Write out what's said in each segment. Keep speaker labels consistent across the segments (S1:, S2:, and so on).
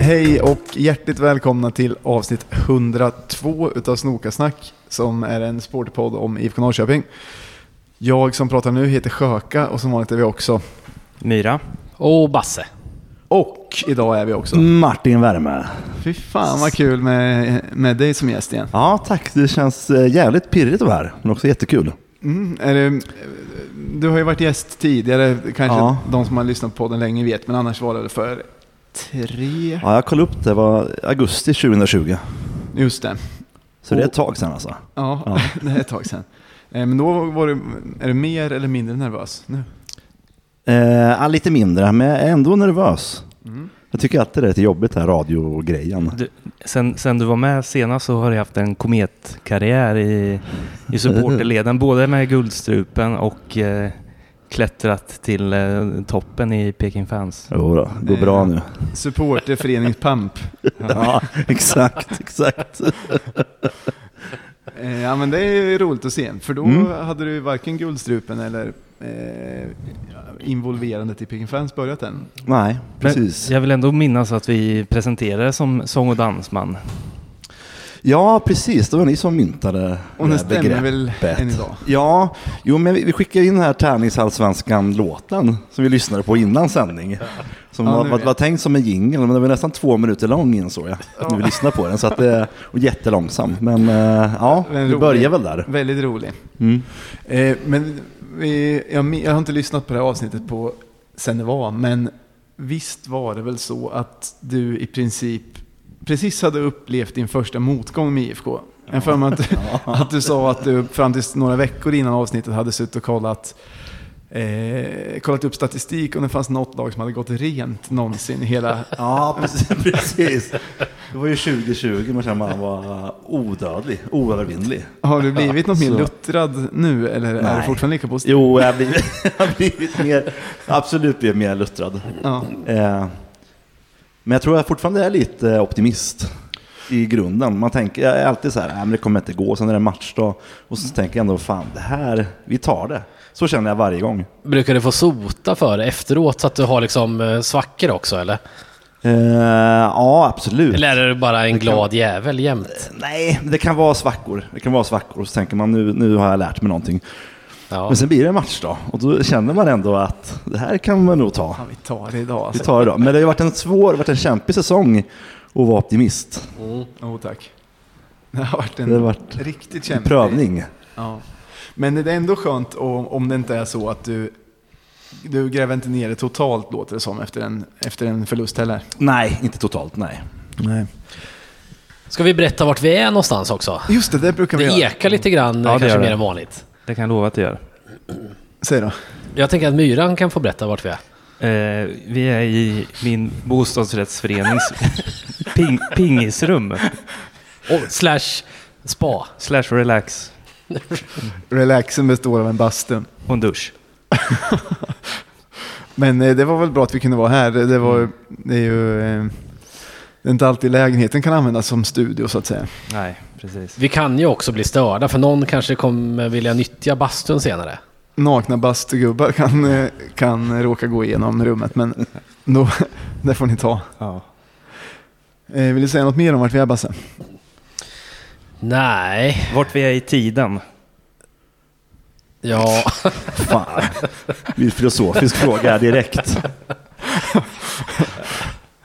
S1: hej och hjärtligt välkomna till avsnitt 102 utav Snokasnack som är en sportpodd om IFK Norrköping. Jag som pratar nu heter Sjöka och som vanligt är vi också.
S2: Myra.
S3: Och Basse.
S1: Och idag är vi också.
S4: Martin Värme.
S1: Fy fan vad kul med, med dig som gäst igen.
S4: Ja, tack. Det känns eh, jävligt pirrigt att vara här, men också jättekul.
S1: Mm, är det, du har ju varit gäst tidigare, kanske
S4: Ja.
S1: de som har lyssnat på podden länge vet, men annars var det väl för tre?
S4: Ja, jag kollade upp det, det var augusti 2020.
S1: Just det.
S4: Så det är ett tag sedan alltså.
S1: Ja,
S4: Ja.
S1: det är ett tag sedan. Eh, Men då var du, är du mer eller mindre nervös nu?
S4: Eh, ja, lite mindre, men jag är ändå nervös. Jag tycker alltid det är lite jobbigt, den här radiogrejen.
S2: Du, sen, sen du var med senast så har du haft en kometkarriär i, i supporterleden, både med Guldstrupen och eh, klättrat till eh, toppen i Peking Fans.
S4: Jo då, det går bra nu.
S1: Supporterföreningspamp.
S4: Eh. Ja, exakt, exakt.
S1: Eh, Ja men det är ju roligt att se, för då
S4: Mm.
S1: hade du ju varken Guldstrupen eller eh, involverandet i Peking Fans börjat än.
S4: Nej,
S2: Men
S4: precis.
S2: jag vill ändå minnas att vi presenterade som sång och dansman.
S4: Ja, precis. Det var ni som myntade
S1: Och den
S4: det här
S1: stämmer väl
S4: begreppet.
S1: än idag.
S4: Ja, jo, men vi vi skickade in den här Tärningsallsvenskan-låten som vi lyssnade på innan sändning. Som
S1: Ja, nu
S4: var, var,
S1: vet.
S4: var tänkt som en jingle, men den var nästan två minuter lång insåg jag. När vi lyssnade på den, så att det, och jättelångsam. Men eh, ja,
S1: Men
S4: vi
S1: rolig.
S4: börjar väl där.
S1: Väldigt rolig.
S4: Mm.
S1: Eh, men vi, jag, min- jag har inte lyssnat på det här avsnittet på sen det var, men visst var det väl så att du i princip precis hade upplevt din första motgång med IFK? Jag för mig att, att du sa att du fram till några veckor innan avsnittet hade suttit och kollat Eh, kollat upp statistik om det fanns något lag som hade gått rent någonsin i hela...
S4: Ja, precis, precis. Det var ju 2020, man kände man var odödlig, oövervinnlig.
S1: Har du blivit något mer
S4: Så-
S1: luttrad nu eller är du
S4: Nej.
S1: fortfarande lika positiv?
S4: Jo, jag har blivit, jag har blivit mer, absolut blivit mer luttrad.
S1: Ja.
S4: Eh, men jag tror jag fortfarande är lite optimist i grunden. Man tänker, jag är alltid så här, "Nej, men det kommer inte gå, sen är det matchdag. Och så tänker jag ändå, fan det här, vi tar det. Så känner jag varje gång.
S3: Brukar du få sota för det efteråt så att du har liksom eh, svackor också eller?
S4: Eh, ja, absolut.
S3: Eller är du bara en glad jävel jämt?
S4: Nej, det kan vara svackor. Det kan vara svackor. Och så tänker man, nu, nu har jag lärt mig någonting.
S3: Ja.
S4: Men sen blir det en matchdag. Och då känner man ändå att det här kan man nog ta.
S1: Fan, vi tar det idag
S4: Vi
S1: alltså.
S4: tar det då. Men det har ju varit en svår, varit en kämpig säsong att vara optimist.
S1: Jo tack. Det har varit en
S4: Det har varit
S1: riktigt
S4: En
S1: kämpig
S4: prövning.
S1: Ja. Men det är ändå skönt om, om det inte är så att du, du gräver inte ner det totalt låter det som efter en, efter en förlust heller.
S4: Nej, inte totalt, nej.
S1: Nej.
S3: Ska vi berätta vart vi är någonstans också?
S1: Just det, det brukar vi
S3: Det
S1: göra.
S3: ekar lite grann,
S2: Ja,
S3: eh,
S2: det
S3: kanske
S2: gör det.
S3: mer än vanligt.
S2: Det kan jag lova att det gör.
S1: Säg då.
S3: Jag tänker att Myran kan få berätta vart vi är.
S2: Eh, vi är i min bostadsrättsförenings ping, pingisrum,
S3: Och, slash spa.
S2: slash relax
S1: Relaxen består av en bastun.
S2: och en dusch.
S1: Men eh, det var väl bra att vi kunde vara här. Det, det, var, det är ju eh, det är inte alltid lägenheten kan användas som studio så att säga.
S2: Nej, precis.
S3: Vi kan ju också bli störda för någon kanske kommer vilja nyttja bastun senare.
S1: Nakna bastugubbar kan, eh, kan råka gå igenom rummet men då, det får ni ta.
S2: Ja.
S1: Eh, Vill du säga något mer om vart vi är Basse?
S3: Nej,
S2: Vart vi är i tiden.
S3: ja.
S4: Fan, det är en filosofisk fråga här direkt.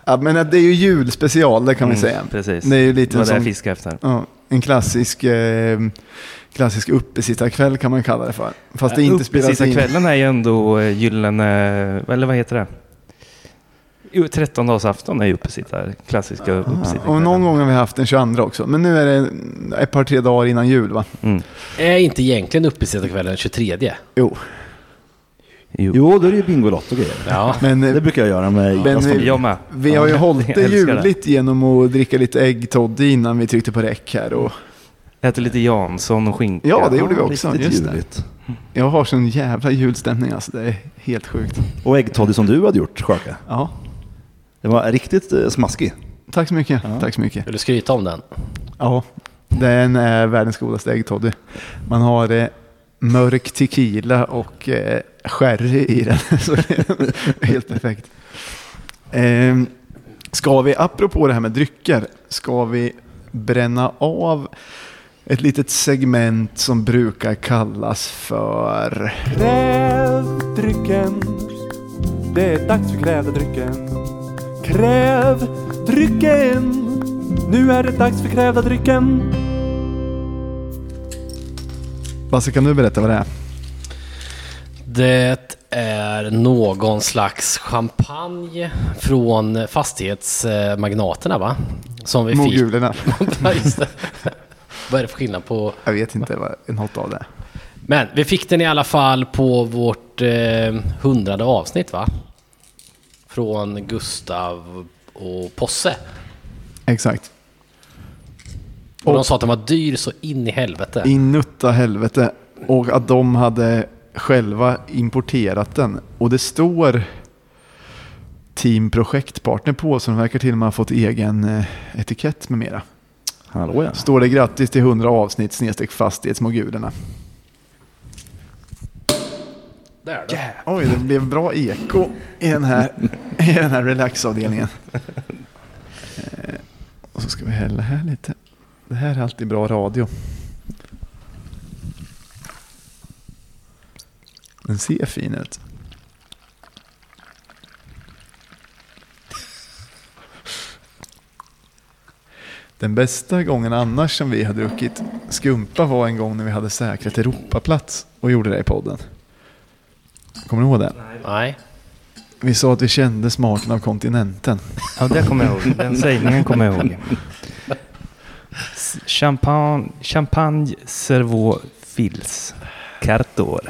S1: Ja, men eh, det är ju julspecial, det kan vi säga.
S2: Mm, Precis.
S1: Det är ju lite
S2: det var det
S1: som
S2: jag fiskade efter.
S1: ja, en klassisk, eh, klassisk uppesittarkväll kan man kalla det för. Fast det
S2: Ja,
S1: inte spelas in.
S2: Uppesittarkvällen är ju ändå eh, gyllene, eller vad heter det? Jo, Trettondagsafton är ju uppesittare, klassiska uppesittarkvällen.
S1: Ah, Och någon gång har vi haft den 22 också. Men nu är det ett par tre dagar innan jul va?
S2: Mm.
S3: Är inte egentligen uppesittarkvällen den 23?
S1: Jo.
S2: Jo.
S4: Jo, då är det ju Bingolotto och grejer.
S3: Ja.
S1: Men, eh,
S4: Det brukar jag göra med
S1: Men-
S4: Idas familj.
S2: Jag med.
S1: vi har ju
S2: Ja,
S1: hållit
S2: jag
S1: det
S2: älskar
S1: juligt genom att dricka lite äggtoddy innan vi tryckte på räck här. Och
S2: Äter lite Jansson och skinka.
S1: Ja, det gjorde vi
S4: Ja,
S1: också,
S4: Riktigt
S1: just det.
S4: ljuvligt.
S1: jag har sån jävla julstämning alltså. Det är helt sjukt.
S4: Och äggtoddy som du hade gjort, Sjöka.
S1: Ja.
S4: Det var riktigt eh, smaskig.
S1: Tack så mycket. Tack så mycket.
S3: Vill du skryta om den?
S1: Ja, den är världens godaste äggtoddy. Man har eh, mörk tequila och eh, sherry i den. Så det är helt perfekt. Ehm, Ska vi, apropå det här med drycker, ska vi bränna av ett litet segment som brukar kallas för...
S5: Kräv drycken. Det är dags för kräva drycken. Kräv drycken. Nu är det dags för kräva drycken.
S1: Basse, kan du berätta vad det är?
S3: Det är någon slags champagne från fastighetsmagnaterna va? Som vi fick.
S1: Mogulerna.
S3: Ja, just det. Vad är det för skillnad på...
S1: Jag vet inte vad en hot av det är.
S3: Men vi fick den i alla fall på vårt eh, hundrade avsnitt va? Från Gustav och Posse.
S1: Exakt.
S3: Och de sa att den var dyr så in i helvete.
S1: Inutta helvete. Och att de hade själva importerat den. Och det står Team Projektpartner på, så de verkar till och med ha fått egen eh, etikett med mera.
S4: Hallå ja.
S1: Står det grattis till 100 avsnitt snedstreck fastighetsmogulerna.
S3: Där då.
S1: Oj, det blev bra eko i den här, i den här relaxavdelningen. Eh, Och så ska vi hälla här lite. Det här är alltid bra radio. Den ser fin ut. Den bästa gången annars som vi har druckit skumpa var en gång när vi hade säkrat Europaplats och gjorde det i podden. Kommer du ihåg det?
S3: Nej.
S1: Vi sa att vi kände smaken av kontinenten.
S2: Ja, det kommer jag ihåg. Den sägningen kommer jag ihåg. S- Champagne, champagne servo fils cartor.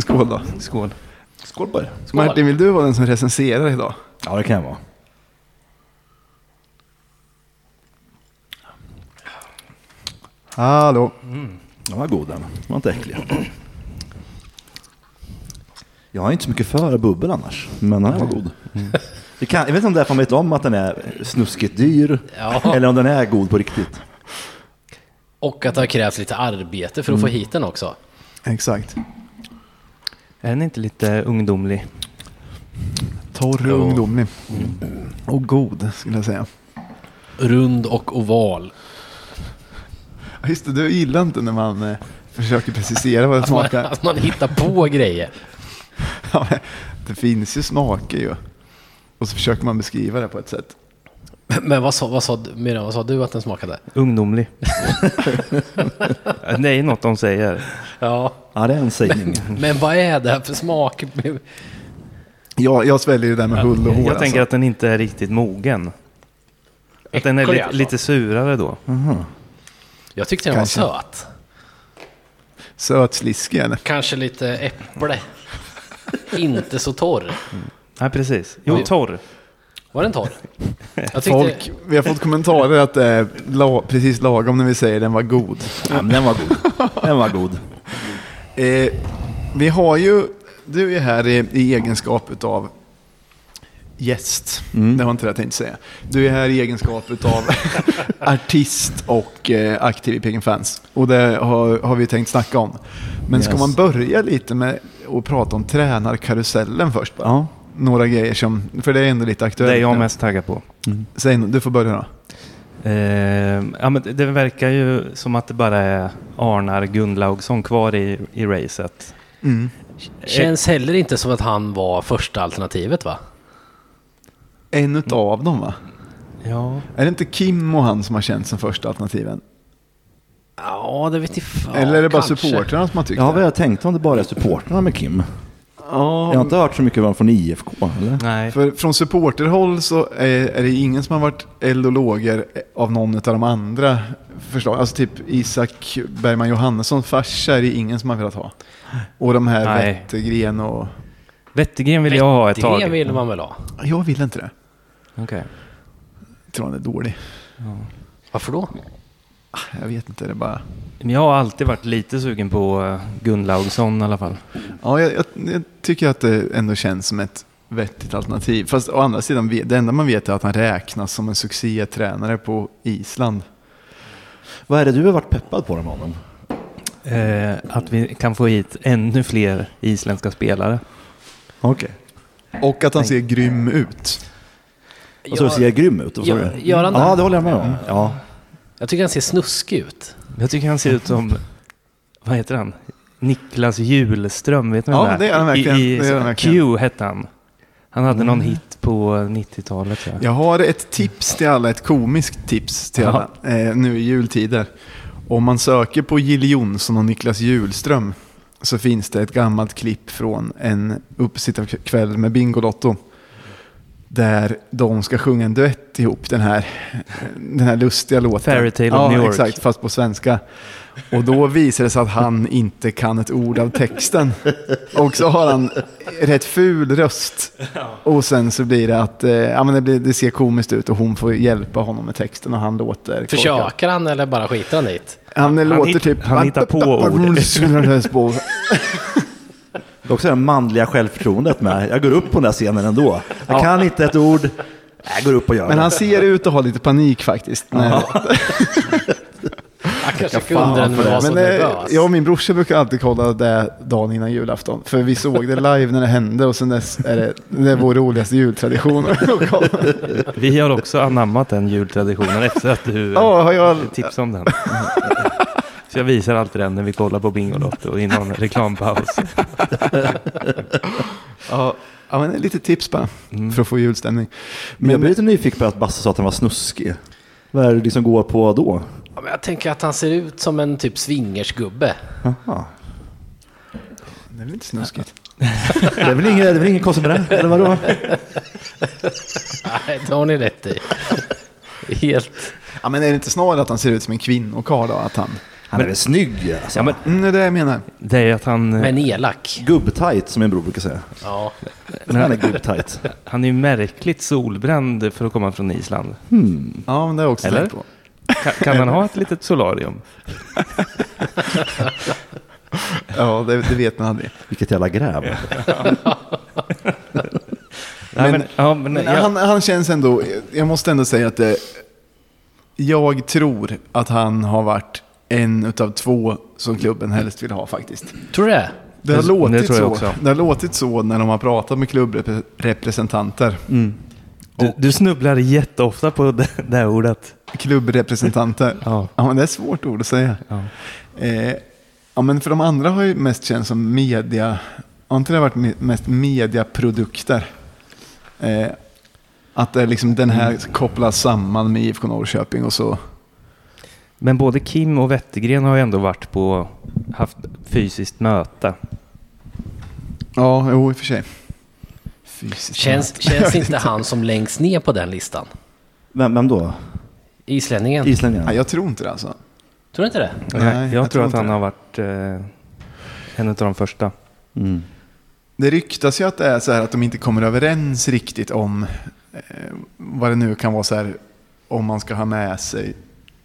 S1: Skål då.
S2: Skål.
S4: Skål på er.
S3: Skål.
S1: Martin, vill du vara den som recenserar idag?
S4: Ja, det kan jag vara.
S1: Hallå.
S4: Den var god den. Den var inte äcklig. Jag är inte så mycket för bubbel annars, men den här var god. Det kan, jag vet inte om det är för att man vet om att den är snuskigt dyr,
S3: Ja.
S4: eller om den är god på riktigt.
S3: Och att det har krävts lite arbete för att få hit den också.
S1: Exakt.
S2: Är den inte lite ungdomlig?
S1: Torr och ungdomlig. Och god, skulle jag säga.
S3: Rund och oval.
S1: Ja, Just det, du gillar inte när man eh, försöker precisera vad det
S3: Att man,
S1: smakar.
S3: att man hittar på grejer.
S1: Ja, men det finns ju smaker ju. Och så försöker man beskriva det på ett sätt.
S3: Men vad sa, vad sa, du- Miriam, vad sa du att den smakade?
S2: Ungdomlig. det är ju något de säger.
S3: Ja.
S4: Ja, det är en sägning.
S3: Men vad är det här för smak?
S1: Jag, jag sväljer det där med hull och hår. alltså.
S2: Jag tänker att den inte är riktigt mogen. Att den är
S3: Äcklig,
S2: li-
S3: alltså.
S2: lite surare då.
S3: Jag tyckte den
S1: Kanske.
S3: var söt.
S1: alltså. Sötsliskig eller?
S3: Kanske lite äpple. Inte så torr.
S2: Nej, precis. Jo,
S3: Ja.
S2: torr.
S3: Var den torr? Jag tyckte,
S1: Folk, vi har fått kommentarer att det är la, precis lagom när vi säger den var god.
S4: Ja, men den var god. Den var god.
S1: Eh, vi har ju, du är här i, i egenskap utav gäst. Det var inte det jag tänkte säga. Du är här i egenskap utav artist och eh, aktiv i Peking Fans. Och det har, har vi tänkt snacka om. Men ska
S4: Yes.
S1: man börja lite med att prata om tränarkarusellen först? Bara?
S4: Ja.
S1: Några grejer som, för det är ändå lite aktuellt.
S2: Det är jag
S1: nu.
S2: mest taggad på.
S1: Säg, no- du får börja då.
S2: Eh, ja, men det- det verkar ju som att det bara är Arnar Gunnlaugsson kvar i, i racet.
S3: känns heller inte som att han var första alternativet va?
S1: En utav dem va?
S2: Ja.
S1: Är det inte Kim och han som har känts som första alternativen?
S3: Ja, det vet jag fan.
S1: Eller är det bara
S3: kanske.
S1: supportrarna som har tyckt
S4: Ja,
S1: det?
S4: vad jag tänkte om det bara är supportrarna med Kim. Jag har inte hört så mycket om honom från IFK, eller?
S2: Nej.
S1: För från supporterhåll så är, är det ingen som har varit eld och lågor av någon av de andra förslagen. Alltså typ Isak Bergman Johannesson farsa är det ingen som har velat ha. Och de här
S2: Nej.
S1: Wettergren och...
S2: Wettergren vill jag ha ett tag.
S3: Det vill man väl ha?
S1: Jag vill inte det.
S2: Okej.
S1: Jag tror han är dålig.
S3: Varför då?
S1: Jag vet inte, det är bara...
S2: Men jag har alltid varit lite sugen på eh, Gunnlaugsson i alla fall.
S1: Ja, jag, jag, jag tycker att det ändå känns som ett vettigt alternativ. Fast å andra sidan, vet- det enda man vet är att han räknas som en succétränare på Island.
S4: Vad är det du har varit peppad på dem med honom?
S2: Eh, att vi kan få hit ännu fler isländska spelare.
S4: Okej.
S1: Och att han ser grym ut.
S4: Och så Alltså, ser jag grym ut. Och så,
S3: Gör- gör han det?
S4: Ja, det håller jag med
S1: Mm.
S4: om. Ja.
S3: Jag tycker han ser snuskig ut.
S2: Jag tycker han ser ut som, vad heter han? Niklas Julström, vet ni vem
S1: Ja, det är han verkligen.
S2: I, i,
S1: Det är han verkligen. Mm.
S2: Q hette han. Han hade någon hit på 90-talet tror jag.
S1: Jag har ett tips till alla, ett komiskt tips till alla, eh, nu i jultider. Om man söker på Jill Johnson och Niklas Julström så finns det ett gammalt klipp från en uppesittarkväll med Bingolotto. Där de ska sjunga en duett ihop, den här, den här lustiga låten.
S2: Fairytale of
S1: ja,
S2: New York.
S1: exakt, fast på svenska. Och då visar det sig att han inte kan ett ord av texten. Och så har han rätt ful röst. Och sen så blir det att eh, ja, men det, blir, det ser komiskt ut och hon får hjälpa honom med texten och han låter korkad.
S3: Försöker han eller bara skiter han dit?
S1: Han, eh,
S2: Han
S1: låter
S2: hitt-
S1: typ...
S2: han hittar på
S1: ord.
S4: Det är också det manliga självförtroendet med. Jag går upp på den där scenen ändå. Jag kan inte ett ord. Jag går upp och gör
S1: men
S4: det.
S1: han ser ut att ha lite panik faktiskt. när-
S3: Han kanske kunde den
S1: för det.
S3: vara så
S1: Men, eh,
S3: nervös.
S1: Jag och min brorsa brukar alltid kolla det dagen innan julafton. För vi såg det live när det hände och sen dess är det, det är vår roligaste jultradition. att kolla.
S2: Vi har också anammat den jultraditionen efter att du eh,
S1: Ja, har jag...
S2: tipsade om den. Så jag visar alltid den när vi kollar på Bingolotto i någon reklampaus.
S1: Ja, ja, men det är lite tips bara för att få julstämning.
S4: Men jag blir lite nyfiken på att Basse sa att han var snuskig. Vad är det liksom går på då?
S3: Ja, men jag tänker att han ser ut som en typ swingersgubbe.
S4: Aha.
S1: Det är väl inte snuskigt?
S4: Det är väl inget, det är väl inget konstigt med det? Eller vadå?
S3: Nej, det har ni rätt i. Helt.
S1: Ja, men är det inte snarare att han ser ut som en kvinnokarl då? Att han...
S4: Han är väl snygg alltså.
S2: Ja, men
S1: Mm, det är det jag menar.
S2: det är ju att han, eh,
S3: Men elak.
S4: Gubbtajt som min bror brukar säga.
S3: Ja.
S4: Han är gubbtajt.
S2: han är ju märkligt solbränd för att komma från Island.
S1: Ja, men det har jag också
S2: Eller?
S1: tänkt på.
S2: Kan, kan han ha ett litet solarium?
S1: Ja, det, det vet man aldrig.
S4: Vilket jävla gräv.
S2: Nej,
S1: Men-
S2: men, ja, men,
S1: Men
S2: jag,
S1: han, han känns ändå, jag måste ändå säga att det, jag tror att han har varit en utav två som klubben helst vill ha faktiskt.
S3: Tror du det?
S1: Det har,
S2: Det-
S1: låtit
S2: det tror jag
S1: så,
S2: också.
S1: det har låtit så när de har pratat med klubbrepresentanter.
S2: du, du snubblar jätteofta på det, det här ordet.
S1: Klubbrepresentanter.
S2: Ja.
S1: Ja, men det är ett svårt ord att säga.
S2: Ja.
S1: Eh, ja, men för de andra har ju mest känts som media... Har inte det varit me- mest mediaprodukter? Eh, att det är liksom den här
S2: Mm.
S1: kopplas samman med IFK Norrköping och så.
S2: Men både Kim och Wettergren har ju ändå varit på, haft fysiskt möte.
S1: Ja, jo i och för sig. Fysiskt.
S3: Känns, känns inte han som längst ner på den listan?
S4: Vem, vem då?
S3: Islänningen?
S1: Ja,
S4: Islänningen?
S1: jag tror inte det alltså.
S3: Tror du inte det?
S1: Nej,
S2: jag,
S1: jag tror
S2: tror att
S1: inte
S2: han
S1: det.
S2: har varit eh, en av de första.
S4: Mm.
S1: Det ryktas ju att det är så här att de inte kommer överens riktigt om eh, vad det nu kan vara så här om man ska ha med sig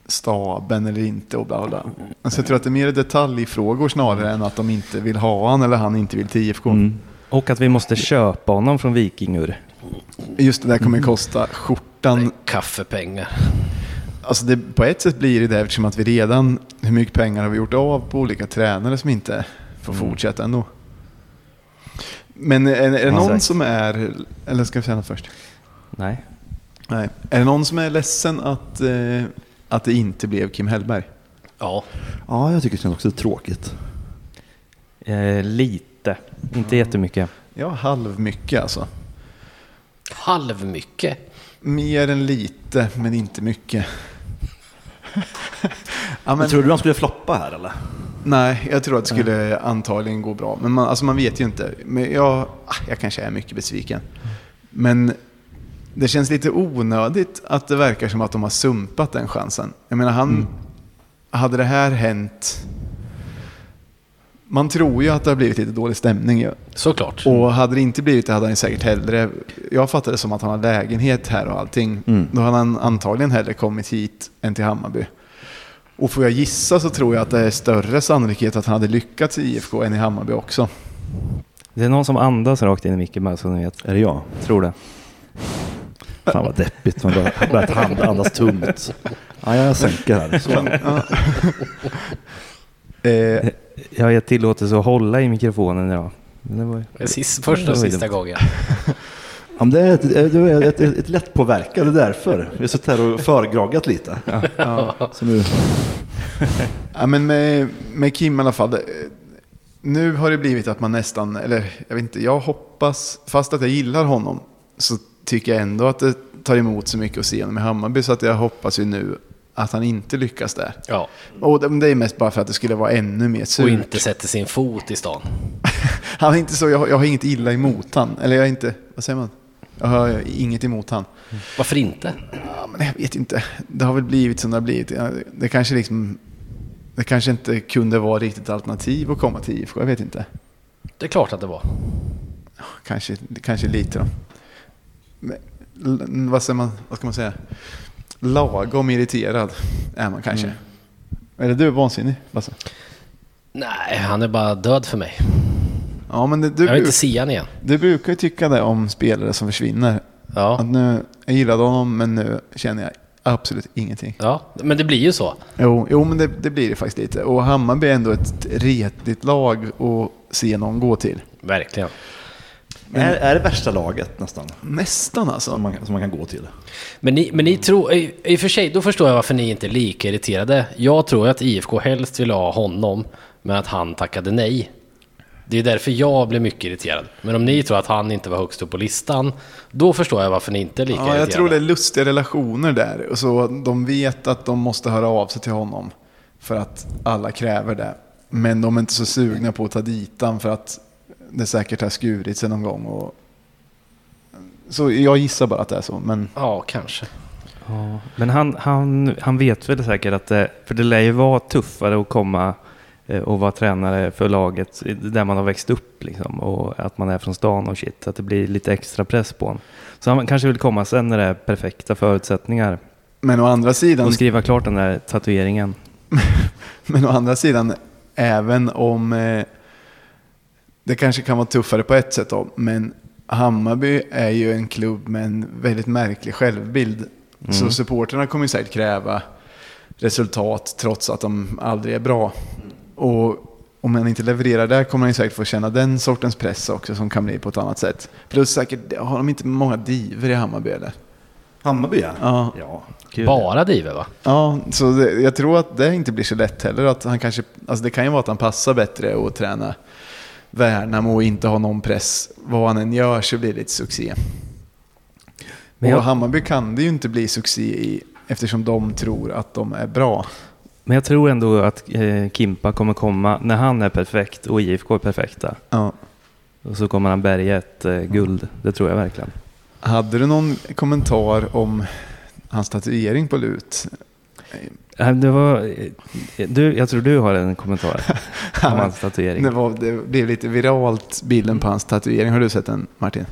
S1: staben eller inte och bla bla. Alltså jag tror att det är mer detaljfrågor snarare än att de inte vill ha han eller han inte vill till IFK.
S2: Och att vi måste köpa honom från Vikingur.
S1: Just det där kommer kosta skjortan.
S3: Kaffepengar.
S1: Alltså det, på ett sätt blir det det eftersom att vi redan, hur mycket pengar har vi gjort av på olika tränare som inte får fortsätta ändå. Men är, är det
S2: Ja,
S1: någon
S2: säkert.
S1: som är, eller ska vi säga något först?
S2: Nej.
S1: Nej. Är det någon som är ledsen att, eh, att det inte blev Kim Hellberg?
S3: Ja.
S4: Ja, jag tycker det känns också tråkigt.
S2: Eh, lite. Inte jättemycket.
S1: Ja, halv mycket alltså.
S3: Halvmycket.
S1: Mer än lite, men inte mycket. ja, men,
S4: Men, tror du han skulle floppa här eller?
S1: Nej, jag tror att det skulle antagligen gå bra. Men man, alltså man vet ju inte. Men jag, ah, jag kanske är mycket besviken. Men det känns lite onödigt att det verkar som att de har sumpat den chansen. Jag menar, han... Hade det här hänt... Man tror ju att det har blivit lite dålig stämning ju.
S3: Såklart.
S1: Och hade det inte blivit det hade han ju säkert hellre... Jag fattade det som att han har lägenhet här och allting. Då hade han antagligen hellre kommit hit än till Hammarby. Och får jag gissa så tror jag att det är större sannolikhet att han hade lyckats i IFK än i Hammarby också.
S2: Det är någon som andas rakt in i micken bara så ni vet.
S4: Är det jag?
S2: Tror det.
S4: Fan vad deppigt. Man börjar, börjar hand, andas tungt. Ja, jag sänker här. Så.
S1: Eh,
S2: Jag har gett tillåtelse att hålla i mikrofonen idag. Men Det var, ju-
S3: Sist, första och
S2: Det var ju
S3: sista
S2: dumt.
S3: gången.
S4: Ja, men det är ett, ett, ett, ett, ett lättpåverkade därför. Vi har suttit här och förgragat lite. Så nu,
S1: Ja, men med, med Kim i alla fall. eh, Nu har det blivit att man nästan, eller jag vet inte, jag hoppas, fast att jag gillar honom, så tycker jag ändå att det tar emot så mycket att se honom i Hammarby, så att jag hoppas ju nu att han inte lyckas där.
S3: Ja,
S1: Och det, men det är mest bara för att det skulle vara ännu mer
S3: och
S1: surt.
S3: inte sätter sin fot i stan.
S1: Han är inte så, jag, har- jag har inget illa emot han. Eller jag är inte, vad säger man? Jag har inget emot han.
S3: Varför inte?
S1: Ja, men jag vet inte. Det har väl blivit som det har blivit. Ja, Det kanske liksom... Det kanske inte kunde vara riktigt ett alternativ att komma till IFK. Jag vet inte.
S3: Det är klart att det var.
S1: Kanske, kanske lite då. Men, l- vad, säger man, vad ska man säga? Lagom irriterad är man kanske. Eller du är vansinnig Basse.
S3: Nej, han är bara död för mig.
S1: Ja, men det, du,
S3: Jag vill
S1: bruk,
S3: inte se han igen.
S1: du brukar ju tycka det om spelare som försvinner.
S3: Ja,
S1: Att nu, jag gillade honom men nu känner jag absolut ingenting.
S3: ja. men det blir ju så.
S1: Jo, jo men det, det blir det faktiskt lite. Och Hammarby är ändå ett retigt lag att se någon gå till.
S3: Verkligen.
S4: är, är det värsta laget nästan,
S1: Nästan alltså.
S4: som man, som man kan gå till.
S3: Men ni, men ni tror, i, i och för sig, då förstår jag varför ni inte är lika irriterade. Jag tror att IFK helst vill ha honom, men att han tackade nej. Det är därför jag blev mycket irriterad. Men om ni tror att han inte var högst upp på listan, då förstår jag varför ni inte är lika
S1: Ja, jag
S3: irriterade.
S1: tror det är lustiga relationer där. Och Så de vet att de måste höra av sig till honom för att alla kräver det. Men de är inte så sugna på att ta dit han för att det säkert har skurit sig någon gång. Och... Så jag gissar bara att det är så. Men
S3: Ja, kanske.
S2: Ja, men han, han, han vet väl säkert att det, för det lär ju vara tuffare att komma eh, och vara tränare för laget eh, där man har växt upp liksom och att man är från stan och shit, att det blir lite extra press på honom. Så han kanske vill komma sen när det är perfekta förutsättningar
S1: Men å andra sidan,
S2: och skriva klart den där tatueringen.
S1: men å andra sidan även om eh, det kanske kan vara tuffare på ett sätt då, men Hammarby är ju en klubb med en väldigt märklig självbild. Så supporterna kommer ju säkert kräva resultat trots att de aldrig är bra. Och om han inte levererar där kommer han ju säkert få känna den sortens press också som kan bli på ett annat sätt. Plus säkert, har de inte många diver i Hammarby eller?
S4: Hammarby ja.
S1: Ja.
S4: ja.
S3: Bara Dive, va?
S1: Ja, så det, jag tror att det inte blir så lätt heller. Att han kanske, alltså det kan ju vara att han passar bättre och träna Värnamo och inte ha någon press. Vad han än gör så blir det ett succé.
S2: Men jag-
S1: Och Hammarby kan det ju inte bli succé i eftersom de tror att de är bra.
S2: Men jag tror ändå att eh, Kimpa kommer komma när han är perfekt och IFK är perfekta.
S1: Ja.
S2: Och så kommer han bärga ett eh, guld, det tror jag verkligen.
S1: Hade du någon kommentar om hans tatuering på lut?
S2: Eh, Det var, eh, du, jag tror du har en kommentar om hans tatuering.
S1: Det, var, det blev lite viralt, bilden på hans tatuering. Har du sett den Martin?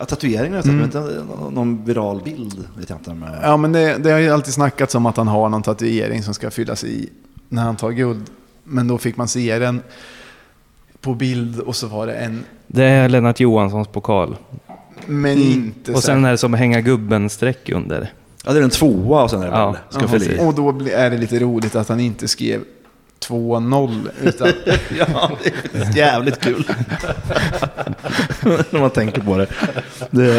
S4: ja tatueringen har jag sett,
S1: Mm.
S4: men inte någon- någon viral bild vet jag inte. Med.
S1: Ja, men det, det har ju alltid snackats om att han har någon tatuering som ska fyllas i när han tar guld. Men då fick man se den på bild och så var det en,
S2: Det är Lennart Johanssons pokal.
S1: men
S4: Mm.
S1: inte
S2: Och
S1: så här-
S2: sen är det som att hänga gubben-streck under.
S4: Ja, det är en tvåa och sen är det
S2: Ja.
S4: väl, ska
S2: Ja,
S4: fylla i.
S1: Och då bli- är det lite roligt att han inte skrev 2-0 utan
S4: Ja, det är jävligt kul. När man tänker på det. det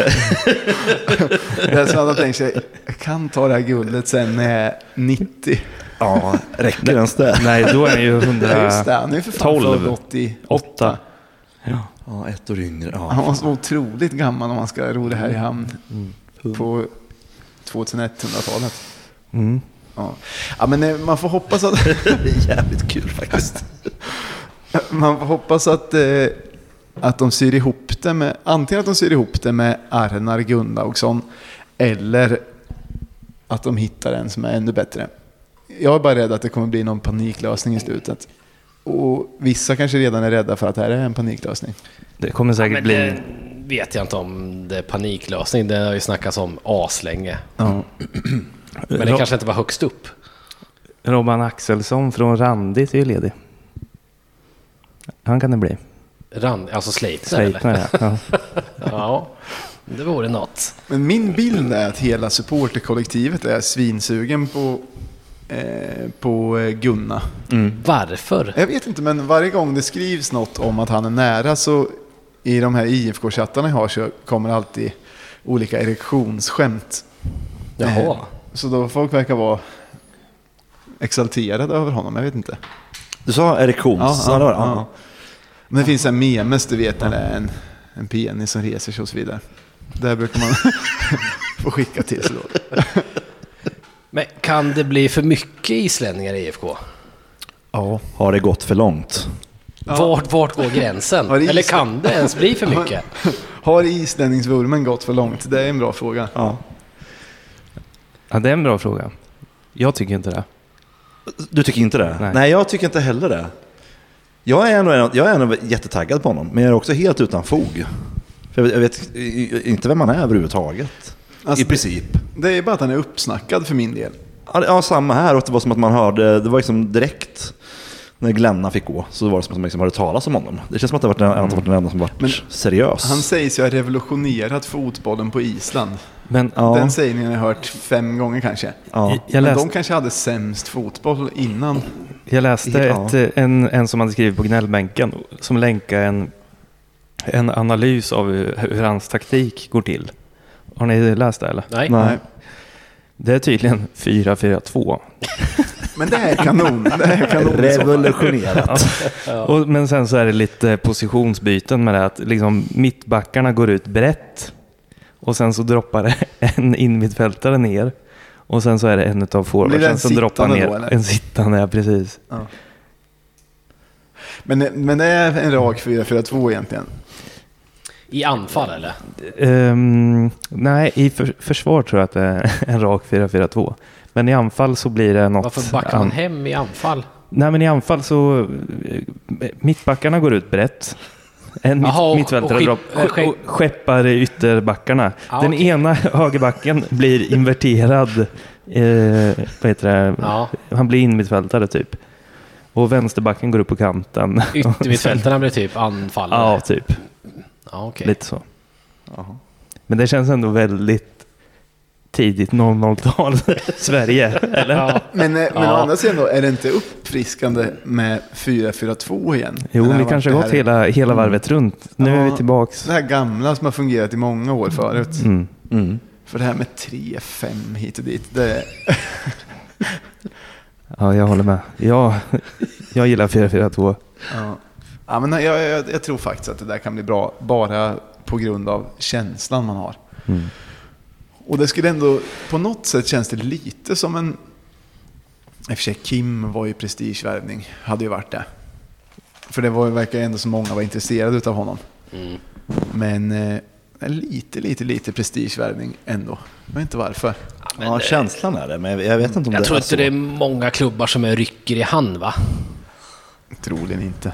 S1: det är så att han tänker sig, jag kan ta det här guldet sen när jag är 90.
S4: ja, räcker ens det?
S2: Nej, då är det ju
S1: Ja, just det,
S2: 108.
S1: han är ju för fan
S2: Tolv.
S1: född 88.
S2: Ja.
S4: Ja, ett år yngre.
S1: Han
S4: Ja.
S1: var så otroligt gammal om man ska ro det här i
S4: Mm.
S1: hamn på 2100-talet.
S2: Mm.
S1: Ja. ja, men eh, man får hoppas att...
S4: Det är jävligt kul faktiskt.
S1: Man får hoppas att, eh, att de syr ihop det med, antingen att de syr ihop det med Arnar Gunnlaugsson eller att de hittar en som är ännu bättre. Jag är bara rädd att det kommer bli någon paniklösning i slutet. Och vissa kanske redan är rädda för att det här är en paniklösning.
S2: Det kommer säkert
S3: Men
S2: bli...
S3: det vet jag inte om det är paniklösning. Det har ju snackats om aslänge.
S1: Ja.
S3: Men det kanske inte var högst upp.
S2: Robban Axelsson från Randit är ju ledig. Han kan det bli.
S3: Rand, alltså Sleipner eller?
S2: Sleipner, ja. ja.
S3: Ja, det vore något.
S1: Men min bild är att hela supporterkollektivet är svinsugen på, eh, på eh, Gunna.
S3: Varför?
S1: Jag vet inte, men varje gång det skrivs något om att han är nära så i de här IFK-chattarna jag har så kommer alltid olika erektionsskämt.
S3: Jaha.
S1: Så då folk verkar vara exalterade över honom, jag vet inte.
S4: Du sa erektions... Ja, det var det. Ja.
S1: Men det finns en memes, du vet, när det är en, en penis som reser sig och så vidare. Där brukar man få skicka till sig då.
S3: Men kan det bli för mycket islänningar i IFK?
S1: Ja.
S4: Har det gått för långt?
S3: Vart, vart går gränsen?
S1: Ja, det är
S3: Eller
S1: is-
S3: kan det ens bli för mycket?
S1: Har islänningsvurmen gått för långt? Det är en bra fråga.
S4: Ja.
S2: Ja, det är en bra fråga. Jag tycker inte det.
S4: Du tycker inte det?
S2: Nej.
S4: jag tycker inte heller det. Jag är nog, jag är nog jättetaggad på honom, men jag är också helt utan fog. För jag, vet, jag vet i- inte vem han är överhuvudtaget.
S1: Alltså,
S4: I princip.
S1: Det är bara att han är uppsnackad för min del.
S4: Ja, det- Ja, samma här. Och det var som att man hörde, det var liksom direkt när Glenna fick gå, så var det som att man liksom hade talat om honom. Det känns som att det var den, mm. varit den enda som varit
S1: Men
S4: seriös.
S1: Han sägs ju ha revolutionerat fotbollen på Island.
S2: Men
S4: Ja.
S1: Den sägningen har jag hört fem gånger kanske.
S4: ja.
S2: jag- jag
S1: Men
S2: läste...
S1: de kanske hade sämst fotboll innan.
S2: Jag läste
S4: Ja.
S2: ett, eh, en, en som hade skrivit på gnällbänken som länkade en, en analys av hur, hur hans taktik går till. Har ni läst det eller?
S3: Nej.
S4: Nej.
S2: Det är tydligen 4-4-2.
S1: Men det här är kanon. Det här är kanon.
S4: Revolutionerat.
S2: Och- Men sen så är det lite positionsbyten med det att liksom mittbackarna går ut brett och sen så droppar det en inmittfältare ner och sen så är det en av
S1: Blir det
S2: forwardsen
S1: en
S2: som droppar
S1: sittande
S2: ner.
S1: då, eller?
S2: en sittande, ja precis.
S1: Men, men det är en rak 4-4-2 egentligen.
S3: I anfall eller?
S2: Ehm, nej, i för, försvar tror jag att det är en rak 4-4-2. Men i anfall så blir det något...
S3: Varför backar man
S2: an-
S3: hem i anfall?
S2: Nej, men i anfall så... eh, Mittbackarna går ut brett. En mitt,
S3: Jaha, och- och
S2: mittfältare
S3: skepp-
S2: drop,
S3: eh, skepp-
S2: och skeppar ytterbackarna.
S3: Ja,
S2: Den
S3: okej.
S2: ena högerbacken blir inverterad. Eh, vad heter det?
S3: Ja.
S2: Han blir inmittfältare typ. Och vänsterbacken går upp på kanten.
S3: Yttermittfältarna blir typ anfallare?
S2: ja, typ.
S3: ja okej.
S2: Lite så. Men det känns ändå väldigt tidigt 00-tal Sverige, eller?
S3: Ja.
S1: Men, eh, men
S3: Ja.
S1: å andra sidan då, är det inte uppfriskande med 4-4-2 igen?
S2: Jo,
S1: Den här
S2: vi kanske
S1: vart
S2: har
S1: det
S2: gått
S1: här-
S2: hela, hela varvet runt. Nu är
S1: Ja.
S2: vi tillbaks.
S1: Det här gamla som har fungerat i många år förut.
S2: Mm.
S4: Mm.
S1: För det här med 3-5 hit och dit. Det,
S2: Ja, jag håller med. Jag, jag gillar 4-4-2.
S1: ja. Ja, men jag, jag, jag tror faktiskt att det där kan bli bra bara på grund av känslan man har.
S2: Mm.
S1: Och det skulle ändå, på något sätt känns det lite som en... I och för sig, Kim var ju prestigevärvning. Hade ju varit det. För det var, ju- verkar ju ändå som många var intresserade utav honom.
S3: Mm.
S1: Men eh, lite, lite, lite prestigevärvning ändå. Jag vet inte varför.
S4: ja, känslan är det, men jag- jag vet inte om
S3: Jag
S4: det alltså-
S3: tror
S4: är
S3: inte det är många klubbar som är rycker i hand va?
S1: Troligen inte.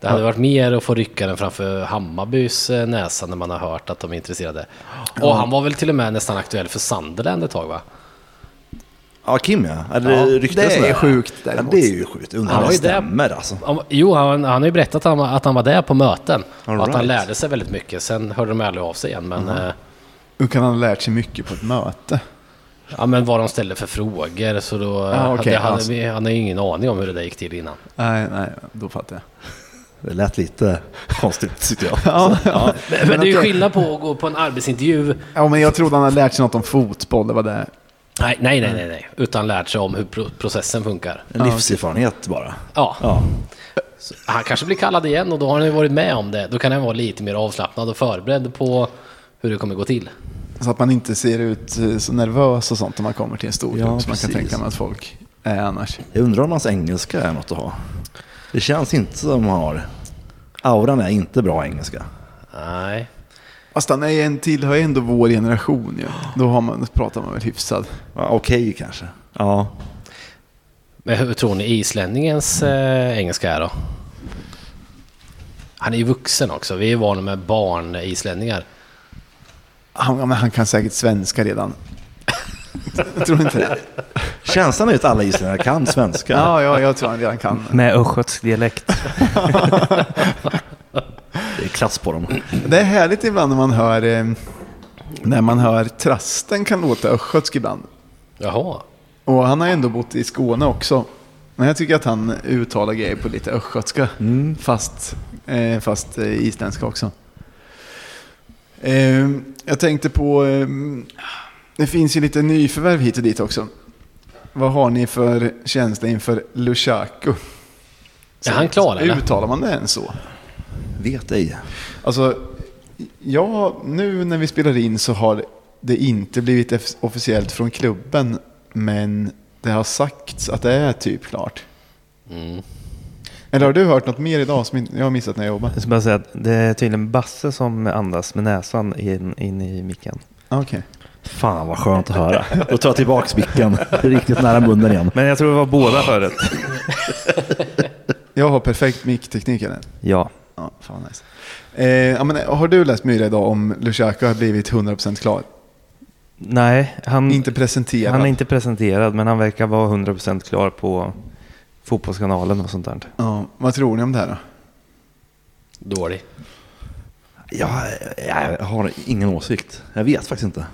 S3: Det hade varit mer att få rycka den framför Hammarbys eh, näsa när man har hört att de är intresserade. Och han var väl till och med nästan aktuell för Sunderland ett tag va?
S4: Ja, Kim ja. Eller
S1: Ja,
S4: ryktas
S1: det är
S4: sådär.
S1: sjukt
S4: Ja,
S1: däremot.
S4: det är ju sjukt. Undrar
S3: Ja,
S4: om
S3: det
S4: det
S3: är det.
S4: stämmer alltså.
S3: Om- Jo, han, han har ju berättat att han, var- att han var där på möten.
S4: All
S3: och att han
S4: right.
S3: lärde sig väldigt mycket. Sen hörde de aldrig av sig igen. Men, eh,
S1: Nu kan han ha lärt sig mycket på ett möte.
S3: ja, men vad de ställde för frågor. Så då,
S1: Ja, okej,
S3: hade, han,
S1: alltså.
S3: han har ju ingen aning om hur det där gick till innan.
S1: Nej, nej, då fattar jag.
S4: Det lät lite konstigt tyckte jag.
S1: Ja, ja.
S3: Men, det är ju
S1: okej.
S3: skillnad på att gå på en arbetsintervju.
S1: ja, men jag trodde han hade lärt sig något om fotboll. Det var det.
S3: Nej, nej, nej, nej, nej. Utan lärt sig om hur pro- processen funkar.
S4: En livserfarenhet bara.
S3: Ja.
S4: Ja.
S3: Så Han kanske blir kallad igen och då har han ju varit med om det. Då kan han vara lite mer avslappnad och förberedd på hur det kommer gå till.
S1: Så att man inte ser ut eh, så nervös och sånt när man kommer till en stor
S4: Ja,
S1: grupp. Som man kan
S4: precis.
S1: tänka mig att folk är annars.
S4: Jag undrar om hans engelska är något att ha. Det känns inte som han har. Auran är inte bra engelska.
S3: Nej.
S1: Fast han är en tillhör ju ändå vår generation ju. Då har man, pratar man väl hyfsad.
S4: Ja, Okej kanske. Ja.
S3: Men hur tror ni islänningens eh, engelska är då? Han är ju vuxen också. Vi är vana med eh, barn-islänningar.
S1: Han, ja, men han kan säkert svenska redan. Jag tror inte det.
S4: Känslan är ju att alla islänningar kan svenska.
S1: Ja, ja, jag tror han redan kan.
S2: Med östgötsk dialekt.
S4: Det är klass på dem.
S1: Det är härligt ibland när man hör eh, när man hör trasten kan låta östgötsk ibland.
S3: Jaha.
S1: Och han har ändå bott i Skåne också. Men jag tycker att han uttalar grejer på lite
S3: Mm.
S1: östgötska. Fast, eh, fast eh, isländska också. Eh, jag tänkte på, eh, det finns ju lite nyförvärv hit och dit också. Vad har ni för känsla inför Lushaku?
S3: Är han klar eller?
S1: Uttalar man det än så?
S4: Vet ej.
S1: Alltså, ja, nu när vi spelar in så har det inte blivit eff- officiellt från klubben, men det har sagts att det är typ klart.
S3: Mm.
S1: Eller har du hört något mer idag som jag har missat när jag jobbar?
S2: Jag ska bara säga att det är tydligen Basse som andas med näsan in, in i micken.
S1: Okej.
S2: Fan vad skönt att höra.
S4: Då tar jag tillbaks micken riktigt nära munnen igen.
S2: Men jag tror det var båda förut.
S1: Jag har perfekt mickteknik eller?
S2: Ja.
S1: Ja, fan vad nice. Eh, ja, men, har du läst Myra idag om Lushaku har blivit 100% klar?
S2: Nej, han,
S1: Inte presenterad?
S2: Mm. han är inte presenterad men han verkar vara 100% klar på Fotbollskanalen och sånt där.
S1: Ja, vad tror ni om det här då?
S3: Dålig.
S4: Jag, jag har ingen åsikt. Jag vet faktiskt inte.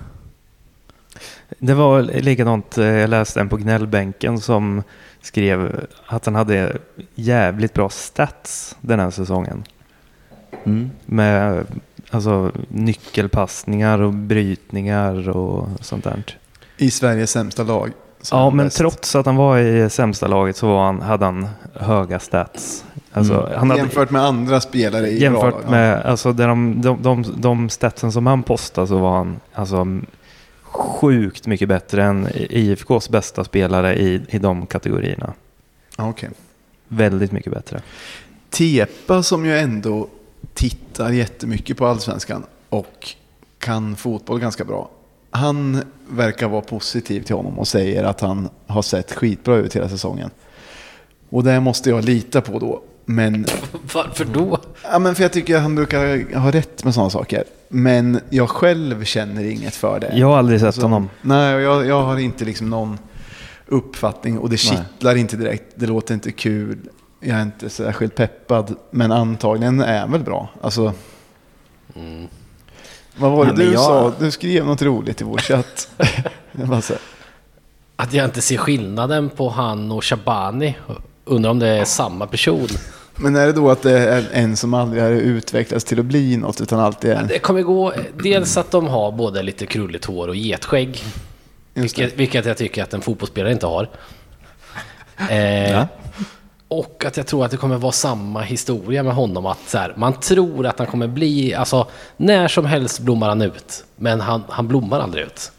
S2: Det var likadant, eh, jag läste en på gnällbänken som skrev att han hade jävligt bra stats den här säsongen.
S4: Mm.
S2: Med alltså, nyckelpassningar och brytningar och sånt där.
S1: I Sveriges sämsta lag? så är
S2: Ja,
S1: han
S2: men
S1: bäst.
S2: trots att han var i sämsta laget så var han, hade han höga stats. Alltså, han hade,
S1: Jämfört med andra spelare i bra lag,
S2: jämfört
S1: ja.
S2: med alltså, där de, de, de, de statsen som han postade så var han alltså, sjukt mycket bättre än IFKs bästa spelare i, i de kategorierna.
S1: Ja, okej.
S2: Väldigt mycket bättre.
S1: Tepa som ju ändå tittar jättemycket på allsvenskan och kan fotboll ganska bra. Han verkar vara positiv till honom och säger att han har sett skitbra ut hela säsongen. Och det måste jag lita på då. Men,
S3: Varför då?
S1: ja, men för jag tycker att han brukar ha rätt med sådana saker. Men jag själv känner inget för det.
S2: Jag har aldrig sett honom.
S1: Alltså, Nej, och jag, jag har inte liksom någon uppfattning och det kittlar inte direkt. Det låter inte kul. Jag är inte särskilt peppad, men antagligen är han väl bra. Alltså,
S3: Mm.
S1: Vad var det
S4: Nej, men
S1: du
S4: jag-
S1: sa? Du skrev något roligt i vår chatt. Jag bara så här,
S3: Att jag inte ser skillnaden på han och Shabani. Undrar om det är samma person.
S1: men är det då att det är en som aldrig har utvecklats till att bli något, utan alltid är en...
S3: Det kommer gå, dels att de har både lite krulligt hår och getskägg.
S1: Just det.
S3: Vilket, vilket jag tycker att en fotbollsspelare inte har. Eh, Och att jag tror att det kommer vara samma historia med honom. Att så här, man tror att han kommer bli, alltså när som helst blommar han ut. Men han, han blommar aldrig ut.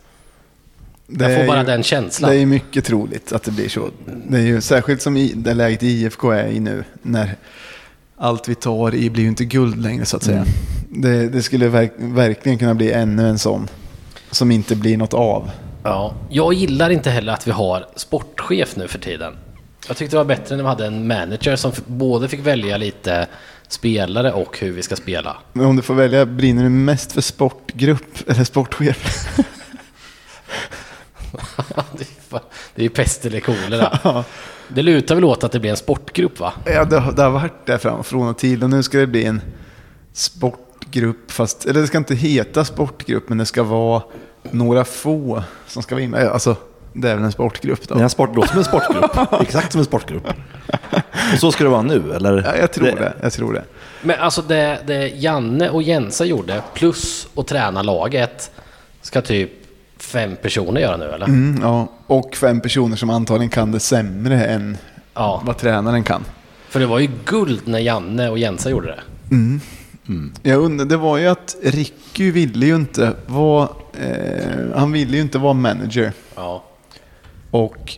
S1: Det
S3: jag
S1: är
S3: får bara
S1: ju-
S3: den känslan.
S1: Det är ju mycket troligt att det blir så. Det är ju särskilt som i det läget IFK är i nu, när allt vi tar i blir ju inte guld längre så att säga. Det, det skulle verk, verkligen kunna bli ännu en sån som inte blir något av.
S3: Ja, jag gillar inte heller att vi har sportchef nu för tiden. Jag tyckte det var bättre när vi hade en manager som f- både fick välja lite spelare och hur vi ska spela.
S1: Men om du får välja, brinner du mest för sportgrupp eller sportchef?
S3: Det är fan- det är ju pest eller kolera. Det lutar väl åt att det blir en sportgrupp va?
S1: ja, det, har- det har varit där fram från och till och nu ska det bli en sportgrupp, fast, eller det ska inte heta sportgrupp, men det ska vara några få som ska vara med. Alltså, det är väl en sportgrupp då?
S4: Den här sport låter som en sportgrupp. Exakt som en sportgrupp. Och så ska det vara nu, eller?
S1: Ja, jag tror det. Jag tror det.
S3: Men alltså det, det Janne och Jensa gjorde, plus att träna laget, ska typ fem personer göra nu eller?
S1: Mm, ja. Och fem personer som antagligen kan det sämre än
S3: Ja.
S1: vad tränaren kan.
S3: För det var ju guld när Janne och Jensa gjorde det.
S1: Jag undrar, det var ju att Ricky ville ju inte vara, eh, han ville ju inte vara manager.
S3: Ja.
S1: Och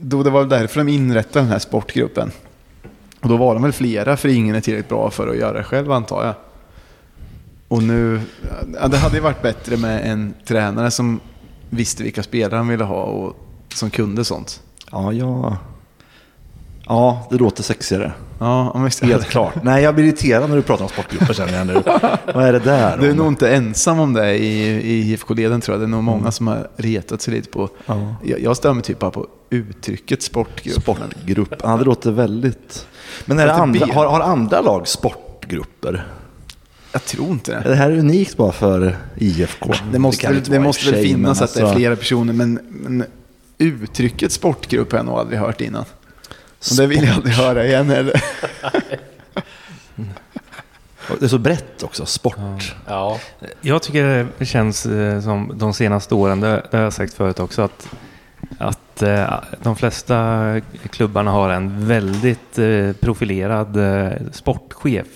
S1: då det var därför de inrättade den här sportgruppen. Och då var de väl flera, för ingen är tillräckligt bra för att göra det själv antar jag. Och nu, ja, det hade ju varit bättre med en tränare som visste vilka spelare han ville ha och som kunde sånt.
S4: Ja, ja. Ja, det låter sexigare.
S1: Ja, om jag-
S4: Helt klart. Nej, jag blir irriterad när du pratar om sportgrupper känner jag nu. Vad är det där?
S1: Du är
S4: om?
S1: nog inte ensam om det i, i IFK-leden tror jag. Det är nog många som har retat sig lite på.
S4: Ja.
S1: Jag, jag stör mig typ bara på uttrycket sportgrupp.
S4: Sportgrupp. Ja, det låter väldigt... Men är det
S1: Låter
S4: andra,
S1: B.
S4: har, har andra lag sportgrupper?
S1: Jag tror inte
S4: Är
S1: det.
S4: Det här är unikt bara för IFK.
S1: Det måste,
S4: kan
S1: väl, det
S4: inte vara i och
S1: måste
S4: för
S1: väl
S4: sig,
S1: finnas
S4: men
S1: att det är
S4: alltså,
S1: flera personer, men, men uttrycket sportgrupp har jag nog aldrig hört innan. Och det vill jag aldrig höra igen heller.
S4: Och Det är så brett också, sport.
S3: Ja.
S2: Jag tycker det känns eh, som de senaste åren, det det har jag sagt förut också, att, att eh, de flesta klubbarna har en väldigt eh, profilerad eh, sportchef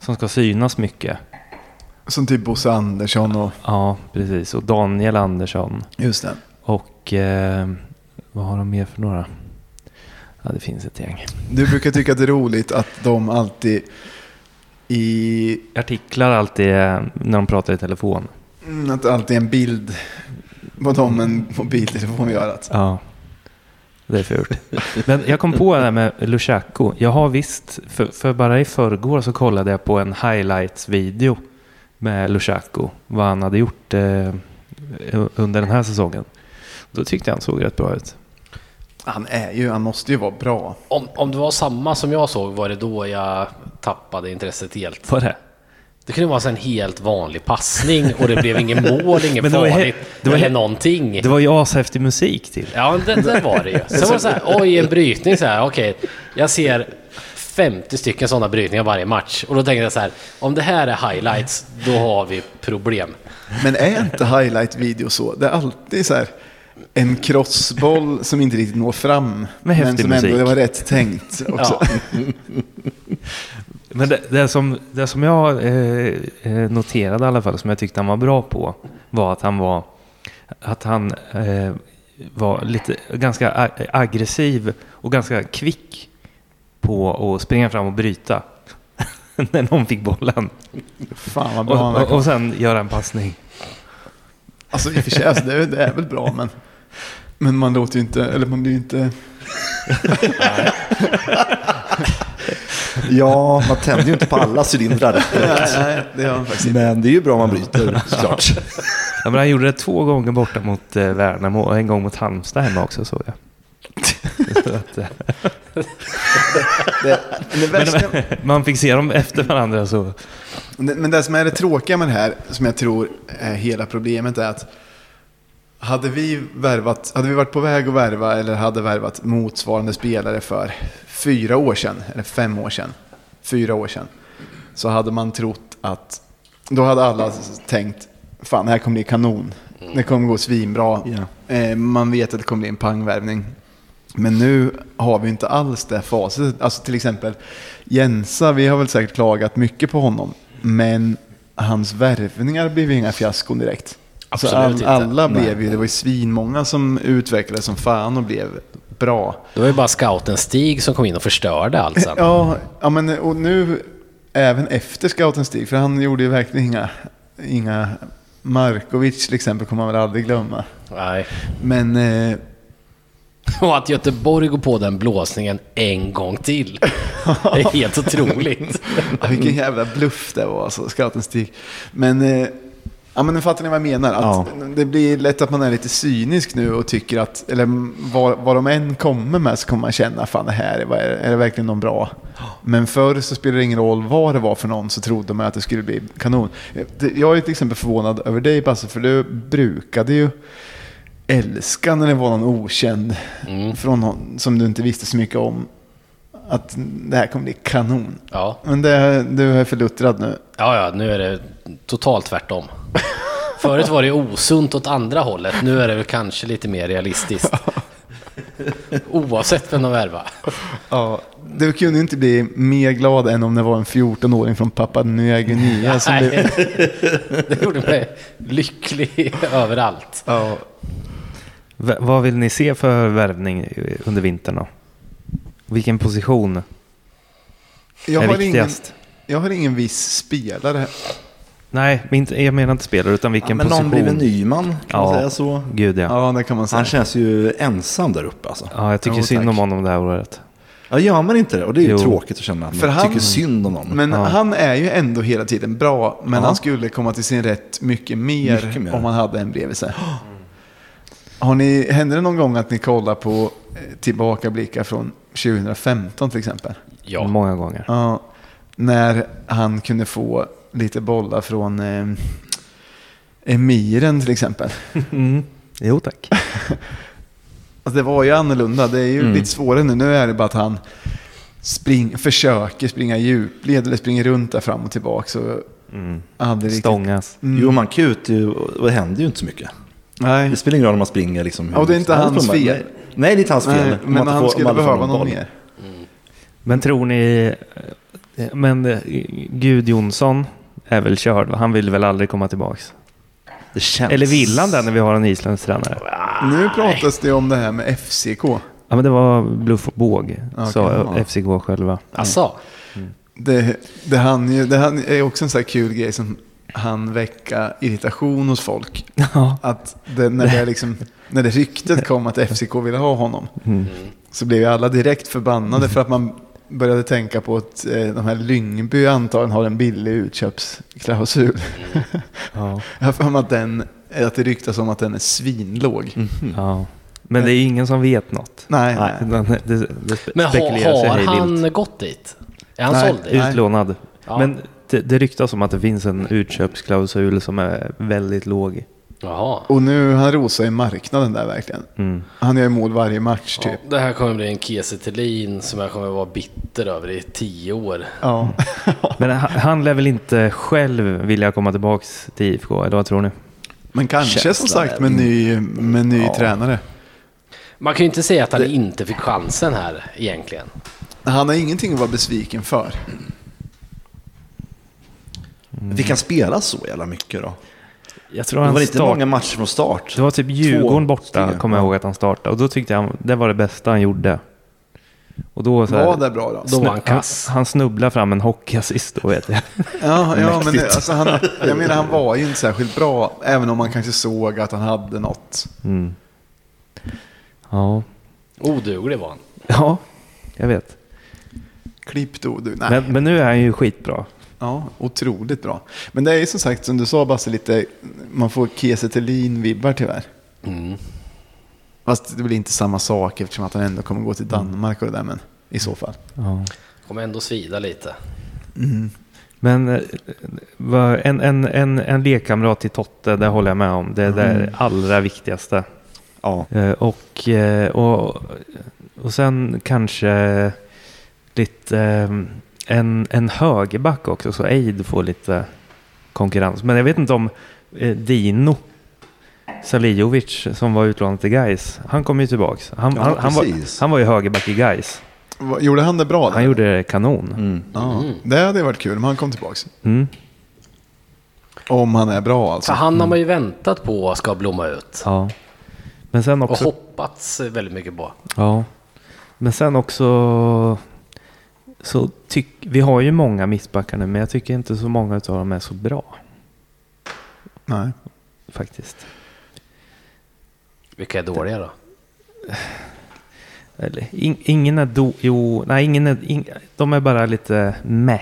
S2: som ska synas mycket.
S1: Som typ Bosse Andersson och...
S2: Ja, precis. Och Daniel Andersson.
S1: Just det.
S2: Och eh, vad har de mer för några? Ja, det finns ett gäng.
S1: Du brukar tycka att det är roligt att de alltid i...
S2: Artiklar alltid eh, när de pratar i telefon.
S1: mm, Att det alltid är en bild på dem en mobiltelefon gör. Alltså.
S2: Ja, det är fult. Men jag kom på det här med Lushako. Jag har visst, för, för bara i förrgår så kollade jag på en highlights-video med Lushako. Vad han hade gjort eh, under den här säsongen. Då tyckte jag han såg rätt bra ut.
S1: Han är ju, han måste ju vara bra.
S3: Om, om det var samma som jag såg var det då jag tappade intresset helt.
S2: Var det?
S3: Det kunde vara så en helt vanlig passning och det blev ingen mål, inget
S2: Men det var ju he-
S3: farligt.
S2: det var
S3: eller
S2: he-
S3: någonting.
S2: Det var ju ashäftig musik till.
S3: Ja, men det, det var det ju. Sen var det så här, oj, en brytning så här, okej. Jag ser 50 stycken sådana brytningar varje match. Och då tänkte jag så här, om det här är highlights, då har vi problem.
S1: Men är inte highlight-video så? Det är alltid så här en crossboll som inte riktigt når fram.
S2: Med
S1: men
S2: häftig
S1: som ändå
S2: musik.
S1: det var rätt tänkt också.
S3: Ja.
S2: Men det, det, som, det som jag eh, eh, noterade i alla fall, som jag tyckte han var bra på, var att han var, att han, eh, var lite, ganska a- aggressiv och ganska kvick på att springa fram och bryta. När någon fick bollen.
S1: Fan vad bra han
S2: Och,
S1: verkar
S2: och, och sen göra en passning.
S1: Alltså i och för sig, alltså, det, är, det är väl bra men... Men man låter ju inte, eller man blir ju inte...
S4: Ja, man tänder ju inte på alla cylindrar.
S1: Nej, nej, det gör man faktiskt inte.
S4: Men det är ju bra om man bryter, såklart.
S2: Ja, men han gjorde det två gånger borta mot eh, Värnamo och en gång mot Halmstad hemma också såg jag. Så att, eh,
S1: Det, men, det värsta,
S2: men, man fick se dem efter varandra så.
S1: men det som är det tråkiga med det här, som jag tror är hela problemet, är att hade vi, värvat, hade vi varit på väg att värva eller hade värvat motsvarande spelare för fyra år sedan, eller fem år sedan, fyra år sedan, så hade man trott att, då hade alla tänkt, fan det här kommer bli kanon, det kommer gå svinbra, Eh, Man vet att det kommer bli en pangvärvning. Men nu har vi inte alls det faset. Alltså till exempel Jensa, vi har väl säkert klagat mycket på honom. Men hans värvningar blev ju inga fiaskon direkt.
S3: Absolut
S1: så Alltså, all,
S3: inte.
S1: alla blev ju, det var ju svinmånga som utvecklades som fan och blev bra.
S3: Det var ju bara scouten Stig som kom in och förstörde allt sen.
S1: Ja, ja men och nu även efter scouten Stig, för han gjorde ju verkligen inga, inga Markovic till exempel kommer man väl aldrig glömma.
S3: Nej.
S1: Men eh,
S3: Och att Göteborg går på den blåsningen en gång till. Det är helt otroligt.
S1: Ja, vilken jävla bluff det var alltså, scouten Stig. Men, eh, ja, men nu fattar ni vad jag menar. Att Det blir lätt att man är lite cynisk nu och tycker att, eller vad, vad de än kommer med så kommer man känna, fan det här, är- vad är, är det verkligen någon bra? Men förr så spelade det ingen roll vad det var för någon så trodde man att det skulle bli kanon. Eh, det- Jag är till exempel förvånad över dig Basse, för du brukade ju älska när det var någon okänd från någon, som du inte visste så mycket om. Att det här kommer bli kanon.
S3: Ja,
S1: Men det, du är förluttrad nu.
S3: ja, ja nu är det totalt tvärtom. Förut var det ju osunt åt andra hållet. Nu är det väl kanske lite mer realistiskt. Oavsett vem de värvar.
S1: Ja. Du kunde inte bli mer glad än om det var en 14-åring från Papua Nya Guinea. Som blev,
S3: Nej, det gjorde mig lycklig överallt.
S1: ja.
S2: V- vad vill ni se för värvning eh, under vintern då? Vilken position
S1: jag,
S2: är
S1: har ingen,
S2: viktigast?
S1: jag har ingen viss spelare.
S2: Nej, men inte- jag menar inte spelare utan vilken
S4: men
S2: position.
S4: någon blir väl Nyman, kan man
S2: Ja.
S4: säga så.
S2: Gud ja.
S1: Ja, det kan man säga.
S4: Han känns ju ensam där uppe alltså.
S2: Ja, jag tycker
S1: Jo,
S2: synd
S1: tack.
S2: om honom det här året.
S4: Ja, gör man inte det? Och det är ju
S2: Jo.
S4: tråkigt att känna. att Man
S1: För han-
S4: tycker synd om någon.
S1: Men han är ju ändå hela tiden bra. Men
S4: Ja.
S1: han skulle komma till sin rätt mycket mer,
S4: Mycket mer.
S1: om han hade en bredvid sig. Har ni, hände det någon gång att ni kollar på eh, tillbakablickar från 2015 till exempel? Mm.
S3: Ja.
S2: Många gånger.
S1: Ja, när han kunde få lite bollar från eh, Emiren till exempel.
S2: Mm. Jo tack.
S4: Mm.
S1: Alltså, det var ju annorlunda, det är ju lite svårare nu. Nu är det bara att han spring, försöker springa i djupled eller springer runt där fram och tillbaka. Så
S4: Mm.
S1: aldrig riktigt.
S2: Stångas.
S1: Mm.
S4: Jo, man kutar ju och det händer ju inte så mycket.
S1: Nej.
S4: Det spelar ingen roll om man springer liksom.
S1: Ja, och det är inte hans
S4: Nej,
S1: fel.
S4: Nej, det är inte hans fel.
S1: Nej,
S4: Om man
S1: men
S4: inte
S1: han
S4: får- om
S1: skulle
S4: man liksom
S1: behöva
S4: aldrig får
S1: någon
S4: boll.
S1: mer.
S2: Men tror ni... eh, Men eh, Gud Jonsson är väl körd? va? Han vill väl aldrig komma tillbaks?
S4: Det känns...
S2: Eller vill han det när vi har en isländsk tränare?
S1: Nu pratas det om det här med FCK.
S2: Ja, men det var bluff och båg, sa
S1: ja.
S2: FCK själva.
S3: Alltså,
S1: Det, det, han ju, det han är också en sån här kul grej som han väcka irritation hos folk.
S2: Ja.
S1: Att det, när, det liksom, när det ryktet kom att FCK ville ha honom
S2: Mm.
S1: så blev ju alla direkt förbannade för att man började tänka på att eh, de här Lyngby antagligen har en billig utköpsklausul.
S2: Ja.
S1: Jag har för mig att, den, att det ryktas om att den är svinlåg.
S2: Mm. Ja. Men det är ju ingen som vet något.
S1: Nej,
S4: Nej.
S2: Utan Det, det spe-
S3: men
S2: spekuleras
S3: har,
S2: ju
S3: har
S2: hej vilt.
S3: han gått dit? Är han
S1: Nej.
S3: såld dit?
S1: Ut-
S2: Utlånad.
S3: Ja.
S2: Men det, det ryktas om att det finns en utköpsklausul som är väldigt låg.
S3: Jaha.
S1: Och nu, han rosar ju marknaden där verkligen.
S2: Mm.
S1: Han gör ju mål varje match
S3: Ja,
S1: typ.
S3: det här kommer bli en Kiese Thelin som jag kommer vara bitter över i tio år.
S1: Ja.
S2: Men han, han lär väl inte själv vilja komma tillbaks till IFK, eller vad tror ni?
S1: Men kanske som
S4: Känslan
S1: sagt
S4: är-
S1: med ny, med ny tränare.
S3: Man kan ju inte säga att han inte fick chansen här egentligen.
S1: Han har ingenting att vara besviken för.
S4: Fick han Mm. spela så jävla mycket då?
S2: Jag tror
S4: det
S2: han
S4: var inte
S2: start...
S4: många matcher från start.
S2: Det var typ Djurgården borta,
S4: stycken.
S2: kommer jag ihåg att han startade. Och då tyckte jag han- det var det bästa han gjorde. Och då så här,
S1: Var det bra då?
S3: Då var han kass.
S2: Han, han snubblade fram en hockeyassist då vet jag.
S1: Ja, ja men det, alltså han, jag menar han var ju inte särskilt bra, även om man kanske såg att han hade något.
S2: Ja,
S3: Oduglig var han.
S2: ja jag vet.
S1: Klippt och du, nej.
S2: Men, men nu är han ju skitbra.
S1: Ja, otroligt bra. Men det är ju som sagt, som du sa Basse, lite, man får Kiese Thelin-vibbar tyvärr. Mm. Fast det blir inte samma sak eftersom att han ändå kommer gå till Danmark och det där, men i så fall.
S2: Ja.
S3: Kommer ändå svida lite.
S2: Men eh, vad- en, en, en, en lekkamrat till Totte, det håller jag med om. Det är
S4: Mm.
S2: det allra viktigaste.
S4: Ja.
S2: Eh, Och, eh, och, och sen kanske lite eh, en, en högerback också, så Eid får lite konkurrens. Men jag vet inte om eh, Dino Salijovic som var utlånad till Gais, han kom ju tillbaks. Han,
S4: Ja,
S2: han, han,
S4: precis.
S2: var, han var ju högerback i Gais.
S1: Vad- Gjorde Mm. han det bra?
S2: Han
S1: där?
S2: gjorde det kanon.
S1: Ja, det hade varit kul om han kom tillbaka.
S2: Mm.
S1: Om han är bra
S3: För
S1: alltså.
S3: han har man ju väntat på ska blomma ut.
S2: Ja. Men sen
S3: Och
S2: också
S3: hoppats väldigt mycket på.
S2: Ja, men sen också så tyck, vi har ju många mittbackar nu, men jag tycker inte så många av dem är så bra
S1: Nej.
S2: faktiskt.
S3: Vilka är dåliga då?
S2: Eller, in, ingen är do, jo, nej, ingen är, in, de är bara lite meh.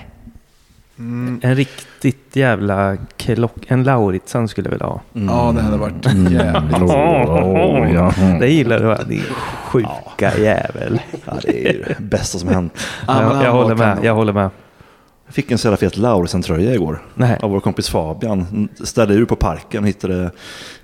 S1: Mm.
S2: En riktigt jävla klock, en Lauritsen skulle jag vilja ha.
S1: Ja, det hade varit jävligt.
S2: Det gillar du va? Din sjuka jävel.
S4: Ja, det är ju det bästa som hänt.
S1: Ja, men
S2: jag,
S1: han
S2: jag
S1: var
S2: håller med,
S1: kanon.
S2: jag håller med.
S4: Jag fick en så jävla fet Laursen-tröja igår.
S2: Nej.
S4: Av vår kompis Fabian. Ställde ur på parken och hittade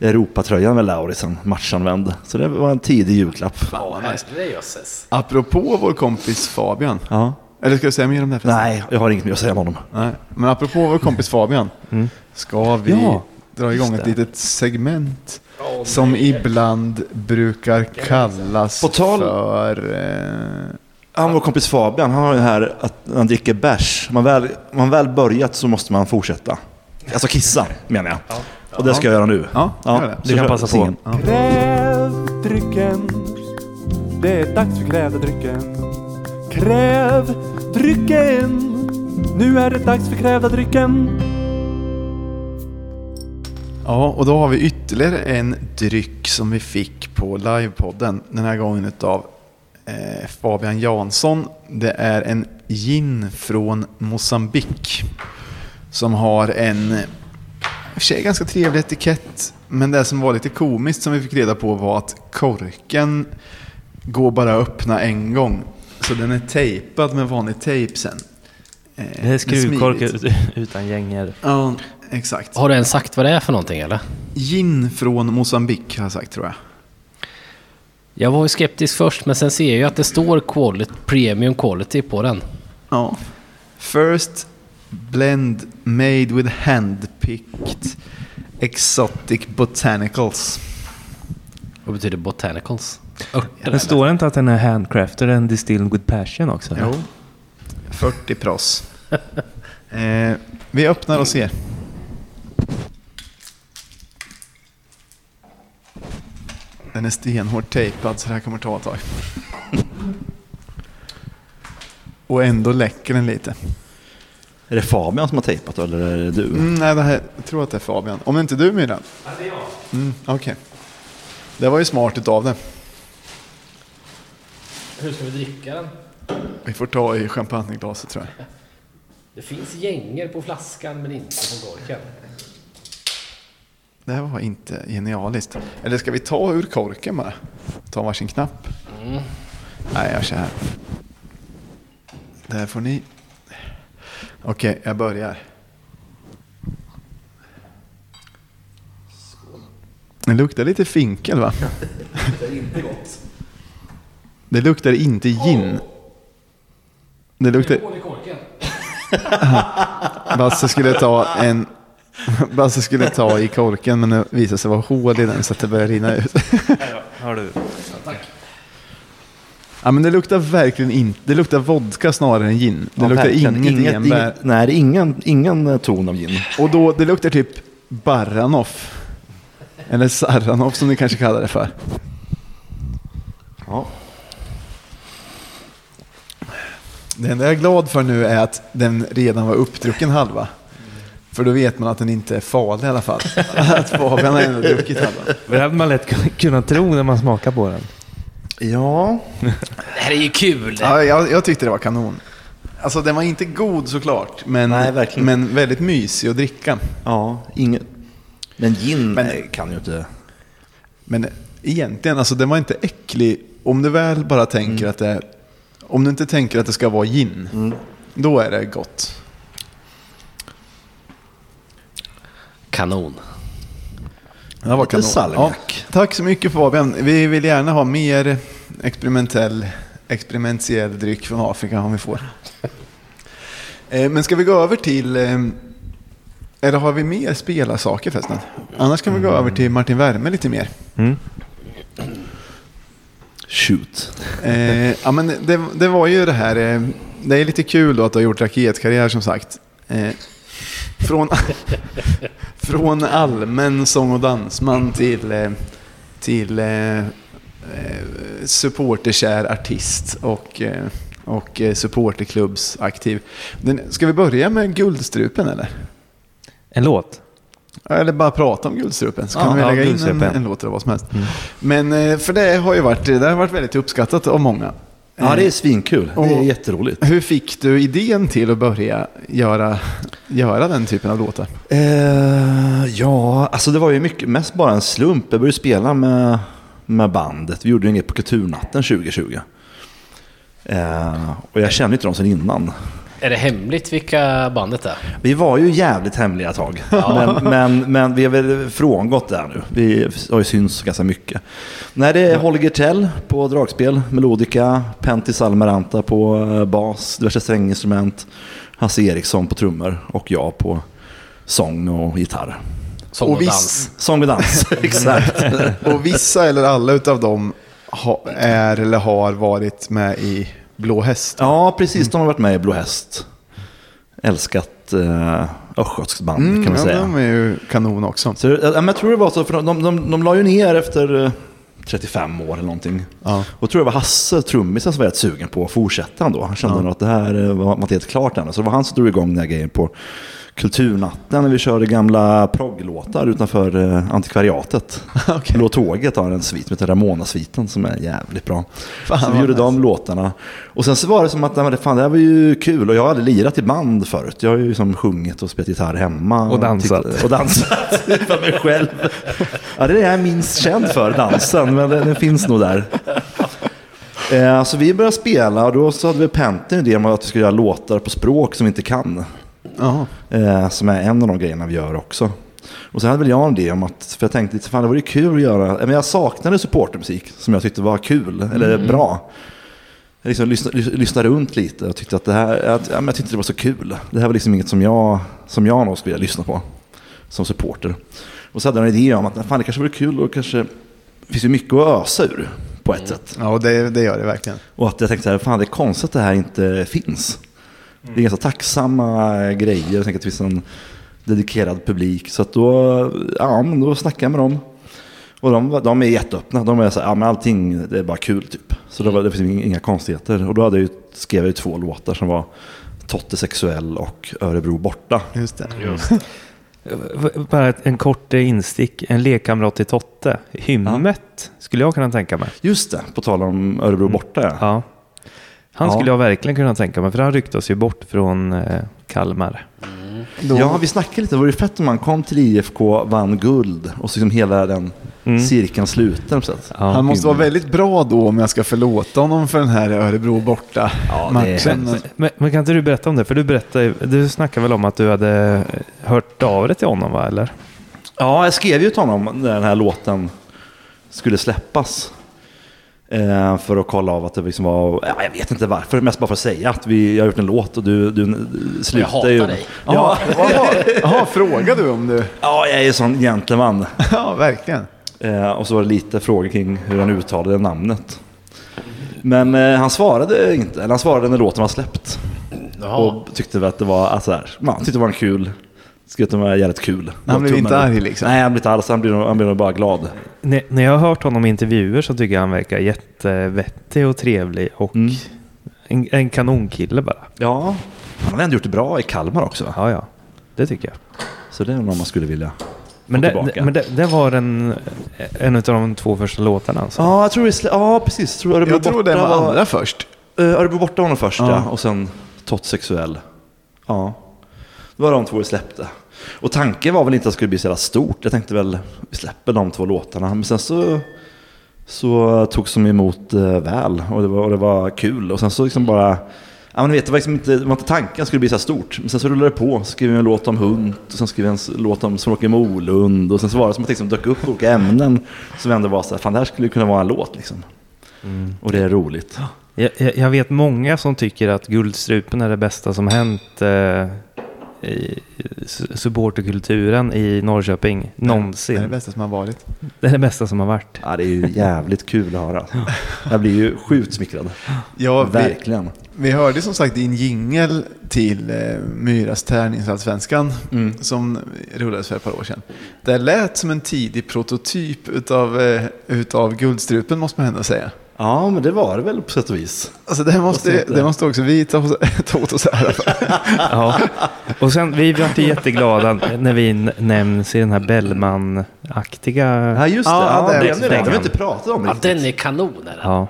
S4: Europatröjan med Laursen, matchanvänd. Så det var en tidig julklapp.
S3: Ja, herrejösses.
S1: Apropå vår kompis Fabian.
S4: Ja.
S1: Eller ska du säga mer om det? här förresten?
S4: Nej, jag har inget mer att säga om honom.
S1: Nej. Men apropå vår kompis Fabian. Ska vi
S2: Ja,
S1: dra igång ett litet segment. som ibland brukar kallas
S4: På tal-
S1: för... Eh,
S4: Han, vår kompis Fabian, han har ju här att han dricker bärs. Man väl, man väl börjat så måste man fortsätta. Alltså kissa, menar jag. Och det ska jag göra nu.
S1: Ja, gör det.
S4: så
S2: Du kan
S4: kör
S2: passa på.
S4: singeln.
S5: Kräv drycken. Det är dags för krävda drycken. Kräv drycken. Nu är det dags för krävda drycken.
S1: ja, och då har vi ytterligare en dryck som vi fick på livepodden. Den här gången utav eh, Fabian Jansson. Det är en gin från Mosambik Som har en eh, i och för sig ganska trevlig etikett. Men det som var lite komiskt som vi fick reda på var att korken går bara att öppna en gång. Så den är tejpad med vanlig tejp sen. Eh,
S2: Det är skruvkork
S1: smidigt.
S2: ut- utan gänger.
S1: Ja, exakt.
S3: Har du ens sagt vad det är för någonting eller?
S1: Gin från Mosambik har jag sagt tror jag.
S3: Jag var ju skeptisk först, men sen ser jag ju att det står quality, premium quality på den.
S1: Ja. First blend made with handpicked exotic botanicals.
S3: Vad betyder botanicals? Örter?
S2: Men står det inte att den är handcrafted and distilled with passion också?
S1: Jo. 40 pross. eh, vi öppnar och ser. Den är stenhårt tejpad så det här kommer ta ett tag. Och ändå läcker den lite.
S4: Är det Fabian som har tejpat eller är det du?
S1: Mm, nej, det här, jag tror att det är Fabian. Om inte du Myran? Ja, det är jag. Mm, Okej. Det var ju smart utav det.
S3: Hur ska vi dricka den?
S1: Vi får ta i champagneglaset tror jag.
S3: Det finns gänger på flaskan, men inte på korken.
S1: Det här var inte genialiskt. Eller ska vi ta ur korken bara? Ta varsin knapp? Mm. Nej, jag kör här. Där får ni. Okej, jag börjar. Det luktar lite finkel va? Det luktar inte gott. Det luktar inte gin. Det luktar...
S3: i korken?
S1: Basse skulle ta en... Basse skulle ta i korken men det visade sig vara hål i den så att det började rinna ut.
S2: Har du?
S1: Ja men det luktar verkligen inte... Det luktar vodka snarare än gin. Det
S4: Ja,
S1: luktar
S4: verkligen.
S1: inget enbär.
S4: inget- Nej, det är ingen, ingen eh, ton av gin.
S1: Och då, det luktar typ Baranoff. Eller Saranoff som ni kanske kallar det för.
S4: Ja.
S1: Det enda jag är glad för nu är att den redan var uppdrucken halva. För då vet man att den inte är farlig i alla fall. Att Fabian har ändå druckit halva.
S2: Det hade man lätt kunnat tro när man smakar på den.
S1: Ja,
S3: Det här är ju kul!
S1: Ja, jag, jag tyckte det var kanon. Alltså den var inte god såklart, men,
S4: Nej, verkligen.
S1: men väldigt mysig att dricka.
S4: Ja, inget. Men gin
S1: Men-
S4: eh, kan ju inte...
S1: Men egentligen, alltså den var inte äcklig. Om du väl bara tänker
S4: Mm.
S1: att det är- Om du inte tänker att det ska vara gin, då är det gott.
S3: Kanon.
S1: Det var
S4: Lite salmiak.
S1: tack så mycket Fabian. Vi vill gärna ha mer experimentell, experimentell dryck från Afrika om vi får. Eh, Men ska vi gå över till... eh, Eller har vi mer spelarsaker förresten? Annars kan vi gå
S4: Mm.
S1: över till Martin Värme lite mer.
S4: Shoot.
S1: Eh, ja, men det, det var ju det här. Eh, det är lite kul då att du har gjort raketkarriär som sagt. Eh, från, från allmän sång och dansman till, eh, till eh, eh, supporterkär artist och, eh, och eh, supporterklubbsaktiv. Den, ska vi börja med Guldstrupen eller?
S2: En låt?
S1: Eller bara prata om Guldstrupen så
S2: Ja,
S1: kan vi
S2: ja,
S1: lägga in en,
S2: Guldstrupen.
S1: en låt eller vad som helst. Men eh, för det har ju varit, det har varit väldigt uppskattat av många.
S4: Ja,
S1: Eh,
S4: det är svinkul. Det är
S1: Och-
S4: jätteroligt.
S1: hur fick du idén till att börja göra, göra den typen av låtar?
S4: Eh, ja, alltså det var ju mycket, mest bara en slump. Jag började spela med, med bandet. Vi gjorde ju inget på Kulturnatten 2020. Eh, och jag kände inte dem sedan innan.
S3: Är det hemligt vilka bandet är?
S4: Vi var ju jävligt hemliga ett tag. Men, men, men vi har väl frångått det här nu. Vi har ju synts ganska mycket. Nej, det är Holger Tell på dragspel, melodica, Pentti Salmeranta på eh, bas, diverse stränginstrument, Hasse Eriksson på trummor och jag på sång och gitarr.
S3: Sång och,
S1: Och visst-
S3: dans.
S4: Sång och dans, exakt.
S1: Och vissa eller alla utav dem ha, är eller har varit med i Blå Häst.
S4: Ja, precis. De har varit med i Blå Häst. Älskat eh, östgötsband Mm, kan man
S1: Mm, ja,
S4: säga.
S1: de är ju kanon också.
S4: Så, ja, men jag tror det var så, för de, de, de, de la ju ner efter eh, 35 år eller någonting.
S1: Ja.
S4: Och tror jag det var Hasse, trummisen, som var rätt sugen på att fortsätta ändå. Han kände nog att det här eh, var var inte helt klart än. Så det var han som drog igång den här grejen på Kulturnatten när vi körde gamla progglåtar utanför eh, antikvariatet.
S1: Okej.
S4: Blå tåget har en svit som heter Ramona-sviten som är jävligt bra.
S1: Fan,
S4: så vi
S1: vad
S4: gjorde
S1: nice.
S4: de låtarna. Och sen så var det som att nej, men det- fan, det här var ju kul. Och jag har aldrig lirat i band förut. Jag har ju liksom sjungit och spelat gitarr hemma.
S2: Och dansat.
S4: tyckt- Och dansat för mig själv. Ja, det är det jag är minst känd för, dansen. Men den, den finns nog där. Eh, så vi började spela och då så hade vi Penten idé om att vi skulle göra låtar på språk som vi inte kan.
S1: Ja.
S4: Eh, som är en av de grejerna vi gör också. Och sen hade väl jag en idé om att, för jag tänkte lite, fan det vore ju kul att göra, eh, men jag saknade supportermusik som jag tyckte var kul eller bra. Jag liksom lyssnade, lys- lyssnade runt lite och tyckte att det här, att, ja, men jag tyckte det var så kul. Det här var liksom inget som jag, som jag nog skulle vilja lyssna på som supporter. Och så hade jag en idé om att fan, det kanske vore kul och kanske det finns ju mycket att ösa ur på ett sätt.
S1: Ja, det, det gör det verkligen.
S4: Och att jag tänkte så här, fan det är konstigt att det här inte finns. Det är ganska tacksamma grejer, jag tänker att det finns en dedikerad publik. Så att då, ja, men då snackade jag med dem. Och de, de är jätteöppna, de är så här, ja men allting det är bara kul typ. Så det, var, det finns inga- inga konstigheter. Och då hade jag, ju- skrev jag ju två låtar som var Totte sexuell och Örebro borta.
S1: Just det.
S2: Eh, V- Bara ett- en kort eh, instick. En lekkamrat till Totte. Hymmet skulle jag kunna tänka mig.
S4: Just det, på tal om Örebro borta ja.
S2: Ja. Han
S4: Ja.
S2: skulle jag verkligen kunna tänka mig, för han ryktas ju bort från eh, Kalmar.
S1: Då,
S4: Ja, vi snackade lite. Det vore fett om man kom till IFK, vann guld och så liksom hela den cirkeln sluten på sätt.
S2: Ja.
S1: han måste vara väldigt bra då om jag ska förlåta honom för den här Örebro borta matchen.
S4: är-
S2: Men, men kan inte du berätta om det? För du berättade, ju- du snackade väl om att du hade eh, hört av dig till honom, va? Eller?
S4: Ja, jag skrev ju till honom när den här låten skulle släppas. Eh, för att kolla av att det liksom var, ja, jag vet inte varför, mest bara för att säga att vi, jag har gjort en låt och du, du slutar
S3: hatar
S4: ju.
S3: dig.
S4: Ja,
S1: Jaha, frågar du om du...
S4: ja, jag är ju sån gentleman.
S1: Ja, verkligen.
S4: Eh, och så var det lite frågor kring hur han uttalade namnet. Men eh, han svarade inte, eller han svarade när låten var släppt.
S3: Jaha.
S4: Och tyckte väl att det var, alltså här, man tyckte det var en kul, tyckte att det var jävligt kul.
S1: Han blev inte
S4: Tummen upp.
S1: arg, liksom?
S4: Nej, han blev inte alls, han blev, nog- han blev nog bara glad.
S2: När, när jag har hört honom i intervjuer så tycker jag han verkar jättevettig och trevlig och
S4: Mm.
S2: en, en kanonkille bara.
S4: Ja, han har ändå gjort det bra i Kalmar också. va?
S2: Ja, ja. Det tycker jag.
S4: Så det är någon man skulle vilja.
S2: Men,
S4: Och
S2: det,
S4: tillbaka.
S2: men det, det var en, en av de två första låtarna alltså.
S4: Ja, jag tror det, är slä- ja precis. Tror Örebro
S1: Jag tror
S4: borta
S1: den var andra först.
S4: Eh, Örebro borta var den första
S1: Ja.
S4: och sen Tott sexuell. Ja, det var de två vi släppte. Och tanken var väl inte att det skulle bli så jävla stort. Jag tänkte väl, vi släpper de två låtarna. Men sen så, så togs de emot eh, väl och det, var, och det var kul. Och sen så liksom bara, ja men ni vet, det var, liksom inte, det var inte tanken att det skulle bli så här stort. Men sen så rullade det på. Så skrev vi en låt om hund och sen skrev vi en s- låt om Småke Molund. Och sen så var det som att det liksom dök upp olika ämnen som ändå var så här, fan det här skulle kunna vara en låt liksom. Och det är roligt.
S2: Jag, jag, jag vet många som tycker att Guldstrupen är det bästa som hänt eh, i su- supporterkulturen i Norrköping
S1: Det är det
S2: någonsin.
S1: bästa som har varit.
S2: Det är det bästa som har varit.
S4: Ja, det är ju jävligt kul att höra. Jag blir ju sjukt smickrad.
S1: Ja, vi,
S4: Verkligen.
S1: vi hörde som sagt din jingel till eh, Myras tärningsallsvenskan
S4: Mm.
S1: som rullades för ett par år sedan. Det lät som en tidig prototyp utav, eh, utav Guldstrupen måste man ändå säga.
S4: Ja, men det var det väl på sätt och vis.
S1: Alltså det måste, det måste också vi ta, åt- ta åt oss ära för.
S2: Ja. Och sen, vi blev inte jätteglada när vi n- nämns i den här Bellman-aktiga...
S4: Ja, just det.
S1: Ja,
S4: Ja,
S1: det är
S4: det,
S1: också
S4: det, det har vi inte pratat om
S3: Ja,
S4: riktigt.
S3: den är kanon. Är den.
S2: Ja,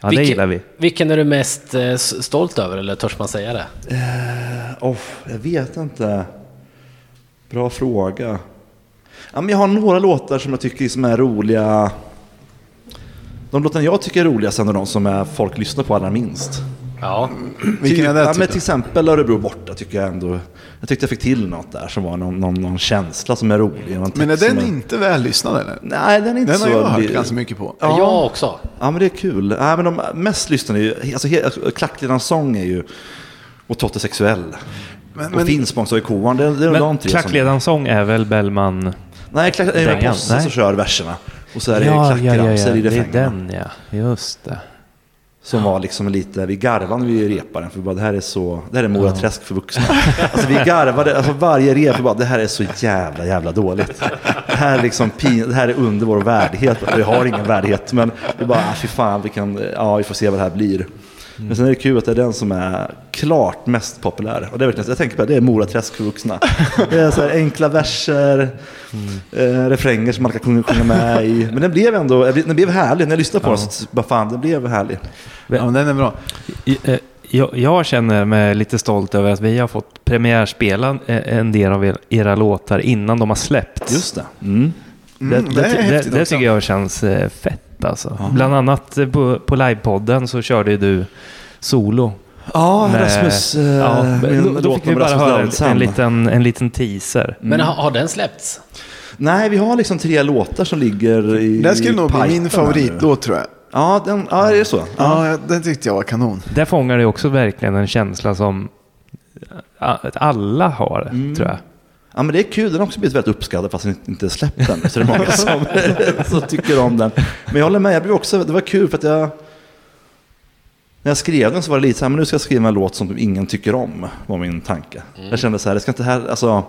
S2: ja det
S3: Vilken-
S2: gillar vi.
S3: Vilken är du mest eh, s- stolt över, eller törs man säga det?
S4: Åh, jag vet inte. Bra fråga. Ja, men jag har några låtar som jag tycker som är roliga. De låtarna jag tycker är roligast är ändå de som är folk lyssnar på allra minst.
S3: Ja.
S1: Vilken är det,
S4: ja,
S1: typ
S4: men
S1: då?
S4: till exempel Örebro borta tycker jag ändå. Jag tyckte jag fick till något där som var någon, någon, någon känsla som är rolig. någon
S1: Men är
S4: text Typ som
S1: den inte vällyssnad eller?
S4: Nej, den är inte
S1: Den
S4: så...
S1: har jag hört
S4: det-
S1: ganska mycket på.
S4: Ja.
S3: Jag också.
S4: Ja, men det är kul. Ja, men de mest lyssnade är ju... Alltså, he- alltså, Klacklinans sång är ju... Och Totte sexuell.
S1: Men-
S4: och
S1: men-
S4: Finspångs AIK-an. Det, det är de
S2: Men
S4: tre som...
S2: Klackledarsång är väl Bellman...
S4: Nej, klack, det är
S2: Dängan,
S4: Posse
S2: nej.
S4: som kör verserna. Och så är det klackramsor i
S2: det är
S4: refrängerna.
S2: den ja. Just det.
S4: Som var liksom lite... Vi garvade när vi repade den. För vi bara, det här är så... Det här är Mora Träsk för vuxna. alltså vi garvade... Alltså varje rep, vi bara, det här är så jävla, jävla dåligt. Det här är liksom pin, Det här är under vår värdighet. Vi har ingen värdighet. Men vi bara, ah, fy fan, vi kan... Ja, vi får se vad det här blir. Men sen är det kul att det är den som är klart mest populär. Och det är verkligen, jag tänker på det, det är Mora Träsk för vuxna. Det är så här enkla verser, eh, refränger som man kan sjunga- sjunga med i. Men den blev ändå, den blev härlig. När jag lyssnade på den så bara fan, den blev härlig.
S1: Ja, men den är bra.
S2: I- eh, Jag, jag känner mig lite stolt över att vi har fått premiärspela eh, en del av er- era låtar innan de har släppts.
S4: Just det. Mm.
S2: det,
S1: Mm, det
S2: det,
S1: är
S2: ty- det,
S1: häftigt
S2: det
S1: också.
S2: tycker jag känns eh, fett alltså. Bland annat eh, på, på livepodden så körde ju du solo.
S4: Ja,
S2: Nej.
S4: Rasmus. eh,
S2: Ja, men
S4: min
S2: då, då
S4: låt
S2: fick vi
S4: om
S2: bara
S4: Rasmus
S2: höra
S4: Dahlsam.
S2: en liten, en liten teaser.
S3: Men
S4: Mm.
S3: har, har den släppts?
S4: Nej, vi har liksom tre låtar som ligger i
S1: Det här skulle
S4: i
S1: nog bli
S4: pipen här
S1: min favoritlåt tror jag.
S4: nu. Ja, den, ja, är det så?
S1: Ja, den tyckte jag var kanon.
S2: Där fångar det också verkligen en känsla som eh, a- alla har,
S1: Mm.
S2: tror jag.
S4: Ja, men det är kul. Den har också blivit väldigt uppskattad fast den inte är släppt än. Så det är många som, som tycker om den. Men jag håller med. Jag blev också, det var kul för att jag... När jag skrev den så var det lite så här, men nu ska jag skriva en låt som ingen tycker om, var min tanke. Jag kände så här, det ska inte här, alltså,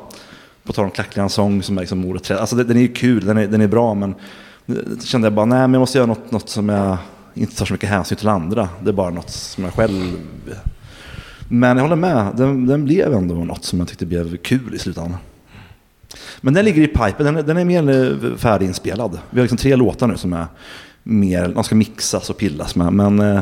S4: på tal om Klackligan sång som är liksom ordet trä- alltså den, den är ju kul, den är, den är bra, men eh, kände jag bara, nej men jag måste göra något, något som jag inte tar så mycket hänsyn till andra. Det är bara något som jag själv... Men jag håller med, den, den blev ändå något som jag tyckte blev kul i slutändan. Men den ligger i pipen, den, är- den är mer eh, färdiginspelad. Vi har liksom tre låtar nu som är mer, de ska mixas och pillas med. Men eh,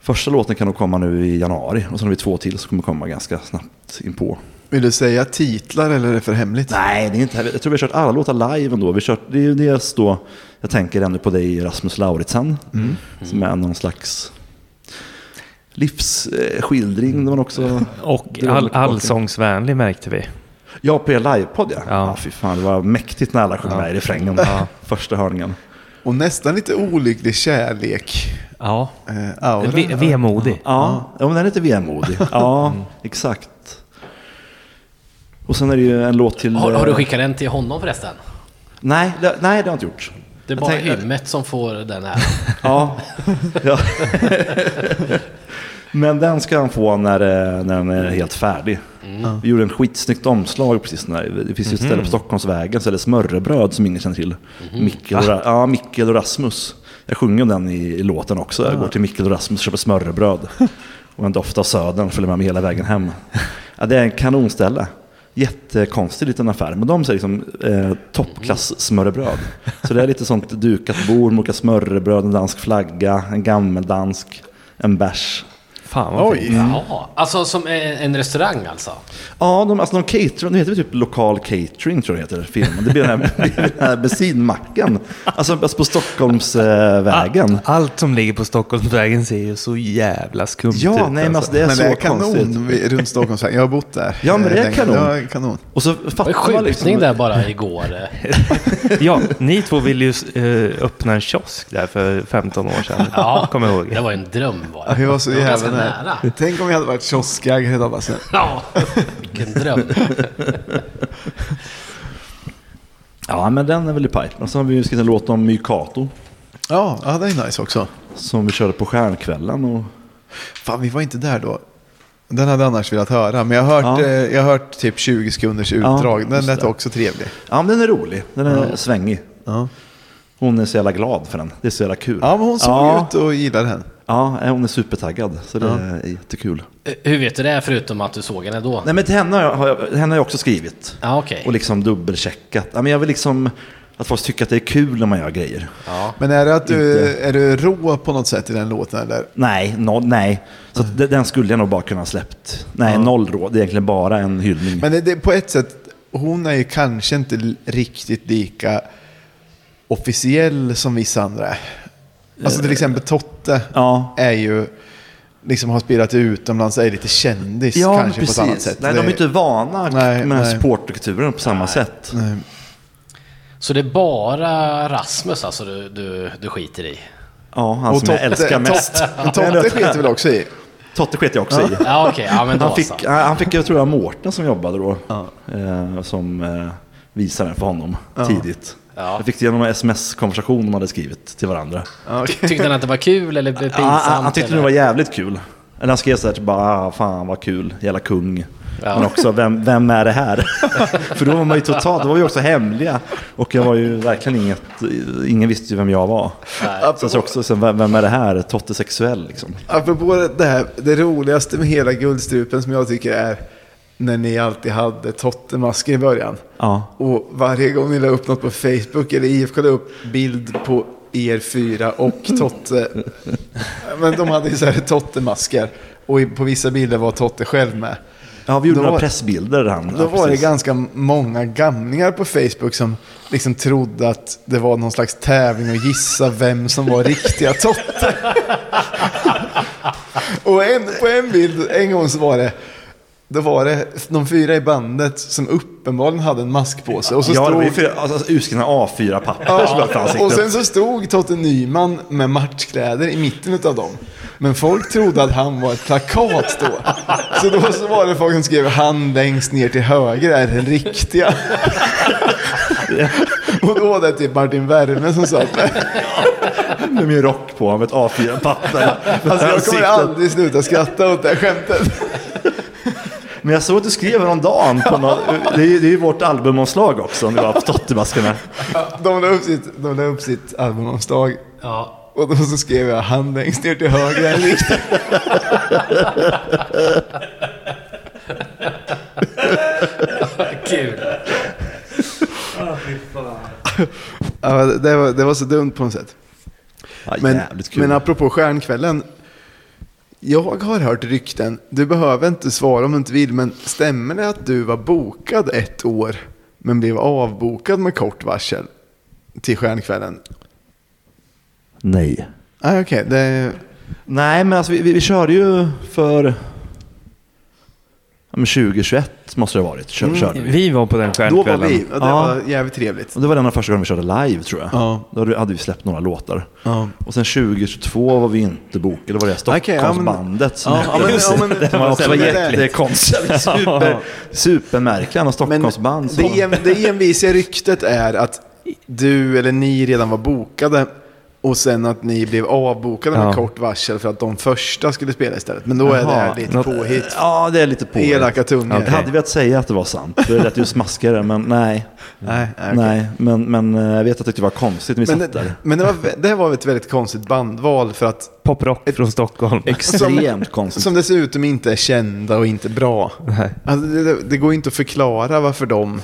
S4: första låten kan nog komma nu i januari och sen har vi två till som kommer komma ganska snabbt inpå.
S1: Vill du säga titlar eller är det för hemligt?
S4: Nej, det är inte, jag tror vi har kört alla låtar live ändå. Vi har kört, det är ju dels då, jag tänker ännu på dig Rasmus Lauritsen, som är någon slags livsskildring. Det var också...
S2: Och
S4: Det var
S2: all,
S4: mycket bakom.
S2: allsångsvänlig märkte vi.
S4: Ja, på er livepodd ja. ja.
S2: Ja.
S4: fy fan, det var mäktigt när alla sjöng med i refrängen. Första hörningen.
S1: Och nästan lite olycklig kärlek.
S2: Ja.
S1: Eh, aura.
S2: Ve- vemodig.
S4: Ja, ja men den är lite vemodig. Ja, exakt. Och sen är det ju en låt till...
S3: Har,
S4: eh,
S3: har du skickat den till honom förresten?
S4: Nej, det, nej, det har jag inte gjort.
S3: Det är
S4: Jag
S3: bara
S4: tänker-
S3: hymmet som får den här.
S4: Ja. ja. Men den ska han få när, eh, när den är helt färdig.
S3: Mm.
S4: Vi gjorde en skitsnyggt omslag precis när, det finns ju ett ställe
S3: Mhm.
S4: på Stockholmsvägen som heter Smörrebröd som ingen känner till. Mikkel, och, Ra- ja, Mikkel och Rasmus. Jag sjunger om den i, i låten också. Jag går till Mikkel och Rasmus och köper smörrebröd. Och en doft av södern följer med mig hela vägen hem. Ja, det är en kanonställe. Jättekonstig liten affär, men de säger liksom eh, toppklass smörrebröd. Så det är lite sånt dukat bord med olika smörrebröd, en dansk flagga, en gammeldansk, en bärs.
S2: Fan vad fint.
S1: Oj.
S4: Mm.
S3: Ja, alltså som en, en restaurang alltså.
S4: Ja, de, alltså de caterar, nu heter det typ lokal catering tror jag det heter filmen. Det blir den här, det blir den här bensinmacken. Alltså, alltså på Stockholmsvägen.
S2: All- Allt som ligger på Stockholmsvägen ser ju så jävla skumt ut.
S4: ja, nej men alltså det är
S1: Men
S4: så
S1: det är
S4: konstigt.
S1: kanon vid- runt Stockholmsvägen. Jag har bott där.
S4: Ja, men det är
S1: Eh, länge. Ja,
S4: kanon.
S1: kanon.
S4: Och så
S3: Det var
S4: fattar
S3: ju
S4: man
S3: skjutning
S4: liksom...
S3: där bara igår.
S1: alltså-
S2: ja, ni två ville ju eh, öppna en kiosk där för 15 år sedan.
S3: Ja.
S2: Kommer jag ihåg.
S3: Det var ju en dröm var
S1: Ja,
S3: det.
S1: Vi var så
S3: Det var
S1: jävla
S3: ganska
S1: nära.
S3: nära.
S1: Tänk om vi hade varit kioskägare idag. Bara, så här,
S3: Ja, vilken dröm.
S4: Ja, men den är väl i pipen. Och så har vi ju skrivit en låt om Mykato.
S1: ja, ja, det är nice också.
S4: Som vi körde på stjärnkvällen. Och...
S1: Fan, vi var inte där då. Den hade jag annars velat höra, men jag har hört,
S4: Ja.
S1: eh, jag har hört typ 20 sekunders utdrag. den
S4: just
S1: lät
S4: det.
S1: också trevlig.
S4: Ja, men den är rolig. Den är svängig.
S1: Ja,
S4: Hon är så jävla glad för den. Det är så jävla kul.
S1: ja men hon såg
S4: ja.
S1: ut och gillade den.
S4: Ja, hon är supertaggad. Så det är jättekul.
S3: Hur vet du det förutom att du såg henne då?
S4: Nej, men till henne har jag, har jag, henne har jag också skrivit.
S3: Ja, okej.
S4: Och liksom dubbelcheckat. Ja, men jag vill liksom att folk tycker att det är kul när man gör grejer.
S1: Men är det att du,
S4: Inte.
S1: är du rå på något sätt i den låten eller?
S4: Nej, no, nej. Så att de- den skulle jag nog bara kunna ha släppt. Nej, noll råd. Det är egentligen bara en hyllning.
S1: Men det, det, på ett sätt, hon är ju kanske inte l- riktigt lika officiell som vissa andra. är. Alltså till exempel Totte
S4: Eh, Ja.
S1: är ju, liksom har spelat utomlands, är lite kändis
S4: ja,
S1: kanske
S4: precis.
S1: på ett annat sätt.
S4: Nej, de
S1: Det-
S4: är ju inte vana
S1: Nej,
S4: med
S1: nej.
S4: supportkulturen på samma sätt.
S1: Nej.
S3: Så det är bara Rasmus alltså du, du, du skiter i?
S4: Ja, han som jag älskar mest.
S1: Men Totte skiter väl också i.
S4: Totte sket jag också i.
S3: Ja okej, ja men då alltså.
S4: Han fick,
S3: så.
S4: han han fick, jag tror det var Mårten som jobbade då, eh, som eh, visade den för honom tidigt.
S3: Ja.
S4: Jag fick det genom en sms-konversation de hade skrivit till varandra.
S3: Tyckte han att det var kul eller pinsamt?
S4: Ja, han, han tyckte
S3: eller?
S4: det var jävligt kul. Eller han skrev såhär typ bara, ah, fan vad kul, jävla kung.
S3: Ja.
S4: Men också, vem, vem är det här? för då var man ju totalt, då var vi också hemliga. Och jag var ju verkligen inget, ingen visste ju vem jag var. Sen så också, sen, vem, vem är det här? Totte sexuell liksom.
S1: Apropå det här, det roligaste med hela Guldstrupen som jag tycker är när ni alltid hade Tottemasker i början.
S4: Ja.
S1: Och varje gång ni la upp något på Facebook eller IFK la upp bild på er fyra och Totte. Men de hade ju så här Tottemasker. Och i- på vissa bilder var Totte själv med.
S4: Ja, vi gjorde
S1: Då
S4: några
S1: var-
S4: pressbilder. Han,
S1: Då
S4: ja,
S1: var det
S4: precis.
S1: ganska många gamlingar på Facebook som liksom trodde att det var någon slags tävling att gissa vem som var riktiga Totte. Och en, på en bild, en gång så var det, då var det de fyra i bandet som uppenbarligen hade en mask på sig. Och så
S4: Ja, det
S1: stod,
S4: var ju fyra- alltså, urskrivna A4-papper som var för
S1: ja, och
S4: ansiktet.
S1: sen så stod Totte Nyman med matchkläder i mitten av dem. Men folk trodde att han var ett plakat då. Så då så var det folk som skrev han längst ner till höger är den riktiga. Och då var det typ Martin Werme som satt där.
S4: Med min rock på med ett A4-papper.
S1: Alltså jag kommer
S4: Ansiktet.
S1: aldrig sluta skratta åt det här skämtet.
S4: Men jag såg att du skrev häromdagen. På något, det, är, ju- det är ju vårt albumomslag också, om du var på Tottemaskarna.
S1: De la upp sitt, de la upp sitt albumomslag
S3: Ja.
S1: och då så skrev jag han längst ner till höger är den riktiga.
S3: Kul.
S1: Ja, det, var, det var så dumt på något sätt.
S4: Ja,
S1: Men,
S4: jävligt kul.
S1: men apropå stjärnkvällen. Jag har hört rykten, du behöver inte svara om du inte vill, men stämmer det att du var bokad ett år men blev avbokad med kort varsel till stjärnkvällen?
S4: Nej.
S1: Ah, Okej, det...
S4: Nej, men alltså, vi, vi, vi körde ju för ja, men 2021 måste det ha varit. Kör,
S1: Mm.
S4: körde vi.
S2: Vi var på den
S1: då
S2: stjärnkvällen.
S1: var vi, och det
S4: Ja.
S1: var jävligt trevligt.
S4: Och det var den av första gången vi körde live tror jag.
S1: Ja.
S4: Då hade vi- hade vi släppt några låtar.
S1: Ja.
S4: Och sen 2022 var vi inte bokade. Det var det här
S1: Okej, ja, men-
S4: Stockholmsbandet som
S1: Ja,
S4: hette
S1: ja, men-
S4: det.
S1: ja, men-
S4: Det var också
S1: men det-
S4: jättekonstigt. Super, supermärkliga något
S1: Men
S4: Stockholmsband. som-
S1: det, en, det envisiga ryktet är att du eller ni redan var bokade och sen att ni blev avbokade med
S2: Ja.
S1: kort varsel för att de första skulle spela istället. Men då är det
S4: Jaha.
S1: här lite
S2: Något-
S1: påhitt.
S4: Ja, det är lite på.
S1: Elaka tungor.
S4: Jag hade velat säga att det var sant. Det lät ju smaskigare, men nej.
S1: Nej, nej, okej.
S4: Mm. nej. Men, men eh, jag vet att jag tyckte det var konstigt när vi
S1: Men,
S4: satt
S1: det,
S4: där.
S1: men det, var, det var ett väldigt konstigt bandval för att
S2: Poprock från Stockholm.
S4: Extremt konstigt.
S1: som dessutom inte är kända och inte bra.
S2: Nej.
S1: Alltså, det, det- det går ju inte att förklara varför de...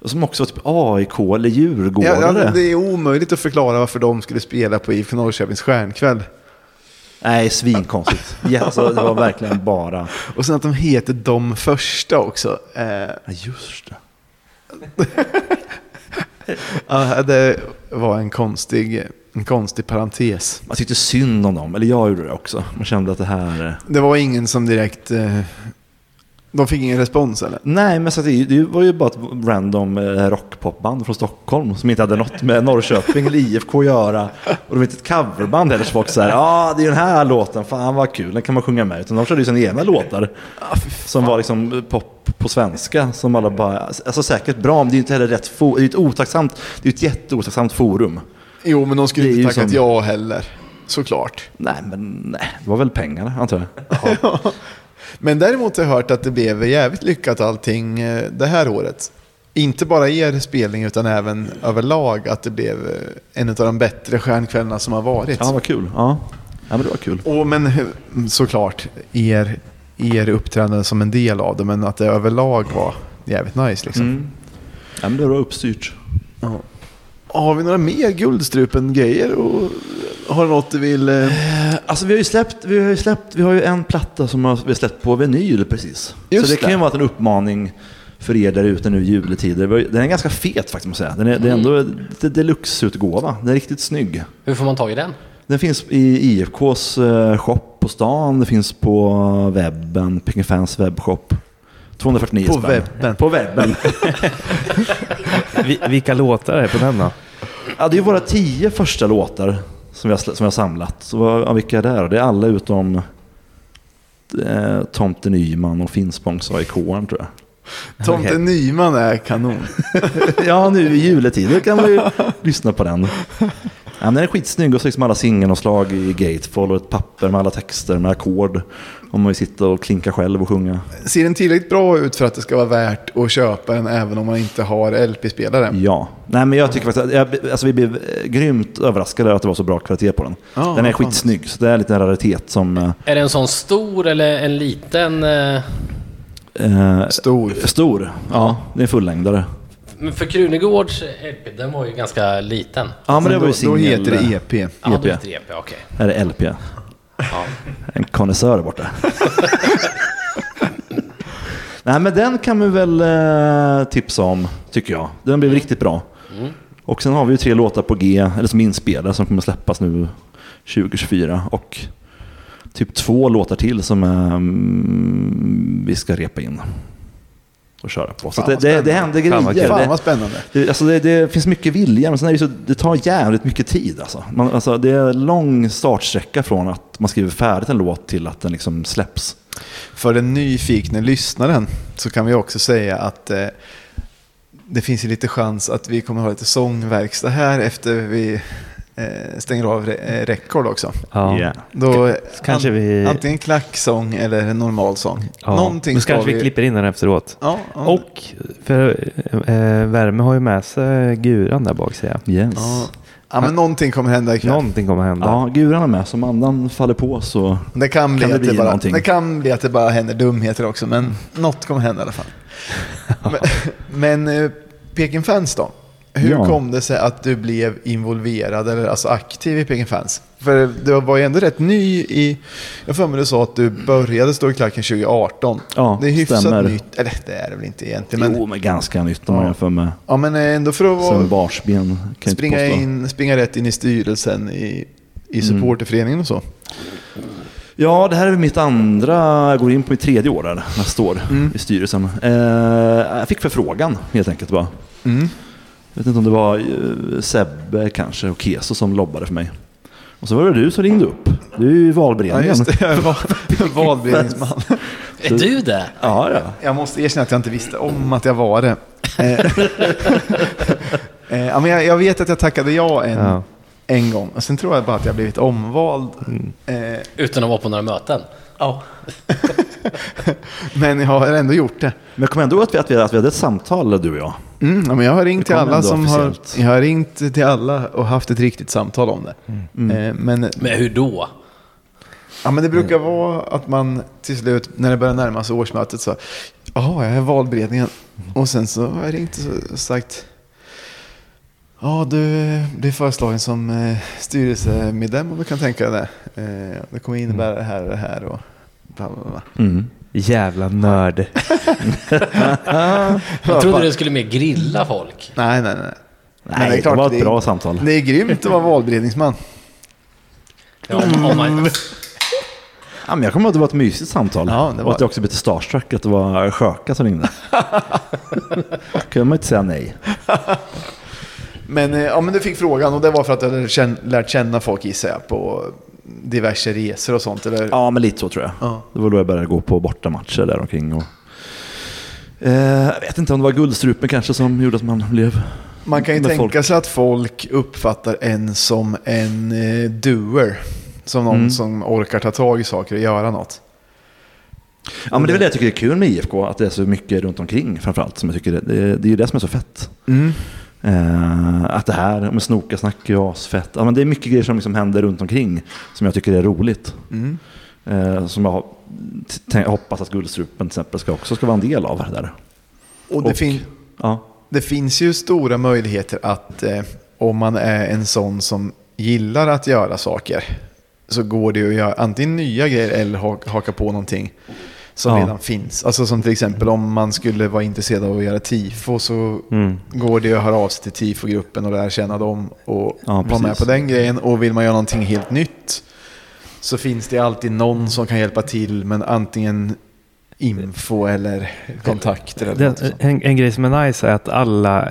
S4: Och som också var typ AIK eller Djurgårdare.
S1: Ja, ja, det är omöjligt att förklara varför de skulle spela på IFK Norrköpings stjärnkväll.
S4: Nej, svinkonstigt. Ja, alltså, det var verkligen bara...
S1: Och sen att de heter De Första också. Eh,
S4: Ja, just det.
S1: ja, det var en konstig, en konstig parentes.
S4: Man tyckte synd om dem, eller jag gjorde det också. Man kände att det här... eh,
S1: Det var ingen som direkt... Eh, de fick ingen respons eller?
S4: Nej, men så att det, det var ju bara ett random eh, rockpopband från Stockholm som inte hade något med Norrköping eller IFK att göra. Och de var inte ett coverband heller, så folk så här, ja, det är den här låten, fan vad kul, den kan man sjunga med. Utan de körde ju sina egna låtar som var liksom pop på svenska, som alla bara, alltså säkert bra, men det är ju inte heller rätt forum, det är ju ett otacksamt, det är ju ett jätteotacksamt forum.
S1: Jo, men de skulle
S4: Det är
S1: inte
S4: ju
S1: tackat
S4: som-
S1: ja heller. Såklart.
S4: Nej, men nej, det var väl pengarna, antar jag.
S1: Men däremot har jag hört att det blev jävligt lyckat allting eh, det här året. Inte bara er spelning utan även överlag att det blev eh, en av de bättre stjärnkvällarna som har varit.
S4: Ja, vad kul. Ja, ja men det var kul.
S1: Och men hur- såklart, er, er uppträdande som en del av det, men att det överlag var jävligt nice liksom.
S4: Mm. Ja, men det var uppstyrt.
S1: Ja. Har vi några mer Guldstrupen-grejer? Och har du något du vill... eh,
S4: Alltså vi har ju släppt, vi har ju släppt, vi har ju en platta som har, vi har släppt på vinyl precis.
S1: Just
S4: så det, kan ju
S1: det.
S4: vara en uppmaning för er där ute nu i juletider. Vi har ju- Den är ganska fet faktiskt måste jag säga. Den är, det är ändå
S1: Mm.
S4: det- deluxe-utgåva. Den är riktigt snygg.
S3: Hur får man tag i den?
S4: Den finns i IFKs eh, shop på stan, det finns på eh, webben, Picking Fans webbshop. 249
S1: På
S4: spänn.
S1: webben.
S4: På webben.
S2: Vi, vilka låtar är det på den då?
S4: Ja, det är ju våra tio första låtar som jag, som jag har samlat. Så vad, ja, vilka är det då? Det är alla utom eh, Tomten Nyman och Finspångs AIK tror jag.
S1: Tomte
S2: Okej.
S1: Nyman är kanon.
S4: Ja, nu i juletider kan man ju lyssna på den. Ja, men den är skitsnygg och så liksom alla singelomslag i Gatefold och ett papper med alla texter med ackord. Om man vill sitta och klinka själv och sjunga.
S1: Ser den tillräckligt bra ut för att det ska vara värt att köpa den även om man inte har LP-spelare?
S4: Ja, nej men jag tycker faktiskt att jag, alltså vi blev eh, grymt överraskade att det var så bra kvalitet på den.
S1: Ja,
S4: den
S1: vad fan.
S4: är skitsnygg, så det är en liten raritet som... eh,
S3: Är det en sån stor eller en liten? eh,
S4: Eh,
S1: Stor.
S4: Stor, ja. Det är en fullängdare.
S3: Men för Krunegårds LP, den var ju ganska liten.
S4: Ja, men det
S1: då,
S4: var ju
S1: då
S4: singel... eh,
S1: heter det E EP.
S3: Ja,
S4: EP.
S3: då heter det EP, okej.
S4: Är det LP?
S3: Ja.
S4: En konnässör där borta. Nej, men den kan vi väl eh, tipsa om, tycker jag. Den blev riktigt bra. Och sen har vi ju tre låtar på G, eller som är inspelade, som kommer släppas nu 2024. Och typ två låtar till som ehm, vi ska repa in och köra på. Så
S1: Fan,
S4: att det,
S1: vad
S4: det, det
S1: spännande.
S4: händer
S2: Fan, vad
S4: grejer.
S1: Fan
S4: Det-
S1: vad spännande.
S4: det, alltså det, det finns mycket vilja, men sen är det, så, det tar jävligt mycket tid. Alltså. Man, alltså det är en lång startsträcka från att man skriver färdigt en låt till att den liksom släpps.
S1: För den nyfikna lyssnaren så kan vi också säga att eh, det finns ju lite chans att vi kommer ha lite sångverkstad här efter vi eh, stänger av re- eh, rekord också.
S2: Ja.
S4: Yeah.
S1: Då,
S2: kanske vi-
S1: Antingen klacksång eller en normal sång.
S2: Ja.
S1: Någonting
S2: Då
S1: ska
S2: kanske
S1: vi...
S2: vi klipper in den efteråt.
S1: Ja, ja.
S2: Och för, eh, Värme har ju med sig Guran där bak ser jag.
S4: Yes.
S1: ja. ja, men någonting kommer hända ikväll.
S2: Någonting kommer hända.
S4: Ja, guran är med. Som andan faller på så...
S1: Det kan, bli
S4: Kan det
S1: att det,
S4: bli
S1: bara,
S4: någonting? Mm.
S1: det kan bli att det bara händer dumheter också, men något kommer hända i alla fall. men men eh, Peking Fans då? Hur
S4: Ja.
S1: kom det sig att du blev involverad eller alltså aktiv i Peking Fans? För du var ju ändå rätt ny i... Jag får för mig du sa att du började stå i klacken 2018.
S4: Ja,
S1: det är hyfsat
S4: stämmer.
S1: nytt. Eller det är det väl inte egentligen, men...
S4: jo, men ganska nytt om man jämför med
S1: Ja, men eh, ändå för att
S4: sen
S1: vara,
S4: barnsben. Kan jag inte
S1: springa,
S4: påstå. Mm.
S1: in, springa rätt in i styrelsen i, i supporterföreningen och så.
S4: Ja, det här är mitt andra, jag går in på mitt tredje år där nästa år
S1: Mm.
S4: i styrelsen. Eh, jag fick förfrågan helt enkelt bara. Jag vet inte om det var eh, Sebbe kanske och Keso som lobbade för mig. Och så var det du som ringde upp. Du är ju
S1: Ja,
S4: valberedningen.
S1: just det. Jag var valberedningsman.
S3: Är du det?
S4: Ja, ja.
S1: Jag måste erkänna att jag inte visste om att jag var det. Eh, eh, ja, men jag, jag vet att jag tackade ja en,
S2: Ja.
S1: en gång. Och sen tror jag bara att jag blivit omvald.
S4: Mm.
S1: Eh,
S3: Utan att vara på några möten? Ja.
S1: men jag har ändå gjort det.
S4: Men jag kommer ändå ihåg att vi, att, vi, att vi hade ett samtal du och jag.
S1: Mm, ja, men jag har ringt
S4: Det
S1: till
S4: kom
S1: alla
S4: ändå
S1: som har,
S4: officiellt.
S1: jag har ringt till alla och haft ett riktigt samtal om det.
S4: Mm.
S1: Eh, men,
S3: Men hur då?
S1: ja, men det brukar vara att man till slut, när det börjar närma sig årsmötet, så jaha, jag är i valberedningen.
S4: Mm.
S1: Och sen så har jag ringt och sagt Ja, du eh, blir föreslagen som eh, styrelsemedlem om du kan tänka dig det. Eh, Det kommer innebära det här och det här och bla bla bla.
S4: Mm.
S2: Jävla nörd.
S3: Jag trodde du skulle mer grilla folk.
S1: Nej, nej, nej. Men
S4: Nej, det, var ett
S1: är-
S4: bra samtal.
S1: Det är grymt att vara valberedningsman.
S3: Ja, om
S4: Mm.
S3: man,
S4: Ja, men jag kommer ihåg att det var ett mysigt samtal.
S1: Ja, det var-
S4: Och att jag också blev lite starstruck, att det var Sjöka som ringde. kunde man inte säga nej.
S1: Men, eh, ja, men du fick frågan och det var för att du hade känn, lärt känna folk gissar jag på diverse resor och sånt. Eller?
S4: Ja, men lite så tror jag.
S1: Ja.
S4: Det var då jag började gå på bortamatcher där omkring. Och, eh, jag vet inte om det var guldstrupen kanske som gjorde att man blev...
S1: Man kan ju
S4: med
S1: tänka
S4: folk.
S1: sig att folk uppfattar en som en eh, doer. Som någon
S4: Mm.
S1: som orkar ta tag i saker och göra något.
S4: Ja, men det är väl det jag tycker är kul med IFK, att det är så mycket runt omkring framförallt. Som jag tycker det, det, det är ju det som är så fett. Eh, att det här med snokasnack är ju asfett. Ja, men det är mycket grejer som liksom händer runt omkring som jag tycker är roligt. Eh, som jag t- tänk- hoppas att guldstrupen till exempel ska också ska vara en del av. Det där.
S1: Och det,
S4: Och-
S1: fin-
S4: Ja.
S1: det finns ju stora möjligheter att eh, om man är en sån som gillar att göra saker så går det ju att göra antingen nya grejer eller ha- haka på någonting som
S4: Ja.
S1: redan finns. Alltså som till exempel om man skulle vara intresserad av att göra tifo så
S4: Mm.
S1: går det att höra av sig till tifogruppen och lära känna dem och
S4: Ja,
S1: vara med
S4: precis.
S1: på den grejen. Och vill man göra någonting helt nytt så finns det alltid någon som kan hjälpa till men antingen info eller kontakter eller något
S2: Det,
S1: sånt.
S2: en, en grej som är nice är att alla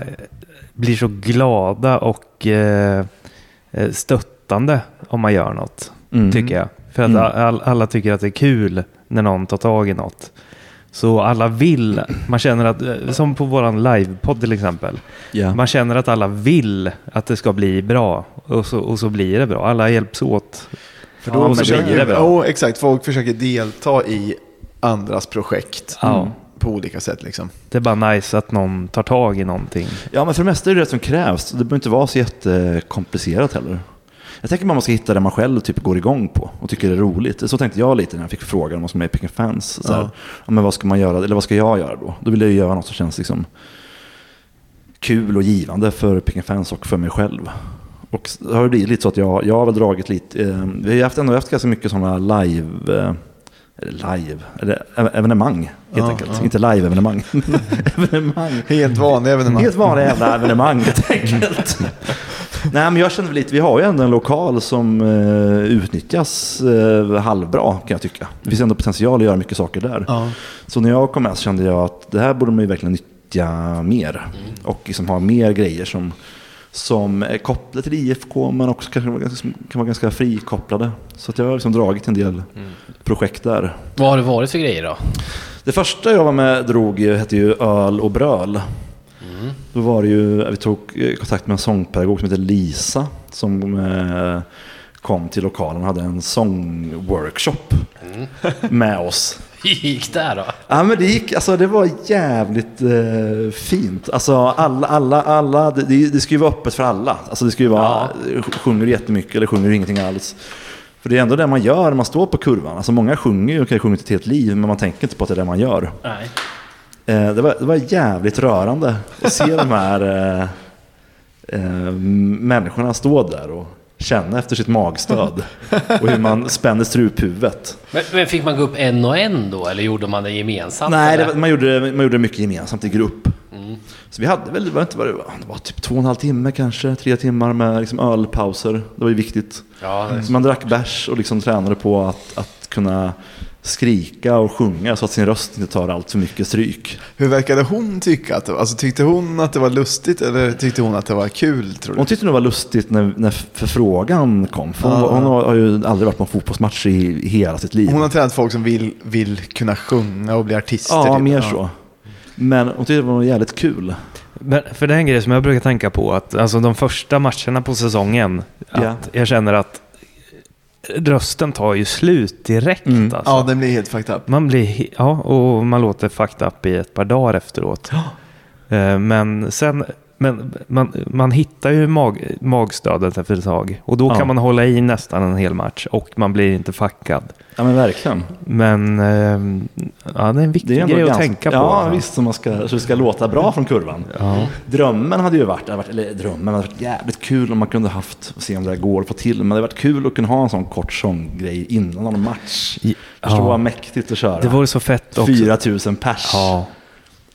S2: blir så glada och eh, eh, stöttande om man gör något,
S4: Mm.
S2: tycker jag. För att
S4: Mm.
S2: all, alla tycker att det är kul när någon tar tag i något. Så alla vill, man känner att, eh, som på våran livepodd till exempel,
S4: Ja.
S2: man känner att alla vill att det ska bli bra och så, och så blir det bra. Alla hjälps åt.
S1: För
S2: Ja,
S1: då
S2: men
S1: försöker,
S2: det är bra.
S1: Jo, exakt. Folk försöker delta i andras projekt
S2: Ja.
S1: på olika sätt. Liksom.
S2: Det är bara nice att någon tar tag i någonting.
S4: Ja, men för det mesta är det det som krävs. Det behöver inte vara så jättekomplicerat heller. Jag tänker man ska hitta det man själv typ går igång på och tycker det är roligt. Så tänkte jag lite när jag fick frågan om vad som är Picking Fans. Så här, ja. men vad ska man göra, eller vad ska jag göra då? Då vill jag ju göra något som känns liksom kul och givande för Picking Fans och för mig själv. Och så har det blivit lite så att jag, jag har väl dragit lite, eh, vi har ju haft, ändå haft ganska mycket sådana live, eh, eller live, eller ev- evenemang helt
S1: Ja,
S4: enkelt.
S1: ja.
S4: Inte live-evenemang. evenemang.
S1: Helt vanliga evenemang.
S4: Helt vanliga jävla evenemang helt enkelt. Nej, men jag känner väl lite, vi har ju ändå en lokal som eh, utnyttjas eh, halvbra kan jag tycka. Det finns ändå potential att göra mycket saker där.
S6: Ja.
S4: Så när jag kom med så kände jag att det här borde man ju verkligen nyttja mer. Och liksom ha mer grejer som, som är kopplade till IFK men också kanske vara ganska- som kan vara ganska frikopplade. Så att jag har liksom dragit en del projekt där.
S3: Vad har det varit för grejer då?
S4: Det första jag var med drog ju- hette ju Öl och bröl. Då var det ju, vi tog eh, kontakt med en sångpedagog som heter Lisa som eh, kom till lokalen och hade en sångworkshop med oss.
S3: Hur gick det då?
S4: Ja men det gick, alltså det var jävligt eh, fint. Alltså alla, alla, alla, det- det, det ska ju vara öppet för alla. Alltså det ska ju vara, sjunger du jättemycket eller sjunger du ingenting alls. För det är ändå det man gör när man står på kurvan. Alltså många sjunger ju och kan sjunga ett helt liv men man tänker inte på att det är det man gör.
S3: Nej.
S4: Eh, det, var, det var jävligt rörande att se de här eh, eh, människorna stå där och känna efter sitt magstöd och hur man spänner struphuvudet.
S3: Men, men fick man gå upp en och en då, eller gjorde man det gemensamt?
S4: Nej, det,
S3: eller?
S4: var- man, gjorde, man gjorde mycket gemensamt i grupp. Så vi hade väl, det var inte vad det var, det var typ två och en halv timme kanske, tre timmar med liksom ölpauser. Det var ju viktigt.
S3: Ja, det-
S4: Så man drack bärs och liksom tränade på att, att kunna skrika och sjunga så att sin röst inte tar allt för mycket stryk.
S1: Hur verkade hon tycka att det var? Alltså tyckte hon att det var lustigt eller tyckte hon att det var kul tror du?
S4: Hon tyckte nog det var lustigt när, när förfrågan kom. För hon,
S1: Ja.
S4: hon har ju aldrig varit på en fotbollsmatch i, i hela sitt liv.
S1: Hon har tränat folk som vill, vill kunna sjunga och bli artister.
S4: ja,
S1: typ.
S4: mer så. Men hon tyckte det var jävligt kul.
S2: Men för det är en grej som jag brukar tänka på, att alltså, de första matcherna på säsongen, att
S4: Ja.
S2: jag känner att rösten tar ju slut direkt.
S4: Mm.
S2: Alltså.
S1: Ja, den blir helt fucked up.
S2: Man blir, he- ja, och man låter fucked up i ett par dagar efteråt. Eh, Men sen, men man, man hittar ju mag, magstödet efter ett tag. Och då
S4: Ja.
S2: kan man hålla i nästan en hel match och man blir inte fuckad.
S4: Ja, men verkligen.
S2: Men eh, ja, det är en viktig
S4: ändå
S2: grej att
S4: ganska-
S2: tänka på.
S4: Ja,
S2: alltså.
S4: visst. Så, man ska, så det ska låta bra från kurvan. Drömmen hade ju varit, det hade varit, eller drömmen hade varit jävligt kul om man kunde haft, och se om det här går att få till. Men det hade varit kul att kunna ha en sån kort sånggrej innan någon match.
S2: I-
S4: Förstå
S2: ja.
S4: vad mäktigt att köra.
S2: Det vore så fett också.
S4: 4000 pers,
S2: Ja.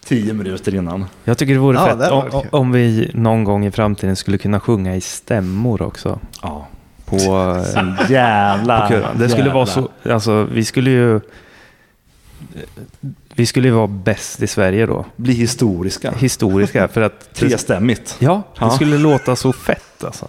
S4: 10 minuter innan.
S2: Jag tycker det vore
S1: Ja, det
S2: fett
S1: hade
S2: om,
S1: varit kul.
S2: om vi någon gång i framtiden skulle kunna sjunga i stämmor också.
S4: Ja.
S2: På, eh,
S4: Jävla...
S2: på kurvan. Det skulle vara så, alltså, vi skulle ju vi skulle ju vara bäst i Sverige då.
S4: Bli historiska.
S2: Historiska. För att det,
S4: Trestämmigt.
S2: ja,
S4: Ja.
S2: det skulle låta så fett alltså.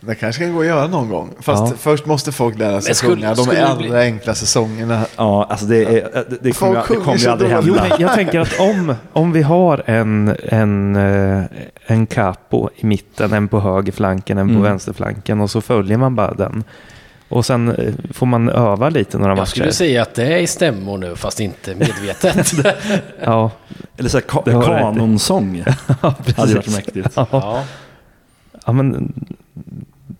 S1: Det kanske kan gå att göra någon gång. Fast
S2: Ja.
S1: först måste folk lära sig
S3: Men skulle-
S1: sjunga. De
S3: skulle det
S1: allra
S3: bli-
S1: enklaste sångerna.
S4: Ja, alltså det, är, det, det kommer,
S1: Folk
S4: ju-
S1: sjunger
S4: det kommer ju
S1: så
S4: aldrig
S1: dåligt.
S2: Jo,
S4: hända.
S2: men jag tänker att om, om vi har en, en, eh, en capo i mitten, en på högerflanken, en på
S4: Mm.
S2: vänsterflanken och så följer man bara den. Och sen eh, får man öva lite några
S3: Jag
S2: matcher.
S3: skulle säga att det är i stämmor nu, fast inte medvetet.
S2: Ja,
S4: Eller så här, ka-
S2: Det har du rätt i.
S4: kanonsång.
S2: ja
S4: Hade
S2: precis.
S4: ju varit mäktigt.
S3: ja.
S2: Ja, men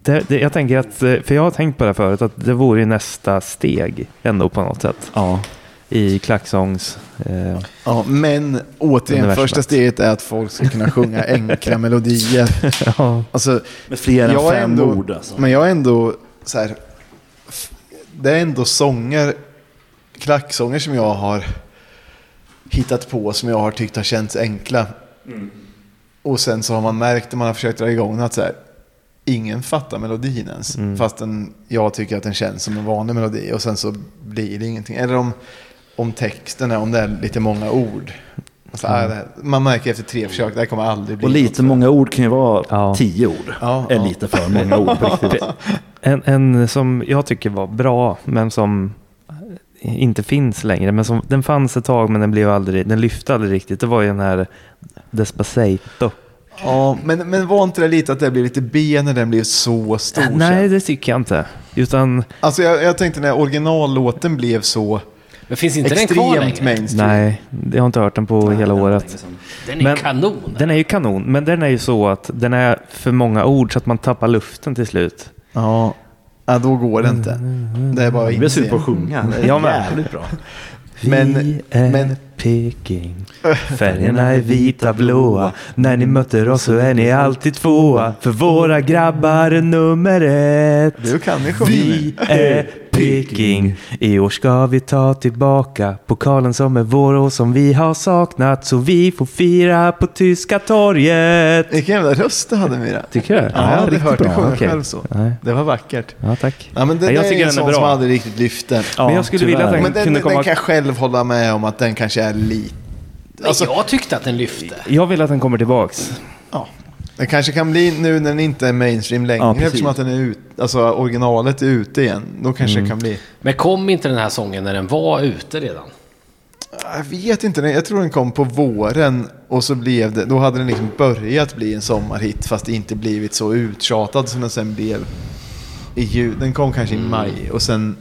S2: det, det, jag tänker att, eh, för jag har tänkt på det här förut, att det vore ju nästa steg ändå på något sätt
S4: Ja.
S2: i klacksångs... Eh,
S1: Ja, men återigen,
S2: Universumet.
S1: första steget är att folk ska kunna sjunga enkla melodier.
S2: ja,
S1: Alltså,
S4: Med fler än
S1: Jag är
S4: fem
S1: ändå-
S4: ord alltså.
S1: Men jag är ändå så här. f- Det är ändå sånger, klacksånger som jag har hittat på som jag har tyckt har känts enkla. Och sen så har man märkt när man har försökt dra igång att så här, ingen fattar melodin ens.
S4: Mm.
S1: Fastän jag tycker att den känns som en vanlig melodi och sen så blir det ingenting. Eller om, om texten är, om det är lite många ord. Alltså, äh, det här, man märker efter tre försök, det här kommer aldrig bli
S4: Mm. Och
S1: något
S4: lite
S1: för-
S4: många ord kan ju vara
S2: Ja.
S4: tio ord.
S1: Ja,
S4: är
S1: ja.
S4: lite för många ord på riktigt.
S2: en, en som jag tycker var bra, men som inte finns längre. Men som, den fanns ett tag, men den, blev aldrig, den lyfte aldrig riktigt. Det var ju den här Despacito.
S1: Ja, men, men var inte det lite att det blir lite B när den blir så stor? sen?
S2: Nej, det tycker jag inte. Utan,
S1: Alltså jag, jag tänkte när originallåten blev så
S3: Men finns inte den kvar
S1: extremt
S3: längre?
S1: mainstream.
S2: nej, jag har inte hört den på hela året.
S3: Den är
S2: Men-
S3: kanon.
S2: Den är ju kanon, men den är ju så att den är för många ord så att man tappar luften till slut.
S1: Ja. ja, då går det inte. Det är bara att
S4: Jag blir sugen på
S1: inse.
S4: att sjunga. Det är
S2: Jag med.
S4: jävligt bra.
S1: Men-
S2: vi är
S1: men-
S2: Peking. Färgerna är vita, blåa. När ni möter oss så är ni alltid tvåa. För våra grabbar är nummer ett.
S1: Du kan ju sjunga nu.
S2: Vi är Peking. I år ska vi ta tillbaka pokalen som är vår och som vi har saknat. Så vi får fira på Tyska torget.
S7: Vilken jävla röst du hade Mira.
S2: Tycker du?
S7: Ja, jag hade
S2: riktigt
S7: hört dig
S2: bra.
S7: sjunga
S2: Okej.
S7: själv så.
S2: Nej.
S7: Det var vackert.
S2: Ja, tack.
S1: Ja, men det
S2: Ja,
S1: jag
S2: jag
S1: där
S2: tycker
S1: är en
S2: den är
S1: sån
S2: bra.
S1: som aldrig riktigt lyfter.
S2: Men jag skulle vilja att
S1: Men den,
S2: kunde
S1: den
S2: komma-
S1: kan jag själv hålla med om att den kanske är lite...
S3: Alltså, jag tyckte att den lyfte.
S2: Jag vill att den kommer tillbaks.
S1: Ja. Den kanske kan bli nu när den inte är mainstream längre
S4: Ja, precis.
S1: eftersom att den är ut, alltså originalet är ute igen. Då kanske
S4: Mm.
S1: det kan bli...
S3: Men kom inte den här sången när den var ute redan?
S1: Jag vet inte, jag tror den kom på våren och så blev det, då hade den liksom börjat bli en sommarhit fast inte blivit så uttjatad som den sen blev i jul. Den kom kanske
S4: Mm.
S1: i maj och sen...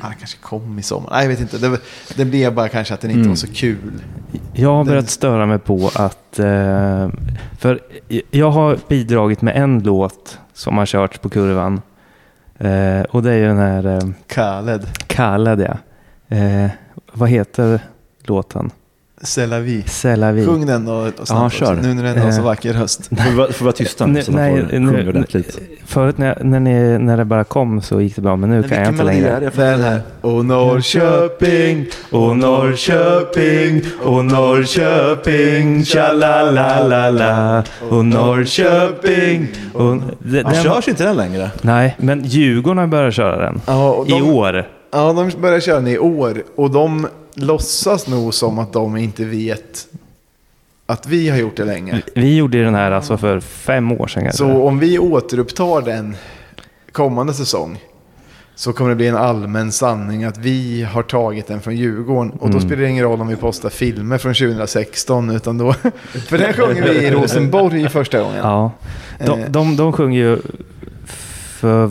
S1: Ja, den kanske kom i sommar. Nej, jag vet inte. Det, var- det blev bara kanske att den inte var
S4: Mm.
S1: så kul.
S2: Jag har börjat störa mig på att... Eh, för jag har bidragit med en låt som har körts på kurvan. Eh, och det är ju den här eh,
S1: Khaled,
S2: Khaled, ja. Eh, vad heter låten?
S1: C'est la vie.
S2: C'est la vie.
S1: Sjung den då. och snabbt
S4: kör.
S1: också, Nu när den har så
S2: Eh.
S1: vacker höst.
S4: Får vi vara- får vi vara tysta nu
S2: Nej,
S4: så man
S2: nej,
S4: får
S2: nu-
S4: sjunga ordentligt.
S2: Förut när, när, ni, när det bara kom så gick det bra, men nu kan jag inte längre.
S4: det?
S1: Den här. Och Norrköping,
S2: och Norrköping, och Norrköping, tjalalalala, och Norrköping, och... Den,
S4: Den
S2: den var,
S4: körs inte den längre.
S2: nej, men Djurgården börjar köra den.
S1: Ja, och de-
S2: I år.
S1: Ja, de börjar köra den i år och de låtsas nog som att de inte vet att vi har gjort det länge.
S2: Vi gjorde ju den här alltså för fem år sedan kanske.
S1: Så om vi återupptar den kommande säsong så kommer det bli en allmän sanning att vi har tagit den från Djurgården. Och då
S2: Mm.
S1: spelar det ingen roll om vi postar filmer från 2016, utan då... För den sjunger vi i Rosenborg första gången.
S2: Ja. De,
S1: Eh.
S2: de, de sjunger ju för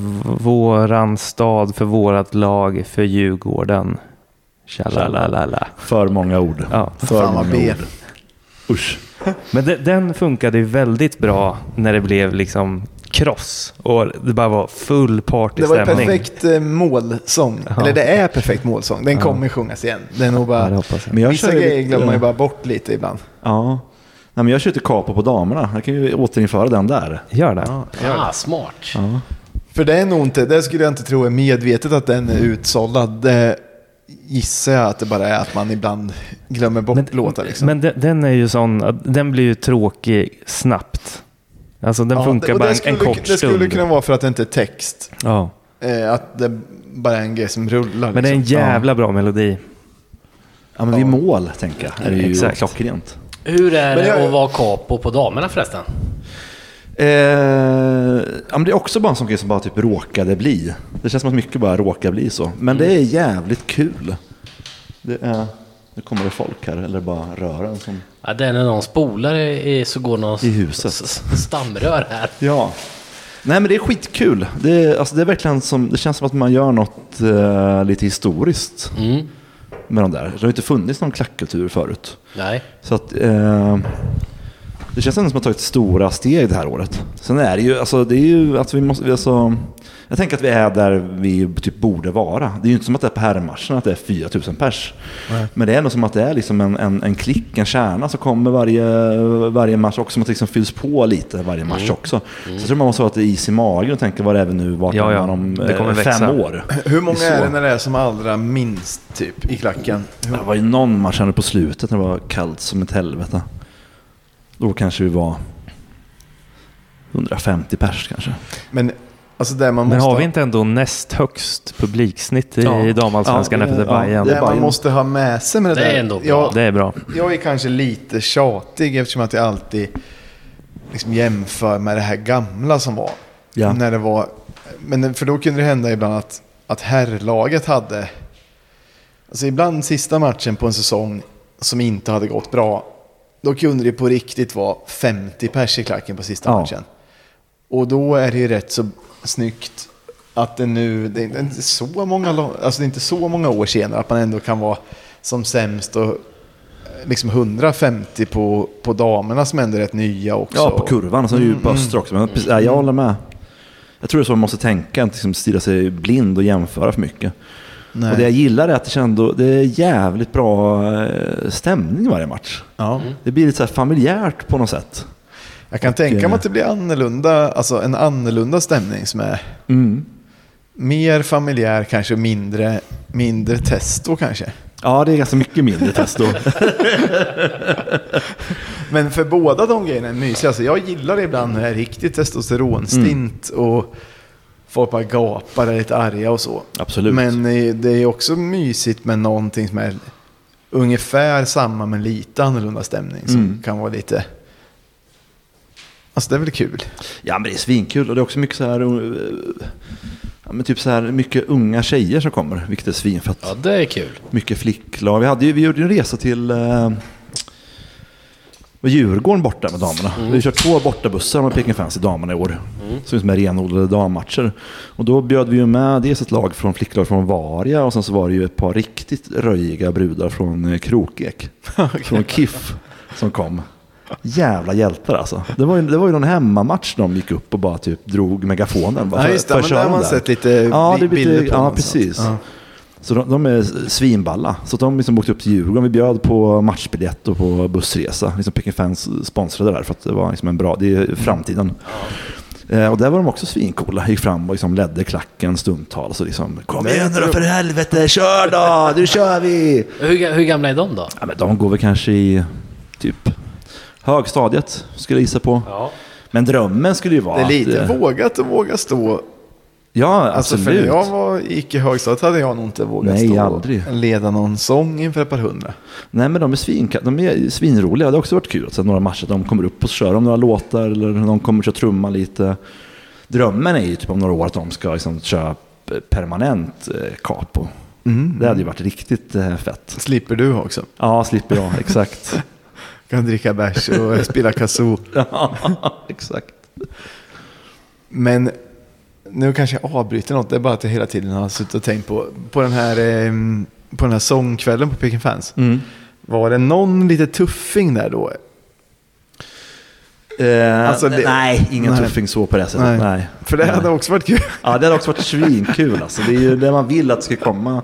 S2: våran stad, för vårat lag, för Djurgården. Tjalalalala.
S4: För många ord.
S2: Ja.
S4: För
S1: Fan vad B.
S4: Usch.
S2: Men de, den funkade ju väldigt bra när det blev liksom kross och det bara var full
S1: Det var en
S2: partystämning.
S1: perfekt eh, målsång.
S2: Ja.
S1: Eller det är perfekt målsång. Den kommer sjungas igen. Det är nog
S2: Ja, det
S1: bara...
S2: hoppas jag.
S4: Men jag
S1: Vissa
S4: kör ju
S1: grejer
S4: lite-
S1: glömmer man ju bara bort lite ibland.
S4: Ja. Nej, men jag kör till Capo på damerna. Jag kan ju återinföra den där.
S2: Gör det.
S3: Ah, smart.
S1: För det är nog inte, det skulle jag inte tro är medvetet att den är utsållad. Det gissar jag att det bara är att man ibland glömmer bort låtar liksom.
S2: men de, den är ju sån, att den blir ju tråkig snabbt. Alltså den
S1: Ja,
S2: funkar
S1: och det
S2: bara en,
S1: skulle,
S2: en kort
S1: Det skulle
S2: stund.
S1: kunna vara för att det inte är text.
S2: Ja.
S1: Eh, att det bara är en grej som rullar.
S2: Men det är en
S1: liksom.
S2: jävla bra melodi.
S4: Ja, men vid mål, tänker jag, är det ju
S2: Exakt.
S4: klockrent.
S3: Hur är
S1: Men jag-
S3: det att vara capo på damerna förresten?
S4: Eh, ja, men det är också bara en sån grej som bara typ råkade bli. Det känns som att mycket bara råkar bli så. Men det är jävligt kul. Det är, nu kommer det folk här, eller bara rören som...
S3: Ja, det är när någon spolar i, i- så går någon
S4: I huset.
S3: s- s- stamrör här.
S4: Ja. Nej men det är skitkul. Det, är, alltså, det, är verkligen som, det känns som att man gör något eh, lite historiskt med de där. Det har ju inte funnits någon klackkultur förut.
S3: Nej.
S4: Så att, eh, det känns ändå som att man tagit stora steg det här året. Sen är det ju, alltså, det är ju att vi måste, vi alltså, jag tänker att vi är där vi typ borde vara. Det är ju inte som att det är på herrmatcherna att det är 4000 pers. Men det är nog som att det är liksom en, en, en klick, en kärna som kommer varje, varje match och som att det liksom fylls på lite varje match
S2: Mm.
S4: också. Så jag tror man måste ha lite is i magen och tänka vad det är vi nu, vart
S2: Ja,
S4: är
S2: ja.
S4: man om
S2: Det kommer
S4: eh, fem
S2: växa.
S4: år?
S1: Hur många
S4: Så.
S1: är det när det är som allra minst typ i klacken?
S4: Det var ju någon match här på slutet när det var kallt som ett helvete. Då kanske vi var 150 pers kanske.
S1: Men alltså där man
S2: Men
S1: måste...
S2: har
S1: ha-
S2: vi inte ändå näst högst publiksnitt i
S4: Ja.
S2: damallsvenskan
S4: Ja, det-
S2: efter
S4: ja,
S2: Bayern?
S4: det
S1: Det
S4: är
S1: man
S4: Bajen.
S1: måste ha med sig med det,
S3: Det är
S1: där.
S3: ändå bra.
S1: Jag,
S2: Det är bra.
S1: jag är kanske lite tjatig eftersom att jag alltid liksom jämför med det här gamla som var.
S4: Ja.
S1: När det var men för då kunde det hända ibland att, att herrlaget hade... Alltså ibland sista matchen på en säsong som inte hade gått bra, då kunde det på riktigt vara 50 pers i klacken på sista
S4: Ja.
S1: matchen. Och då är det ju rätt så snyggt att det nu, det är inte så många, lo- alltså det är inte så många år senare, att man ändå kan vara som sämst och eh, liksom 150 på, på damerna som ändå är rätt nya också.
S4: Ja, på kurvan. Och sen är det ju på östra också. Men precis, ja, jag håller med. Jag tror det är så man måste tänka, inte liksom stirra sig blind och jämföra för mycket.
S1: Nej.
S4: Och det jag gillar är att det, känns det är jävligt bra eh, stämning varje match.
S1: Ja.
S4: Det blir lite så här familjärt på något sätt.
S1: Jag kan tänka mig att det blir annorlunda, alltså en annorlunda stämning som är Mer familjär kanske, mindre, mindre testo kanske.
S4: Ja, det är ganska mycket mindre testo.
S1: Men för båda de grejerna är mysiga. Alltså jag gillar det ibland när det är riktigt testosteronstint och folk bara gapar och är lite arga och så.
S4: Absolut.
S1: Men eh, det är också mysigt med någonting som är ungefär samma men lite annorlunda stämning som
S4: Mm.
S1: kan vara lite... Alltså det är väl kul.
S4: Ja, men det är svinkul och det är också mycket så här... eh, Ja, men typ så här mycket unga tjejer som kommer, vilket är svinfett.
S3: Ja, det är kul.
S4: Mycket flicklag. Vi, hade, ju- vi gjorde ju en resa till eh, Djurgården borta med damerna.
S1: Mm.
S4: Vi har kört två bortabussar med Peking Fancy damerna i år. Så det är som är renodlade dammatcher. Och då bjöd vi ju med dels ett lag från flicklag från Varia och sen så var det ju ett par riktigt röjiga brudar från eh, Krokek. Från KIF som kom. Jävla hjältar alltså. Det var ju, det var ju någon hemmamatch de gick upp och bara typ drog megafonen. Bara
S1: Ja, just det. Men
S4: köra
S1: där har man
S4: där.
S1: sett lite
S4: ja,
S1: bi-
S4: det, blir
S1: bilder
S4: lite-
S1: på dem
S4: Ja,
S1: och
S4: precis.
S1: sånt. Ja.
S4: Så de, de är svinballa. Så att de liksom åkte upp till Djurgården. Vi bjöd på matchbiljett och på bussresa. Liksom Peking Fans sponsrade där för att det var liksom en bra, det är framtiden. Eh, och där var de också svincoola. Gick fram och liksom ledde klacken stundtals och liksom Kom
S1: Nej,
S4: igen nu
S1: jag
S4: då
S1: tror-
S4: för helvete, kör då! Nu kör vi!
S3: Hur, ga- hur gamla är de då?
S4: Ja, men de går väl kanske i typ högstadiet, skulle jag gissa på.
S3: Ja.
S4: Men drömmen skulle ju vara
S1: Det är lite
S4: att, eh,
S1: vågat att våga stå.
S4: Ja,
S1: Alltså
S4: absolut.
S1: för när jag var, gick i högstadiet hade jag nog inte vågat
S4: Nej,
S1: stå
S4: aldrig.
S1: och leda någon sång inför ett par hundra.
S4: Nej men de är, svinka- de är svinroliga. Det har också varit kul att se några matcher att de kommer upp och så kör de några låtar eller de kommer och kör trumma lite. Drömmen är ju typ om några år att de ska liksom köra p- permanent eh, capo. Det hade ju varit riktigt eh, fett.
S1: Slipper du också.
S4: Ja, slipper jag. Exakt.
S1: Kan dricka bärs och spela kazoo.
S4: ja, exakt.
S1: Men nu kanske jag avbryter något. Det är bara att jag hela tiden har suttit och tänkt på, på, den, här, eh, på den här sångkvällen på Peking Fans.
S4: Mm.
S1: Var det någon lite tuffing där då?
S4: Eh,
S1: Alltså, det-
S4: Nej, ingen
S1: nej.
S4: tuffing så på det sättet. Nej.
S1: För det
S4: nej.
S1: hade också varit kul.
S4: Ja, det hade också varit svinkul. Alltså. Det är ju det man vill att det ska komma.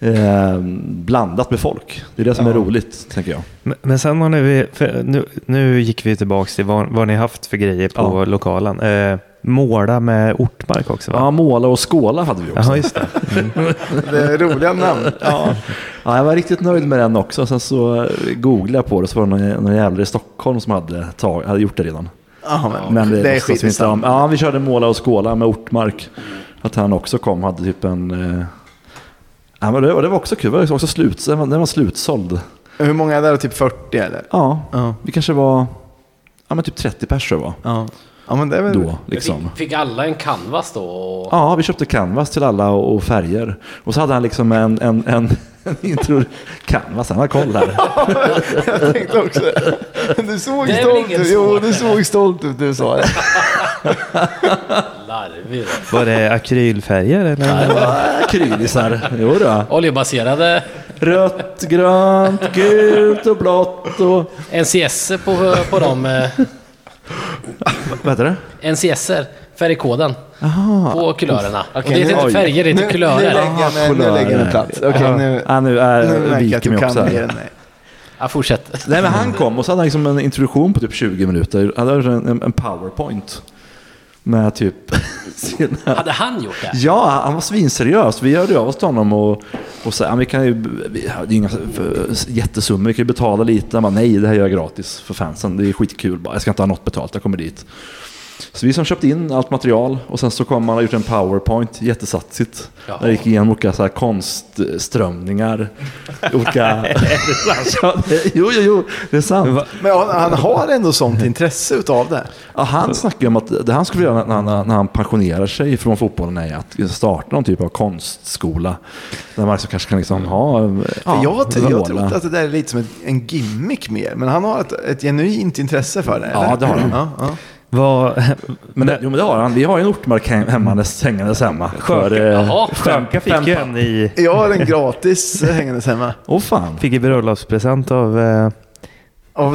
S4: Eh, blandat med folk. Det är det som är roligt, tänker jag.
S2: Men- Men sen har ni, för nu, nu gick vi tillbaka till vad, vad ni haft för grejer på
S4: Ja.
S2: lokalen. Eh, måla med Ortmark också va?
S4: Ja, måla och skåla hade vi också.
S2: Jaha, just det.
S1: Det är roliga namn.
S4: Ja. ja, jag var riktigt nöjd med den också. Sen så eh, googlade jag på det så var det någon, någon jävla i Stockholm som hade, tag, hade gjort det redan.
S1: Ja, men,
S4: Men
S1: det är
S4: låtsas vi inte
S1: skitsamma.
S4: om. Ja, vi körde måla och skåla med Ortmark. Att han också kom hade typ en... eh, Ja, men det, var- det var också kul. Det var också slut, den, var, den var slutsåld.
S1: Hur många är där? Typ 40 eller?
S4: Ja,
S1: Ja.
S4: vi kanske var... Ja, men typ 30 personer var
S1: Ja, ja men det är väl...
S4: då. Liksom.
S3: Fick, fick alla en canvas då? Och...
S4: Ja, vi köpte canvas till alla och, och färger. Och så hade han liksom en, en, en, en intro... Canvas, han har koll här.
S1: Jag tänkte också Du såg
S3: Det är väl
S1: stolt
S3: ingen
S1: ut. Jo,
S3: svårt.
S1: du såg stolt ut när du sa det.
S3: Larvig.
S2: Var det akrylfärger eller?
S4: Akrylisar. "Äh, Jo då.
S3: Oljebaserade
S4: Rött, grönt, gult och blått och...
S3: NCS på, på dem. eh,
S4: Vad heter det?
S3: NCS-er, färgkoden. På kulörerna.
S1: Okej,
S3: det heter
S1: nu-
S3: inte färger, det
S1: Nu
S3: heter
S1: lägger
S3: kulörer.
S1: jag mig- nu lägger jag mig platt. Okej, nu,
S4: Ja, nu är,
S1: nu märker jag att
S4: viker
S1: du
S4: mig också
S1: kan mer
S4: här.
S1: än mig.
S3: Ja, fortsätt.
S4: Nej, men han kom och så hade han liksom en introduktion på typ 20 minuter. Han hade en, en powerpoint. Med typ sina...
S3: Hade han gjort det?
S4: Ja, han var svinseriös. Vi hörde av oss till honom och, och sa, "Ja, men vi kan ju, vi, det är inga för- jättesummor, vi kan ju betala lite. Han bara, nej, det här gör jag gratis för fansen. Det är skitkul bara. Jag ska inte ha något betalt, jag kommer dit. Så vi som köpte in allt material och sen så kom han och gjort en powerpoint, jättesatsigt.
S3: Jaha.
S4: Där gick igenom olika så här konstströmningar. olika... Ja, det- jo, jo, jo, det är sant.
S1: Men han, han har ändå sånt intresse utav det.
S4: Ja, han snackar ju om att det han skulle göra när han, när han pensionerar sig från fotbollen är att starta någon typ av konstskola. Där man liksom kanske kan liksom ha...
S1: För jag tror- jag
S4: måla.
S1: tror att det där är lite som en, en gimmick mer. Men han har ett, ett genuint intresse för det.
S4: Ja,
S1: eller?
S4: det har han.
S1: Ja, ja.
S2: Vad,
S4: Men det, jo, men det har han. Vi har ju en ortmark hem- hemmandes hängandes hemma. För, eh,
S3: Jaha,
S2: Sjönka fick ju en i,
S1: Jag har en gratis eh, hängandes hemma.
S4: Åh fan.
S2: fick i bröllopspresent av... Eh,
S1: Av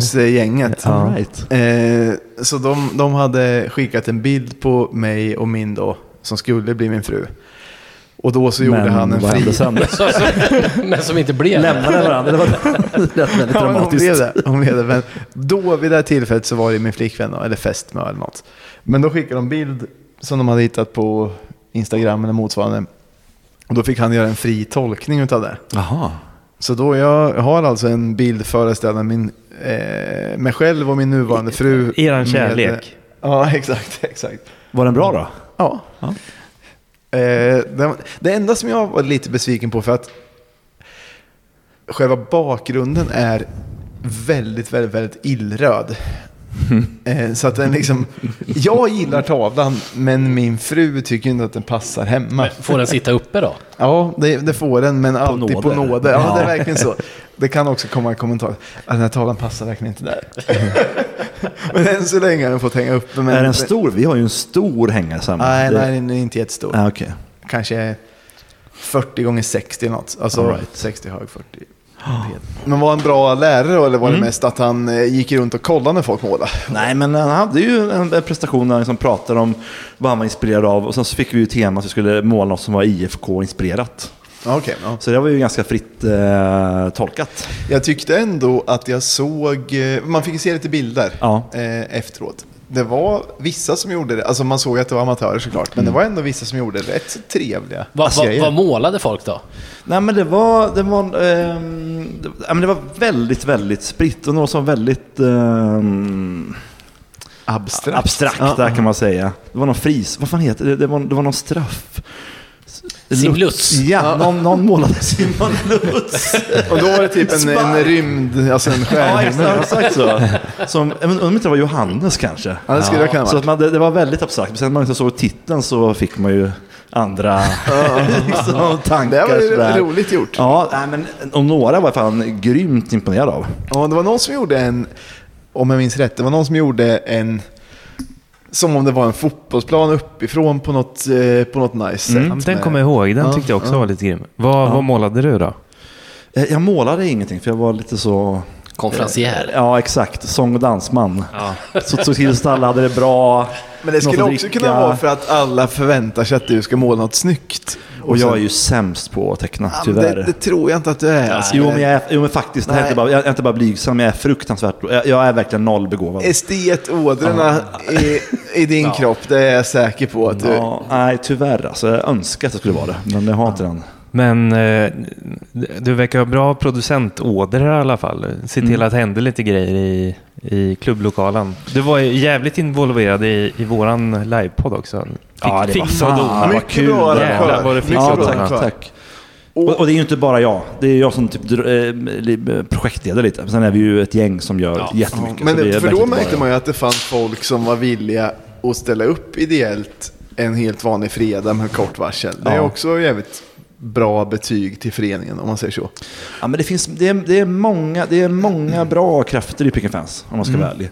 S1: Stockholmsgänget.
S4: All right.
S1: Eh, så de, de hade skickat en bild på mig och min då, som skulle bli min fru. Och då så gjorde
S4: men
S1: han en
S4: vad hände
S1: fri...
S4: sen?
S3: Så, så, men som inte blev det.
S4: Lämnade varandra. Det var det lät väldigt
S1: Ja, men hon blev
S4: dramatiskt.
S1: det. Hon blev det. Men då vid det här tillfället så var det min flickvän, då, eller fästmö eller något. Men då skickade de bild som de hade hittat på Instagram eller motsvarande. Och då fick han göra en fri tolkning utav det.
S4: Jaha.
S1: Så då jag har alltså en bild föreställande min, eh, mig själv och min nuvarande fru.
S2: E-, Eran
S1: med-
S2: kärlek.
S1: ja, exakt, exakt.
S4: Var den bra då?
S1: Ja.
S4: Ja.
S1: Eh, det, det enda som jag var lite besviken på för att själva bakgrunden är väldigt, väldigt, väldigt illröd. Eh, så att den liksom, jag gillar tavlan men min fru tycker inte att den passar hemma.
S3: Får den sitta uppe då?
S1: Ja, det, det får den, men alltid på
S4: nåder.
S1: nåder. Ja, det
S4: Ja.
S1: är verkligen så. Det kan också komma en kommentar. Att den här tavlan passar verkligen inte där. men än så länge har den fått hänga uppe. Men
S4: är den stor? Vi har ju en stor hängare samma.
S1: Nej,
S4: Det-
S1: nej, den är inte jättestor.
S4: Ah, okej.
S1: Kanske 40 gånger 60 eller något. Alltså
S4: All right.
S1: 60 hög, 40
S4: Ah.
S1: bred. Men var han en bra lärare då, eller var
S4: Mm.
S1: det mest att han eh, gick runt och kollade när folk målade?
S4: Nej, men han hade ju en en presentation där han liksom pratade om vad han var inspirerad av. Och sen så fick vi ju tema att vi skulle måla något som var IFK-inspirerat.
S1: Ja, Okej. ja.
S4: Så det var ju ganska fritt eh, tolkat.
S1: Jag tyckte ändå att jag såg, eh, man fick se lite bilder
S4: Ja.
S1: eh, efteråt. Det var vissa som gjorde det, alltså man såg att det var amatörer såklart, men det var ändå vissa som gjorde rätt så trevliga
S3: Va, va,
S1: grejer.
S3: vad målade folk då?
S4: Nej men det var, det var, ehm, det, ja, men det var väldigt, väldigt spritt och något som var väldigt ehm,
S1: Abstrakt.
S4: abstrakta kan man säga. Det var någon fris, vad fan heter det? Det var, det var någon straff.
S3: Simluts.
S4: Ja, någon, någon målade Simon Lutz.
S1: Och då var det typ en, en
S4: Spark.
S1: rymd, alltså en
S4: ja,
S1: stjärnhimmel.
S4: exakt, exakt så. Som, jag men, undrar om inte det var Johannes kanske?
S1: Ja, det skulle det kunna
S4: Så
S1: vara.
S4: att man, det, det var väldigt abstrakt. Men sen när man liksom såg titeln så fick man ju andra liksom,
S1: Det
S4: tankar.
S1: var ju
S4: sådär.
S1: roligt gjort.
S4: Ja, nej, men om några var jag fan grymt imponerad av.
S1: Ja, det var någon som gjorde en, om jag minns rätt, det var någon som gjorde en, som om det var en fotbollsplan uppifrån på något, eh, på något nice
S2: Mm,
S1: sätt.
S2: den
S1: med-
S2: kommer jag ihåg. Den
S1: Ja,
S2: tyckte jag också
S1: ja.
S2: var lite grym. Vad, vad målade du då?
S4: Eh, Jag målade ingenting för jag var lite så...
S3: Konferencier.
S4: Ja, exakt. Sång och dansman. Så såg till så att alla hade det bra.
S1: Men det skulle
S4: något att
S1: också
S4: dricka.
S1: kunna vara för att alla förväntar sig att du ska måla något snyggt.
S4: Och jag är
S1: sen-
S4: ju sämst på att teckna,
S1: Ja, men
S4: tyvärr.
S1: Det, det tror jag inte att du är. alltså.
S4: Jo men, jag är, jo men faktiskt, det här är
S1: Nej.
S4: inte bara, jag är inte bara blygsam, jag är fruktansvärt jag, jag är verkligen noll begåvad.
S1: Estetådrorna i, i din kropp, det är jag säker på att du...
S4: Ja, nej tyvärr alltså, jag önskar att det skulle vara det, men jag har inte den.
S2: Men eh, du verkar ha bra producentådror i alla fall. Se
S4: Mm.
S2: till att det händer lite grejer i, i klubblokalen. Du var ju jävligt involverad i, i våran livepodd också. Fick,
S4: Ja, det var
S2: fixa och
S4: fan
S2: dona.
S4: vad
S1: Mycket
S4: kul
S1: bra
S4: det
S2: var.
S1: arrangör.
S2: Jävlar vad det finns
S1: Mycket
S4: Ja,
S2: att
S1: bra
S2: dona.
S4: tack,
S1: arrangör.
S4: tack. Och, och det är ju inte bara jag, det är jag som typ, dr- eh, li- projektleder lite. Men Sen är vi ju ett gäng som gör jättemycket.
S1: Men
S4: så det är
S1: för
S4: verkligen
S1: då
S4: inte bara
S1: märkte
S4: jag.
S1: man ju att det fanns folk som var villiga att ställa upp ideellt en helt vanlig fredag med kort varsel. Det är
S4: Ja.
S1: också jävligt bra betyg till föreningen om man säger så.
S4: Ja, men det, finns, det, är, det, är många, det är många bra krafter i Pick and Fans, om man ska vara
S1: Mm.
S4: ärlig.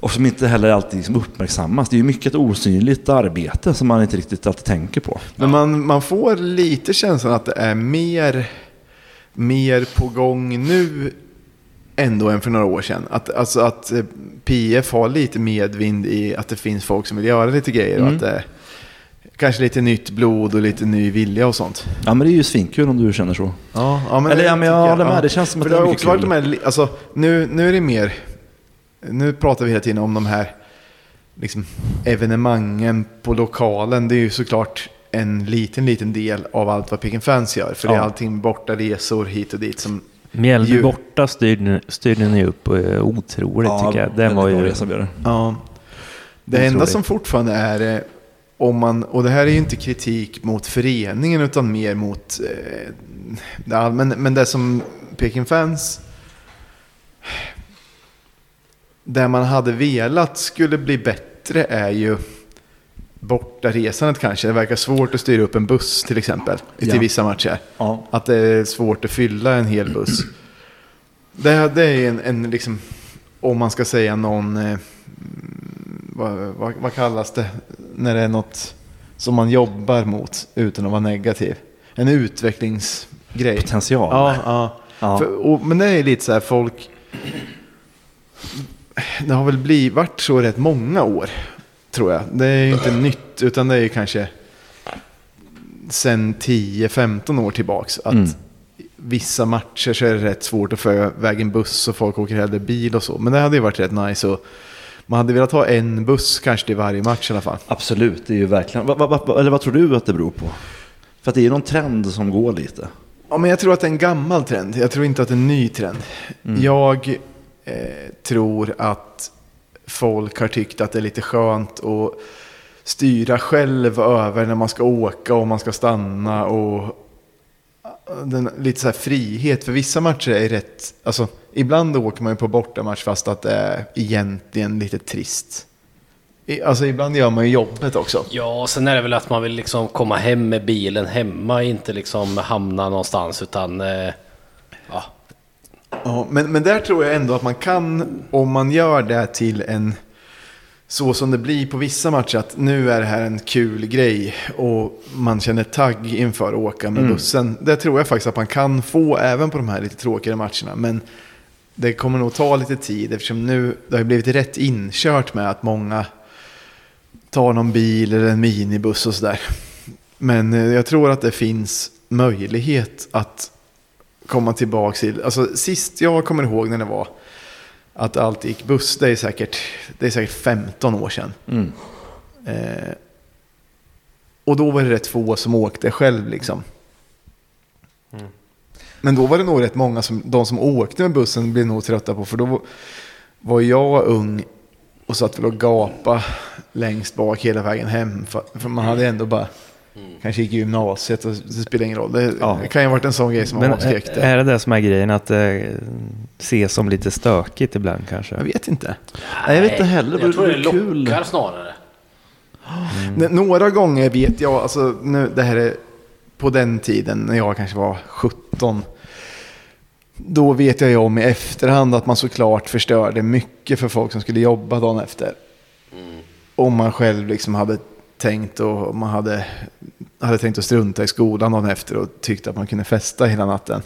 S4: Och som inte heller alltid liksom uppmärksammas. Det är ju mycket ett osynligt arbete som man inte riktigt alltid tänker på.
S1: Men man, man får lite känslan att det är mer, mer på gång nu ändå än för några år sedan. Att, alltså att eh, PF har lite medvind i att det finns folk som vill göra lite grejer och att det är kanske lite nytt blod och lite ny vilja och sånt.
S4: Ja, men det är ju svinkul om du känner så.
S1: Ja, ja, men
S4: Eller, ja, men jag
S1: tycker
S4: håller med. Det känns som
S1: För
S4: att
S1: det
S4: det är
S1: har
S4: mycket
S1: också varit
S4: kul.
S1: de här, li- alltså, nu, nu är det mer, nu pratar vi hela tiden om de här liksom, evenemangen på lokalen. Det är ju såklart en liten, liten del av allt vad Pick Fans gör. För det är
S4: Ja.
S1: allting borta resor hit och dit som...
S2: Mjällby
S1: Ju-
S2: borta styrde, ni- styrde ni upp eh, otroligt tycker jag. Den var ju...
S4: som gör det.
S1: Ja, det
S2: Det är
S1: enda
S2: otroligt.
S1: som fortfarande är, eh, om man, och det här är ju inte kritik mot föreningen utan mer mot, eh, ja, men, men det som Peking Fans, där man hade velat skulle bli bättre är ju bortaresandet kanske. Det verkar svårt att styra upp en buss till exempel till
S4: Ja.
S1: vissa matcher.
S4: Ja.
S1: Att det är svårt att fylla en hel buss. Det, det är en, en liksom, om man ska säga någon, eh, mm, vad, vad, vad kallas det när det är något som man jobbar mot utan att vara negativ? En utvecklingsgrej.
S4: Potential.
S1: Ja, ja.
S4: Ja.
S1: För, och, men det är lite så här folk, det har väl blivit varit så rätt många år, tror jag. Det är ju inte nytt, utan det är ju kanske sen 10-15 år tillbaks. Att
S4: Mm.
S1: vissa matcher så är det rätt svårt att få iväg en buss och folk åker hellre bil och så. Men det hade ju varit rätt nice att Man hade velat ha en buss kanske till varje match i alla fall.
S4: Absolut, det är ju verkligen... Va, va, va, eller vad tror du att det beror på? För att det är ju någon trend som går lite.
S1: Ja, men jag tror att det är en gammal trend. Jag tror inte att det är en ny trend. Jag eh, tror att folk har tyckt att det är lite skönt att styra själv över när man ska åka och man ska stanna och eh, den, lite så här frihet. För vissa matcher är rätt... Alltså, ibland åker man ju på bortamatch fast att det är egentligen lite trist. I, alltså ibland gör man ju jobbet också.
S3: Ja, och sen är det väl att man vill liksom komma hem med bilen hemma, inte liksom hamna någonstans utan... Eh, ja,
S1: Ja, men, men där tror jag ändå att man kan, om man gör det till en, så som det blir på vissa matcher, att nu är det här en kul grej och man känner tagg inför att åka med bussen. Det tror jag faktiskt att man kan få även på de här lite tråkigare matcherna. Men det kommer nog ta lite tid eftersom nu, det har ju blivit rätt inkört med att många tar någon bil eller en minibuss och sådär. Men eh, jag tror att det finns möjlighet att komma tillbaka till, alltså sist jag kommer ihåg när det var att allt gick buss, det är säkert, det är säkert 15 år sedan.
S4: Mm.
S1: Eh, och då var det rätt få som åkte själv liksom. Men då var det nog rätt många som, de som åkte med bussen blev nog trötta på, för då var jag ung och satt väl och gapa längst bak hela vägen hem. För, för man hade ändå bara, kanske gick i gymnasiet och det spelar ingen roll. Det,
S4: Ja.
S1: det kan ju ha varit en sån grej som man
S2: Men eh,
S1: avskräckte.
S2: är det det som är grejen, att eh, ses som lite stökigt ibland kanske?
S1: Jag vet inte.
S4: Nej, jag vet inte heller.
S3: Jag tror det lockar
S4: kul.
S3: snarare.
S1: N- Några gånger vet jag, alltså nu, det här är på den tiden när jag kanske var 17. Då vet jag ju om i efterhand att man såklart förstörde mycket för folk som skulle jobba dagen efter. Om man själv liksom hade tänkt och man hade, hade tänkt att strunta i skolan dagen efter och tyckte att man kunde festa hela natten.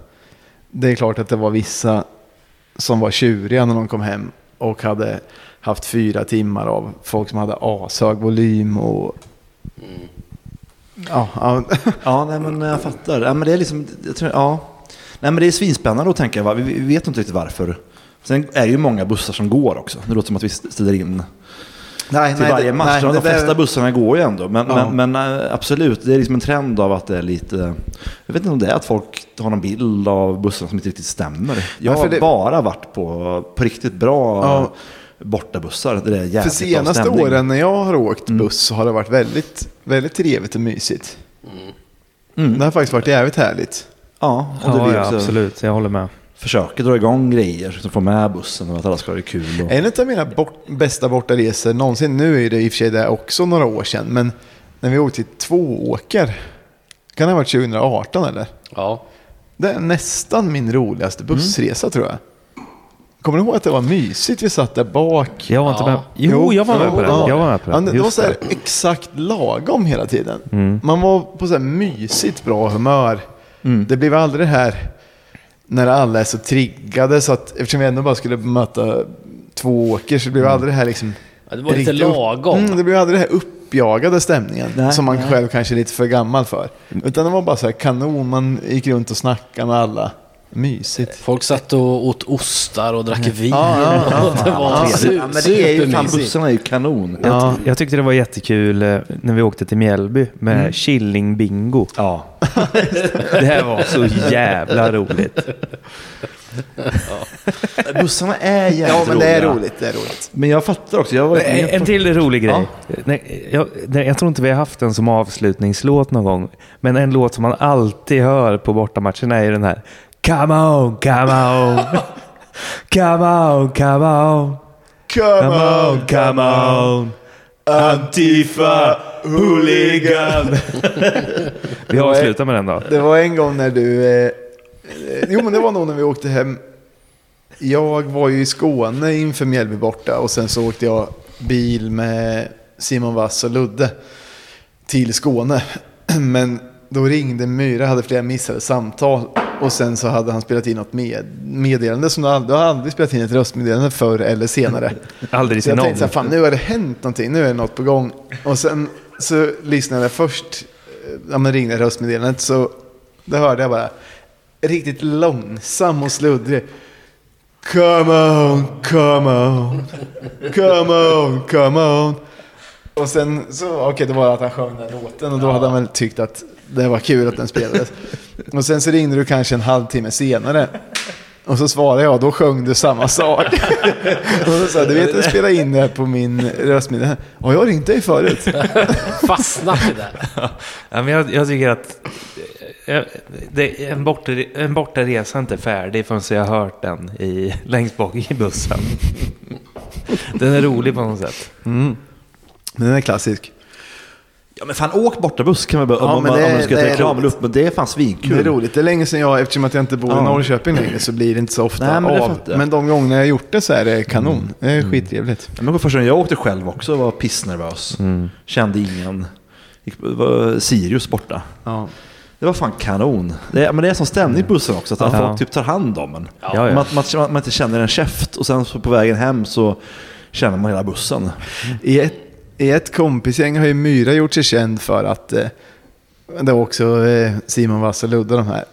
S1: Det är klart att det var vissa som var tjuriga när de kom hem och hade haft fyra timmar av folk som hade ashög volym och... Mm. Ja, ja,
S4: Ja, nej, men jag fattar. Ja, men det är liksom, jag tror, ja. Nej, men det är svinspännande att tänka. Va? Vi vi vet inte riktigt varför. Sen är det ju många bussar som går också. Det låter som att vi ställer in
S1: nej,
S4: till varje match. de
S1: det där-
S4: flesta bussarna går ju ändå. Men,
S1: Ja.
S4: men, men eh, absolut, det är liksom en trend av att det är lite... Jag vet inte om det är att folk har någon bild av bussarna som inte riktigt stämmer. Jag
S1: Ja, för
S4: har
S1: det-
S4: bara varit på, på riktigt bra
S1: Ja.
S4: bortabussar. Det är jävligt
S1: För
S4: bra
S1: senaste
S4: stämning.
S1: åren när jag har åkt buss så har det varit väldigt, väldigt trevligt och mysigt. Mm. Det har faktiskt varit jävligt härligt.
S4: Ja, och det
S2: Ja,
S4: blir
S2: ja,
S4: också
S2: absolut. Jag håller med.
S4: försöker dra igång grejer som får med bussen och att alla ska ha det kul. Och...
S1: En av mina bort, bästa bortaresor någonsin, nu är det i och för sig det också några år sedan, men när vi åkte till Tvååker, kan det ha varit 2018 eller?
S3: Ja.
S1: Det är nästan min roligaste bussresa tror jag. Kommer du ihåg att det var mysigt? Vi satt där bak.
S2: Jag var inte
S3: Ja.
S2: med. Jo, jag var med på det. Jag var med på
S1: Ja, men
S2: det. Mm.
S1: det var
S2: Just
S1: så här exakt lagom hela tiden. Man var på så här mysigt bra humör.
S2: Mm.
S1: Det blev aldrig det här när alla är så triggade. Så att, eftersom vi ändå bara skulle möta två åker så
S2: Mm.
S1: blev aldrig det här liksom...
S3: Ja, det var lite
S1: riktigt upp-
S3: lagom.
S1: Mm, det blev aldrig den här uppjagade stämningen
S4: Nej,
S1: som man
S4: nej.
S1: själv kanske är lite för gammal för. Utan det var bara så här kanon, man gick runt och snackade med alla. Mysigt.
S3: Folk satt och åt ostar och drack vin.
S1: ja,
S3: det var su-
S4: Ja, men det är ju, fan,
S3: supermysigt.
S4: bussarna är ju kanon.
S2: Jag, jag tyckte det var jättekul eh, när vi åkte till Mjällby med
S1: Mm.
S2: killingbingo.
S4: Ja.
S2: Det här var så jävla roligt.
S4: Bussarna är jävligt
S1: Ja, men det är
S4: roliga.
S1: roligt. Det är roligt.
S4: Men jag fattar också. Jag var
S2: En, en till rolig grej. Nej, jag, nej, jag tror inte vi har haft den som avslutningslåt någon gång. Men en låt som man alltid hör på bortamatcherna är ju den här. Come on, come on. Come on, come on.
S1: Come
S2: Come on, come on. Antifa, hooligan. Vi avslutar med den då.
S1: Det var en gång när du... Eh, eh, jo, men det var nog när vi åkte hem. Jag var ju i Skåne inför Mjällby borta och sen så åkte jag bil med Simon Wass och Ludde till Skåne. Men då ringde Myra, hade flera missade samtal och sen så hade han spelat in något med, meddelande som du aldrig, du har aldrig spelat in ett röstmeddelande förr eller senare.
S2: Aldrig
S1: Så jag
S2: till någon.
S1: tänkte så här, fan nu har det hänt någonting, nu är det något på gång. Och sen så lyssnade jag först, eh, ja men ringde röstmeddelandet, så då hörde jag bara riktigt långsam och sluddrig. Come on, come on, come on, come on. Och sen så, okej det var att han sjöng den låten och då hade han väl tyckt att det var kul att den spelades. Och sen så ringde du kanske en halvtimme senare. Och så svarade jag, då sjöng du samma sak. Och så sa jag, du vet jag spelade in det här på min röstmeddelande. Ja, jag har ringt dig förut.
S3: Fastnat i det.
S2: Ja, men jag, jag tycker att eh, det, en, borta, en bortaresa är inte färdig förrän jag har hört den i, längst bak i bussen. Den är rolig på något sätt.
S1: Men den är klassisk.
S4: Ja men fan åk bortabuss kan man börja,
S1: Ja,
S4: om,
S1: men
S4: man,
S1: det-
S4: om du ska
S1: det
S4: ta
S1: är
S4: reklam.
S1: roligt.
S4: upp, Men det är fan svinkul.
S1: Det är roligt. Det är länge sedan jag, eftersom att jag inte bor i
S4: Ja.
S1: Norrköping längre, så blir det inte så ofta
S4: Nej, men det
S1: av.
S4: fattar jag.
S1: Men de gånger jag har gjort det så är det kanon. Det är skittrevligt.
S4: Ja, men första gången jag åkte själv också var pissnervös. Kände ingen. Gick- var Sirius borta.
S1: Ja.
S4: Det var fan kanon. Det är, men det är som stämning i bussen också, att
S2: Ja.
S4: folk typ tar hand om en.
S2: Ja, ja.
S4: Man, man, man inte känner en käft och sen så på vägen hem så känner man hela bussen.
S1: I ett, I ett kompisgäng har ju Myra gjort sig känd för att, eh, det var också eh, Simon Wass och Ludde de här,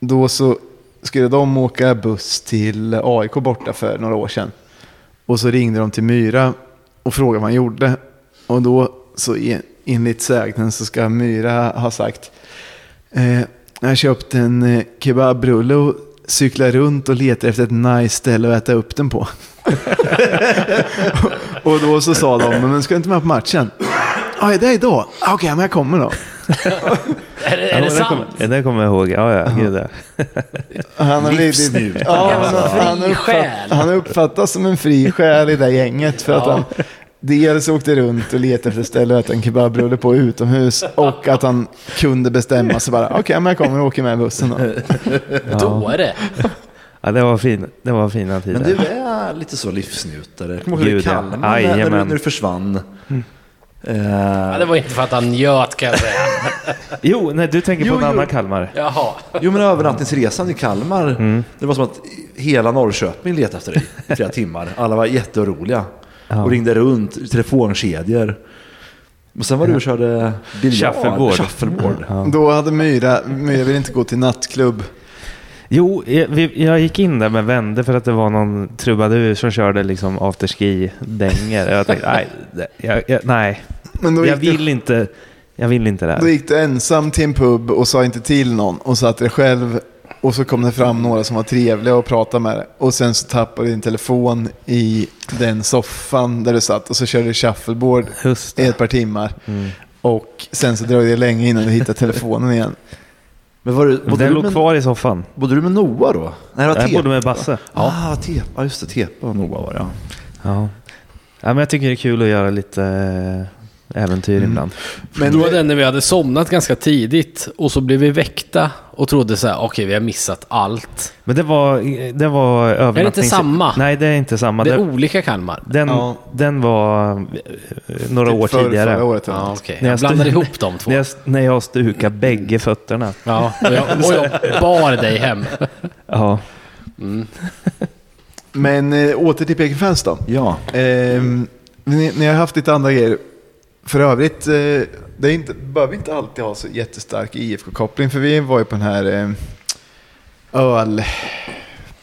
S1: då så skulle de åka buss till AIK borta för några år sedan. Och så ringde de till Myra och frågade vad han gjorde. Och då så en- enligt sägnen så ska Myra ha sagt eh, Jag köpte en eh, kebabrulle och cyklar runt och letar efter ett nice ställe att äta upp den på. Och då så sa de, men ska du inte med på matchen? Ja, är det idag? Ah, Okej, men jag kommer då.
S3: Är det, är
S2: ja,
S3: det
S2: men
S3: sant?
S2: kommer- ja, det kommer jag ihåg. Ja, ja. Gud, ja.
S1: Han har blivit-
S4: Livsnjutare.
S1: Ja, han,
S3: Alltså.
S1: har- han,
S3: Fri
S1: uppfatt,
S3: själ.
S1: han uppfattas som en fri själ i det gänget för att han dels åkte runt och letade efter ställen att en kebabrulle på utomhus och att han kunde bestämma sig bara, okej, men jag kommer och åker med bussen då.
S3: Dåre.
S2: ja, det var, fin, det var fina tider.
S4: Men du är lite så livsnjutare. Jag kommer ihåg hur
S2: Gud, ja.
S4: Kalmar när, när, du,
S2: Jajamän.
S4: när du försvann.
S3: Ja,
S4: Eh,
S3: det var inte för att han njöt kan jag säga.
S2: Jo, nej, du tänker på
S4: Jo,
S2: en
S4: jo.
S2: annan Kalmar.
S3: Jaha.
S4: Jo men övernattningsresan i Kalmar, det var som att hela Norrköping letade efter dig i flera timmar. Alla var jätteoroliga och ringde runt, i telefonkedjor. Men sen var du och körde biljard,
S2: Shuffleboard.
S4: shuffleboard.
S1: Då hade Myra, Myra vill inte gå till nattklubb.
S2: Jo, jag, vi, jag gick in där men vände för att det var någon trubadur som körde liksom afterski-dänger. Jag tänkte, nej, det- jag, jag, nej.
S1: Men då
S2: jag
S1: gick,
S2: vill
S1: du,
S2: inte. Jag vill inte det
S1: då
S2: här.
S1: gick du ensam till en pub och sa inte till någon och satt dig själv och så kom det fram några som var trevliga och pratade med dig. Och sen så tappade du din telefon i den soffan där du satt och så körde du shuffleboard
S2: Just
S1: i
S2: det.
S1: ett par timmar. Och sen så dröjde det länge innan du hittade telefonen igen.
S4: Men var du, bodde,
S2: Den
S4: du
S2: låg
S4: med,
S2: kvar i soffan.
S4: bodde du med Noah då? Nej, det var
S2: Jag
S4: Tepa.
S2: bodde med Basse.
S4: Ah, Tepa. Ja, just det. Tepa och Noah var det. Ja.
S2: Ja. ja, men jag tycker det är kul att göra lite eh, äventyr ibland.
S3: Men då var det när vi hade somnat ganska tidigt och så blev vi väckta och trodde så här, okej vi har missat allt.
S2: Men det var, det var övernattnings...
S3: samma?
S2: Nej, det är inte samma.
S3: det är
S2: Det,
S3: olika Kalmar.
S2: den,
S1: Ja.
S2: den var eh, några
S1: Typ
S2: år
S1: förra-
S2: tidigare.
S1: Förra året. eller
S3: Ja,
S1: något.
S3: okej.
S2: När
S3: Jag
S2: jag stod-
S3: blandade ihop de två.
S2: När jag, när jag stukade bägge fötterna.
S3: Ja, och jag, och jag bar dig hem.
S2: Ja.
S1: Men eh, åter till Peking Fans då.
S4: ja.
S1: Ehm, ni, ni har haft lite andra grejer. För övrigt, eh, det är inte, behöver inte alltid ha så jättestark IFK-koppling. För vi var ju på den här eh,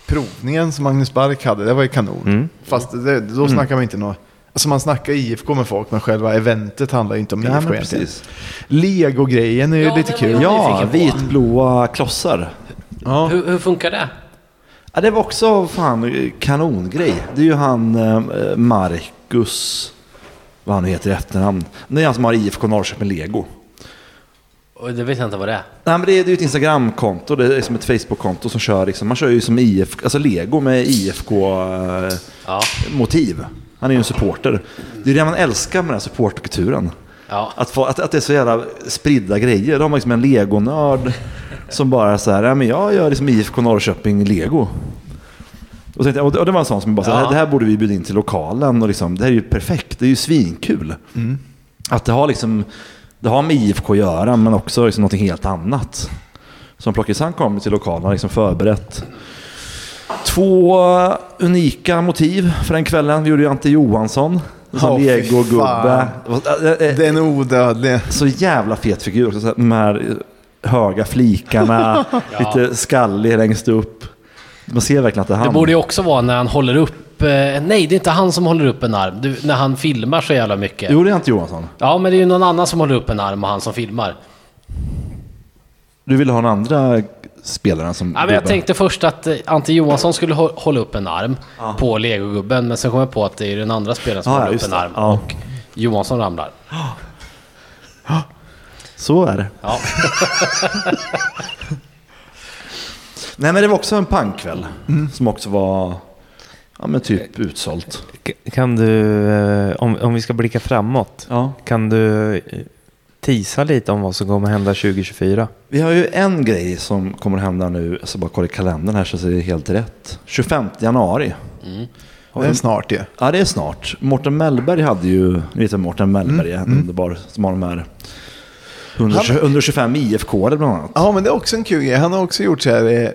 S1: ölprovningen som Magnus Bark hade. Det var ju kanon.
S2: Mm.
S1: Fast det, då snackar man inte något... Alltså man snackar IFK med folk, men själva eventet handlar ju inte om
S4: Nej,
S1: IFK
S4: men
S1: egentligen.
S4: precis.
S1: Lego-grejen är ju
S3: Ja,
S1: lite
S3: det var ju-
S1: kul.
S4: Ja,
S3: nyfiken på.
S4: vitblåa klossar.
S1: Ja.
S3: Hur, hur funkar det?
S4: Ja, det var också fan eh, kanongrej. Det är ju han eh, Marcus, vad han heter i efternamn. Det är han som har IFK Norrköping Lego.
S3: Och det vet jag inte vad det är.
S4: Nej, men det är det är ju ett Instagramkonto, det är som ett Facebookkonto som kör liksom, man kör ju som IFK, alltså Lego med IFK-motiv.
S3: Ja,
S4: Han är ju en supporter. Det är det man älskar med den här supportkulturen.
S3: ja.
S4: Att, få, att, att det är så jävla spridda grejer. Då har man liksom en legonörd som bara så här, ja, men jag gör liksom IFK Norrköping lego. Och, tänkte, jag- och det- och det var en sån som bara, så här,
S3: Ja.
S4: det här borde vi bjuda in till lokalen och liksom, det här är ju perfekt, det är ju svinkul.
S3: Mm.
S4: Att det har liksom, det har med IFK att göra men också liksom någonting helt annat. Som Plockis han kom till lokalen och liksom förberett. Två unika motiv för den kvällen. Vi gjorde ju Ante Johansson, en sån
S1: Åh, fy
S4: legogubbe.
S1: fan.
S4: Det var- äh, äh,
S1: Den är odödlig.
S4: så jävla fet figur också. Så här, de här höga flikarna, lite skallig längst upp. Man ser verkligen att det är han.
S3: Det borde ju också vara när han håller upp... eh, Nej, det är inte han som håller upp en arm. Du, när han filmar så jävla mycket.
S4: Jo, det är inte Johansson.
S3: Ja, men det är ju någon annan som håller upp en arm och han som
S4: Mm.
S3: filmar.
S4: Du ville ha den andra spelaren som...
S3: Ja, men jag
S4: gubbe.
S3: tänkte först att eh, Ante Johansson skulle hå- hålla upp en arm på legogubben, men sen kom jag på att det är den andra spelaren som
S4: Ja,
S3: håller upp
S4: just
S3: en
S4: det.
S3: arm
S4: Ja.
S3: och Johansson ramlar.
S4: Så är det.
S3: Ja.
S4: Nej, men det var också en pangkväll som också var ja, men typ utsålt.
S2: K- Kan du, eh, om, om vi ska blicka framåt,
S4: Ja.
S2: kan du eh, tisa lite om vad som kommer hända 2024?
S4: Vi har ju en grej som kommer att hända nu. Jag ska bara kolla i kalendern här så ser det helt rätt. 25 januari.
S1: Det är snart det.
S4: Ja, det är snart. Mårten Mellberg hade ju, ni vet vem Mårten Mellberg är, en underbar, som har de här 120 125 IFK bland annat.
S1: Ja, men det är också en kul grej. Han har också gjort så här eh,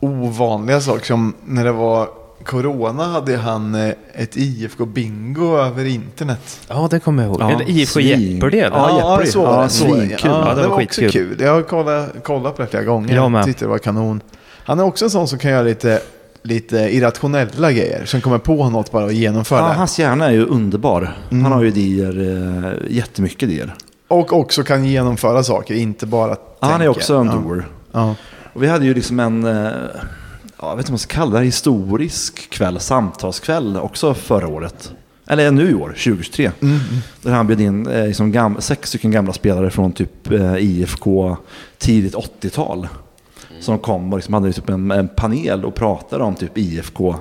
S1: ovanliga saker. Som när det var corona hade han eh, ett IFK-bingo över internet.
S2: Ja, det kommer jag ihåg.
S4: Ja,
S2: Eller IFK
S4: svin.
S2: Jeopardy eller?
S4: Ja, Jeopardy.
S1: så
S4: Ja,
S1: var det. Så var det.
S4: svinkul.
S1: Ja,
S2: Ja,
S1: det,
S2: det
S1: var
S2: var
S1: också
S2: skitkul.
S1: kul. Jag har kollat, kollat på det flera gånger.
S2: Jag med.
S1: Tyckte det var kanon. Han är också en sån som kan göra lite, lite irrationella grejer. Som kommer på något bara och genomför
S4: Ja,
S1: det.
S4: hans hjärna är ju underbar. Han har ju idéer, eh, jättemycket idéer.
S1: Och också kan genomföra saker, inte bara tänka.
S4: Han är också en
S1: Ja.
S4: doer.
S1: Ja.
S4: Och vi hade ju liksom en, eh, ja, jag vet inte vad man ska kalla det, här, historisk kväll, samtalskväll också förra året. Eller nu i år, 2023. Där han bjöd in eh, liksom gam- sex stycken gamla spelare från typ eh, IFK tidigt 80-tal. Som kom och liksom hade typ en, en panel och pratade om typ IFK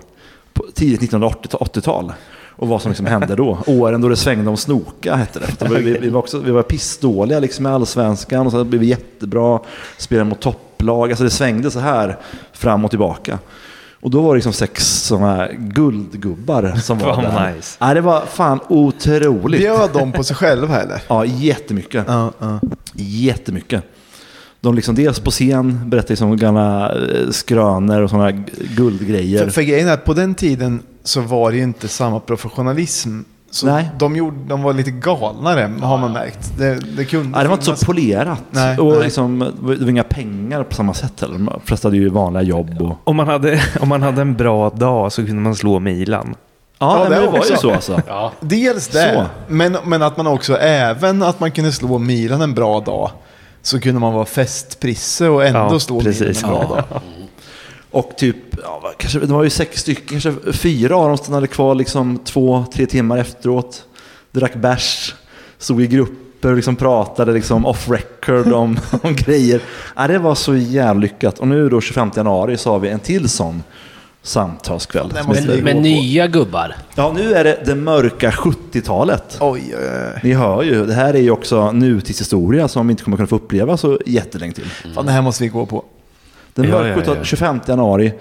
S4: på tidigt 1980-tal. Och vad som liksom hände då. Åren då det svängde om snoka hette det. Vi, vi, vi var, också, vi var pissdåliga liksom med allsvenskan och så blev vi jättebra. Spelade mot topplag. Alltså det svängde så här fram och tillbaka. Och då var det liksom sex sådana här guldgubbar som var
S2: Fan,
S4: där.
S2: nice.
S4: Ja, det var fan otroligt.
S1: Bjöd de på sig själva eller?
S4: Ja, jättemycket.
S1: Ja, ja.
S4: Jättemycket. De liksom dels på scen berättar liksom gamla eh, skrönor och sådana
S1: För,
S4: guldgrejer.
S1: för grejen är att på den tiden så var det ju inte samma professionalism. Så
S4: Nej.
S1: De, gjorde, de var lite galnare har man märkt. Det, det kunde
S4: Ja, det var inte
S1: finnas-
S4: så polerat.
S1: Nej,
S4: och
S1: nej.
S4: Liksom, det var inga pengar på samma sätt heller. De flesta hade ju vanliga jobb. Och...
S2: Om, man hade, om man hade en bra dag så kunde man slå Milan.
S4: Ja, nej,
S1: det
S4: men det var
S1: också.
S4: ju så alltså.
S3: Ja.
S1: Dels det, men, men att man också även att man kunde slå Milan en bra dag. Så kunde man vara festprisse och ändå
S2: Ja,
S1: slå
S2: precis.
S1: Milan en bra dag.
S4: Och typ, ja, vad- kanske, det var ju sex stycken, kanske fyra av dem stannade kvar liksom två, tre timmar efteråt. Drack bärs, stod i grupper och liksom pratade liksom off record om, om grejer. Ja, det var så jävla lyckat. Och nu då 25 januari så har vi en till sån samtalskväll.
S1: Den
S4: Som
S1: måste
S4: heter-
S1: vi-
S3: Med nya gubbar.
S4: Ja, nu är det det mörka 70-talet.
S1: Oj, oj, oj.
S4: Ni hör ju, det här är ju också nutidshistoria som vi inte kommer kunna få uppleva så jättelänge till.
S1: Fan, det här måste vi gå på.
S4: Den
S2: Ja,
S4: mörka
S2: ja, ja.
S4: 25 januari.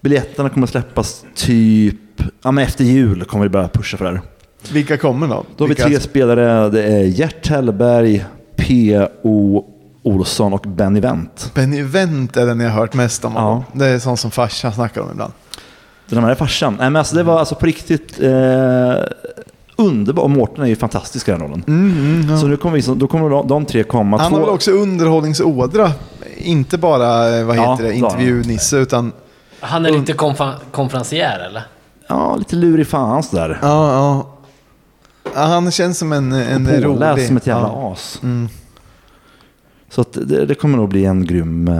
S4: Biljetterna kommer att släppas typ, ja men efter jul kommer vi börja pusha för det här.
S1: Vilka kommer då?
S4: Då har vi
S1: Vilka-
S4: tre spelare, det är Gert Hellberg, P.O. Olsson och Benny Wendt.
S1: Benny Wendt är den jag har hört mest om.
S4: Ja.
S1: Det är sånt som farsan snackar om ibland.
S4: Den här är farsan. Nej men alltså det var alltså på riktigt eh, underbart. Och Mårten är ju fantastisk i den rollen. Så nu kommer vi, så- då kommer de, de tre komma.
S1: Mm, Han har
S4: Två-
S1: väl också underhållningsådra. Inte bara, eh, vad
S4: Ja,
S1: heter det,
S4: det har han.
S1: intervju-Nisse, utan...
S3: Han är lite konfa- konferencier eller?
S4: Ja, lite lurig fan sådär.
S1: Ja, ja. Ja, Han känns som en, en
S4: en
S1: rolig...
S4: påläst som ett jävla
S1: ja. Mm.
S4: as. Så att det, det kommer nog bli en grym, eh,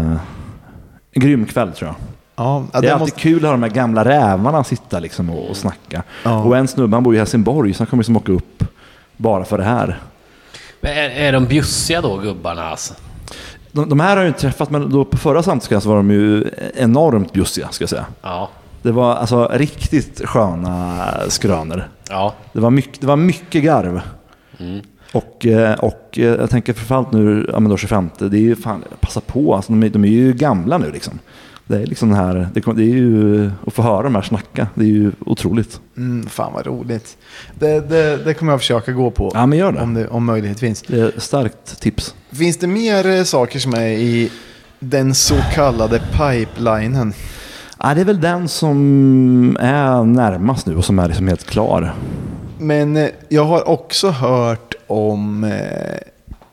S4: en grym kväll tror jag.
S1: Ja, ja,
S4: det är
S1: det
S4: alltid
S1: måste...
S4: kul att ha de här gamla rävarna sitta liksom och, och snacka.
S1: Ja.
S4: Och en snubbe, han bor i Helsingborg, så han kommer liksom åka upp bara för det här.
S3: Men Är, är de bjussiga då, gubbarna alltså?
S4: De, de här har jag ju inte träffat, men då på förra samtalet så var de ju enormt bjussiga, ska jag säga.
S3: Ja.
S4: Det var alltså riktigt sköna skrönor.
S3: Ja.
S4: Det var mycket, det var mycket garv. Och, eh, och eh, jag tänker framförallt nu, ja men då 25, det är ju fan, passa på, alltså, de, är, de är ju gamla nu liksom. Det är liksom det här, det, kom- det är ju, att få höra de här snacka, det är ju otroligt.
S1: Mm, fan vad roligt. Det, det, det kommer jag försöka gå på.
S4: Ja men gör
S1: Om,
S4: det.
S1: det, om möjlighet finns.
S4: det är ett starkt tips.
S1: Finns det mer eh, saker som är i den så kallade pipelinen?
S4: Ja, det är väl den som är närmast nu och som är liksom helt klar.
S1: Men eh, jag har också hört om... eh,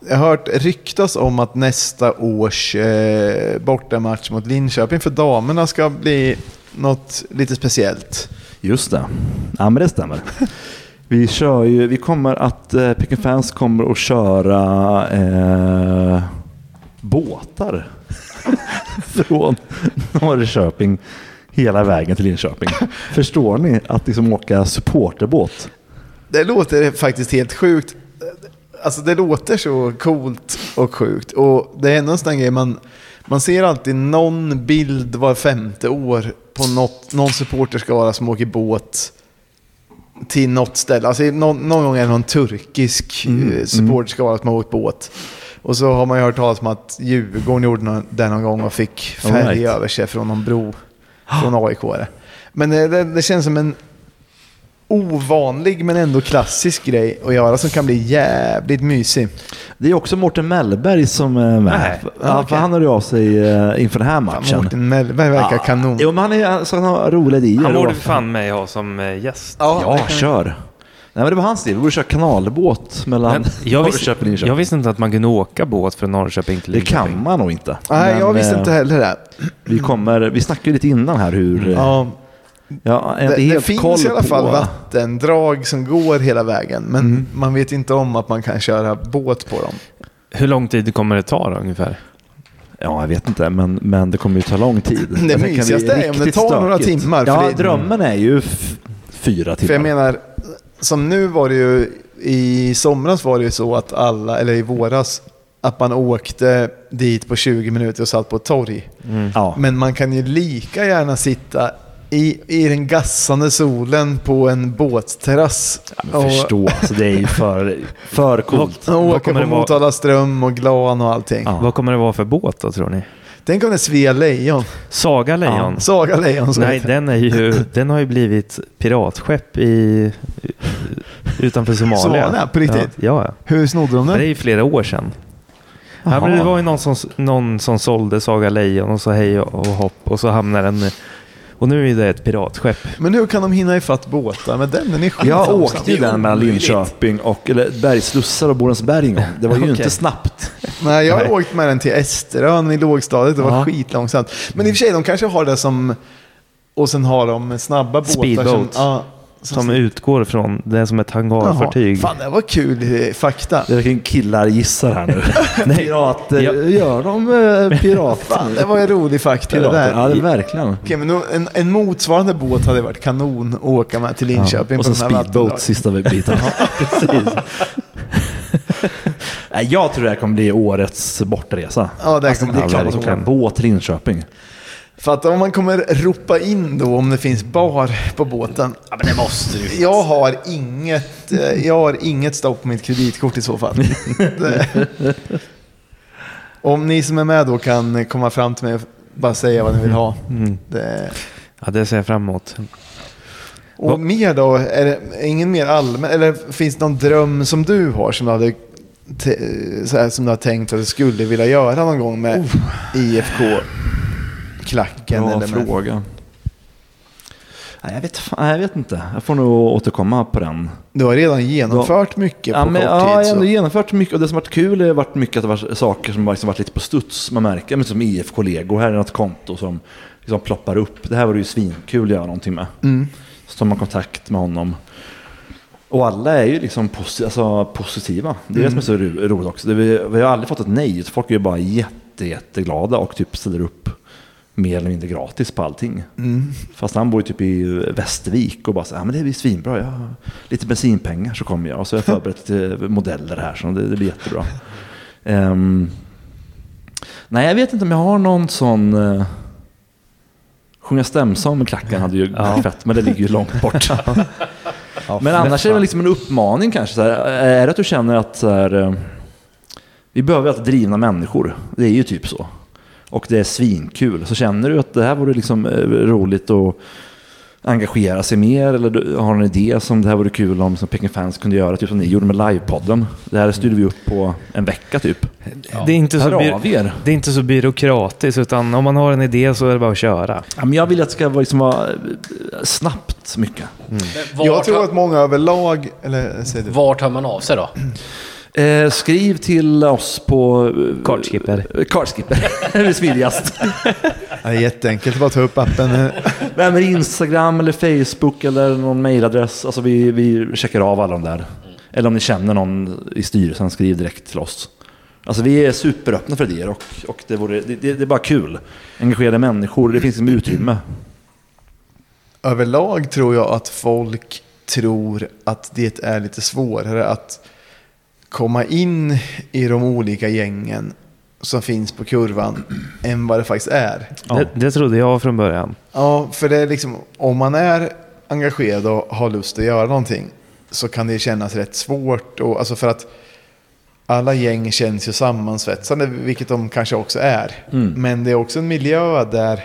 S1: Jag har hört ryktas om att nästa års eh, bortamatch mot Linköping för damerna ska bli något lite speciellt.
S4: Just det. Ja, men det stämmer. Vi kör ju, vi kommer att, eh, Pick and Fans kommer att köra eh, båtar från Norrköping hela vägen till Linköping. Förstår ni att liksom åka supporterbåt?
S1: Det låter faktiskt helt sjukt. Alltså det låter så coolt och sjukt. Och det är ändå en sån där grej man, man ser alltid någon bild var femte år på något, någon supporterskara som åker båt till något ställe. Alltså någon, någon gång är det någon turkisk mm. supporterskara som har åkt båt. Och så har man ju hört talas om att Djurgården gjorde nå- det någon gång och fick färg
S4: All right.
S1: över sig från någon bro från AIK. -are. Men det, det, det känns som en ovanlig men ändå klassisk grej att göra som kan bli jävligt mysig.
S4: Det är också Mårten Mellberg som är med.
S1: Nej,
S4: ja, för
S1: okej.
S4: han hörde av sig eh, inför den här
S1: Fan,
S4: matchen.
S1: Mårten Mellberg verkar
S4: Ja.
S1: kanon.
S4: Jo, men han, är, alltså, han har roliga idéer.
S8: Han
S4: Det
S8: borde
S4: var-
S8: för fan mig ha som eh, gäst.
S1: Ja,
S4: Ja, kör. Nej, men det var hans idé. Vi borde köra kanalbåt mellan
S2: Men jag, visste,
S4: Norrköping och Linköping.
S2: jag visste inte att man kunde åka båt från Norrköping till
S4: Det kan
S2: Linköping.
S4: man nog inte.
S1: Nej, jag
S4: Men,
S1: visste
S4: eh,
S1: inte heller det.
S4: Vi, kommer, vi snackade ju lite innan här hur... Ja,
S1: Ja,
S4: jag är
S1: det,
S4: inte
S1: det
S4: helt koll
S1: finns i alla fall
S4: på,
S1: vattendrag som går hela vägen, men man vet inte om att man kan köra båt på dem.
S2: Hur lång tid kommer det ta då ungefär?
S4: Ja, jag vet inte, men, men det kommer ju ta lång tid. Jag tänker att är
S1: mysigaste är om det
S4: riktigt
S1: tar några timmar, för
S4: Ja,
S1: det-
S4: drömmen är ju f- fyra timmar.
S1: För jag menar, som nu var det ju, i somras var det ju så att alla, eller i våras, att man åkte dit på 20 minuter och satt på ett torg.
S4: ja.
S1: Men man kan ju lika gärna sitta i, i den gassande solen på en båtterrass.
S4: men förstå, alltså, det är ju för, för coolt.
S1: Och, och
S2: Vad
S1: åka
S2: kommer
S1: på
S2: det vara?
S1: Motala ström och Glan och allting.
S4: Ja.
S2: Vad kommer det vara för båt då tror ni?
S1: Tänk om det är Svea Lejon.
S2: Saga Lejon?
S1: Saga Lejon. som
S2: Nej,
S1: heter.
S2: den, är ju, den har ju blivit piratskepp i, utanför Somalia.
S1: Somalia, på riktigt?
S2: Ja, ja.
S1: Hur snodde de
S2: Men det är
S1: den?
S2: ju flera år sedan. Ja, men det var ju någon som, någon som sålde Saga Lejon och så hej och hopp och så hamnar den... Och nu är det ett piratskepp.
S1: Men hur kan de hinna ifatt båtar med den? Den är skit
S4: Jag
S1: långsam.
S4: åkte ju den mellan Linköping och eller Bergslussar och Borensberg en gång. Det var ju
S2: Okej.
S4: inte snabbt.
S1: Nej, jag har åkt med den till Esterön i lågstadiet. Det var
S4: Ja.
S1: skitlångsamt. Men i och för sig, de kanske har det som... Och sen har de snabba båtar
S2: Speedboat.
S1: som... Ja,
S2: Som utgår från... Det är som ett hangarfartyg.
S1: Fan, det var kul eh, fakta.
S4: Det är verkligen killar gissar här nu. Pirat, ja.
S2: Ja.
S4: Gör de eh, pirat?
S1: Fan, det var en rolig fakta det
S4: Pirater,
S1: där.
S4: ja det är verkligen.
S1: Okej, men nog- en, en motsvarande båt hade varit kanon att åka med till Linköping.
S4: Och
S1: på
S4: sen
S1: de här
S4: speedboat
S1: vattendragen.
S4: sista biten. Ja, precis. Nej, jag tror det här kommer bli årets bortresa.
S1: Ja, det här kommer bli
S4: det kallas
S1: kanon.
S4: åka båt till Linköping.
S1: För att om man kommer ropa in då om det finns bar på båten.
S3: Ja, men det måste du.
S1: Jag har inget, eh, jag har inget stopp på mitt kreditkort i så fall. Det- om ni som är med då kan komma fram till mig och bara säga vad ni vill ha. Det,
S2: Mm. Ja, det ser jag fram emot.
S1: och mer då, är det ingen mer allmän, eller finns det någon dröm som du har som du, hade, te- så här, som du har tänkt att du skulle vilja göra någon gång med IFK-klacken?
S4: Oh. Bra
S1: eller med-
S4: fråga. Nej, jag, vet, fan- jag vet inte. Jag får nog återkomma på den.
S1: Du har redan genomfört mycket på
S4: Ja, men,
S1: kort
S4: ja, jag har
S1: tid.
S4: ändå
S1: så.
S4: genomfört mycket och det som varit kul har varit mycket att det varit saker som liksom varit lite på studs. Man märker, men som IF-kollegor, här är något konto som liksom ploppar upp. Det här var det ju svinkul att göra någonting med.
S1: Mm.
S4: Så tar man kontakt med honom. Och alla är ju liksom posi- alltså, positiva. Det är det som är så ro- roligt också. Det, vi, vi har aldrig fått ett nej. Folk är ju bara jätte, jätteglada och typ ställer upp mer eller mindre gratis på allting. Fast han bor ju typ i Västervik och bara så här, "Ja, men det blir svinbra. Jag har lite bensinpengar så kommer jag. Och så har jag förberett eh, modeller här så det, det blir jättebra. Ehm, nej, jag vet inte om jag har någon sån... eh, sjunga stämsång med klacken hade ju fett, men det ligger ju långt bort. Men annars är det väl liksom en uppmaning kanske. Så här, är det att du känner att så här, eh, vi behöver alltid drivna människor? Det är ju typ så. Och det är svinkul. Så känner du att det här vore liksom eh, roligt att engagera sig mer eller du har en idé som det här vore kul om som Peking Fans kunde göra, typ som ni gjorde med livepodden. Det här styrde vi upp på en vecka typ.
S2: Det, är inte så
S4: Hör
S2: by-
S4: av er.
S2: det är inte så byråkratiskt, utan om man har en idé så är det bara att köra.
S4: Ja, men jag vill att det ska vara, liksom, vara eh, snabbt mycket.
S3: Vart,
S1: Jag tror att
S3: har,
S1: många överlag, eller säger du?
S3: Mm. vart hör man av sig då?
S4: Eh, skriv till oss på... eh,
S2: Kartskipper.
S4: eh, Kartskipper. det är smidigast.
S1: Ja, Det är jätteenkelt, bara ta upp appen.
S4: Nej, men Instagram eller Facebook eller någon mailadress. Alltså vi, vi checkar av alla de där. Eller om ni känner någon i styrelsen, skriv direkt till oss. Alltså vi är superöppna för idéer och, och det, vore, det, det, det är bara kul. Engagerade människor, det finns liksom utrymme.
S1: Överlag tror jag att folk tror att det är lite svårare att komma in i de olika gängen som finns på kurvan än vad det faktiskt är.
S2: Det, det trodde jag från början.
S1: Ja, för det är liksom om man är engagerad och har lust att göra någonting så kan det kännas rätt svårt. Och, alltså för att alla gäng känns ju sammansvetsande, vilket de kanske också är.
S2: Mm.
S1: Men det är också en miljö där,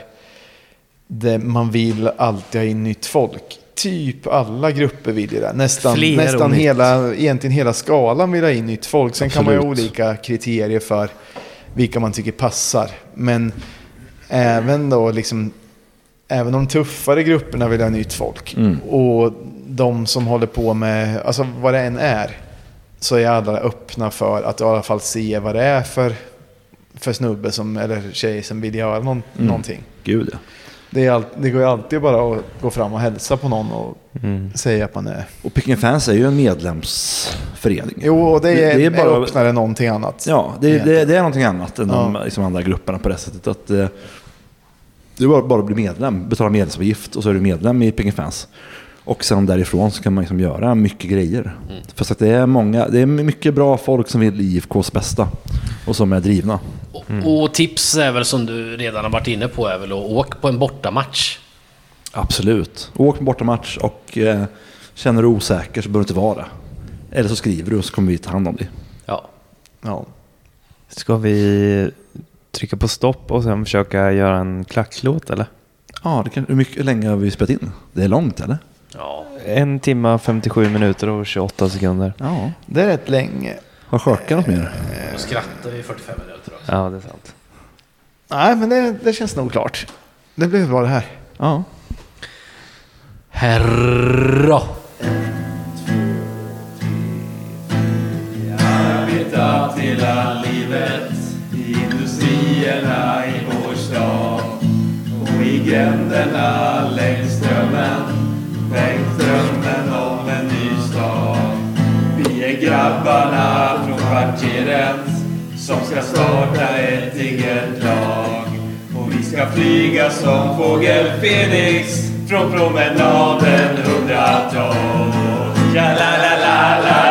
S1: där man vill alltid ha in nytt folk. Typ alla grupper vill ju det. Nästan,
S2: Fler och
S1: nästan
S2: nytt.
S1: hela, egentligen hela skalan vill ha in nytt folk. Sen kan man ju ha olika kriterier för vilka man tycker passar. Men även då liksom Även de tuffare grupperna vill ha nytt folk.
S4: Mm.
S1: Och de som håller på med, alltså vad det än är, så är alla öppna för att i alla fall se vad det är för, för snubbe som, eller tjej som vill göra någon,
S4: Mm.
S1: någonting.
S4: Gud ja.
S1: Det, är all, det går ju alltid bara att gå fram och hälsa på någon och säga att man är...
S4: Och Picken Fans är ju en medlemsförening.
S1: Jo, och det är,
S4: Det är bara-
S1: öppnare än någonting annat.
S4: Ja, det, det, det är någonting annat än de liksom, andra grupperna på det sättet. Att, eh, du bara, bara bli medlem, betala medlemsavgift och så är du medlem i Pinky Fans. Och sen därifrån så kan man liksom göra mycket grejer. Fast att det är, många, det är mycket bra folk som vill IFKs bästa och som är drivna.
S3: Och-
S4: Mm.
S3: Och tips är väl som du redan har varit inne på är väl att åka på en bortamatch.
S4: Absolut. Åk på bortamatch och eh, känner du osäker så behöver du inte vara det. Eller så skriver du och så kommer vi ta hand om dig.
S3: Ja.
S1: Ja.
S2: Ska vi trycka på stopp och sen försöka göra en klacklåt eller?
S4: Ja, det kan, hur, mycket, hur länge har vi spelat in? Det är långt eller?
S3: ja.
S2: En timma 57 minuter och 28 sekunder.
S4: Ja.
S1: Det är rätt länge.
S4: Har Sjöka något mer?
S3: Och skratta i 45 minuter också.
S2: Ja, det är sant.
S1: Nej, men det, det känns nog klart. Det blir bra det här.
S4: Ja.
S3: Herra!
S9: Fågel Fenix från promenaden 112. Ja, la, la, la, la,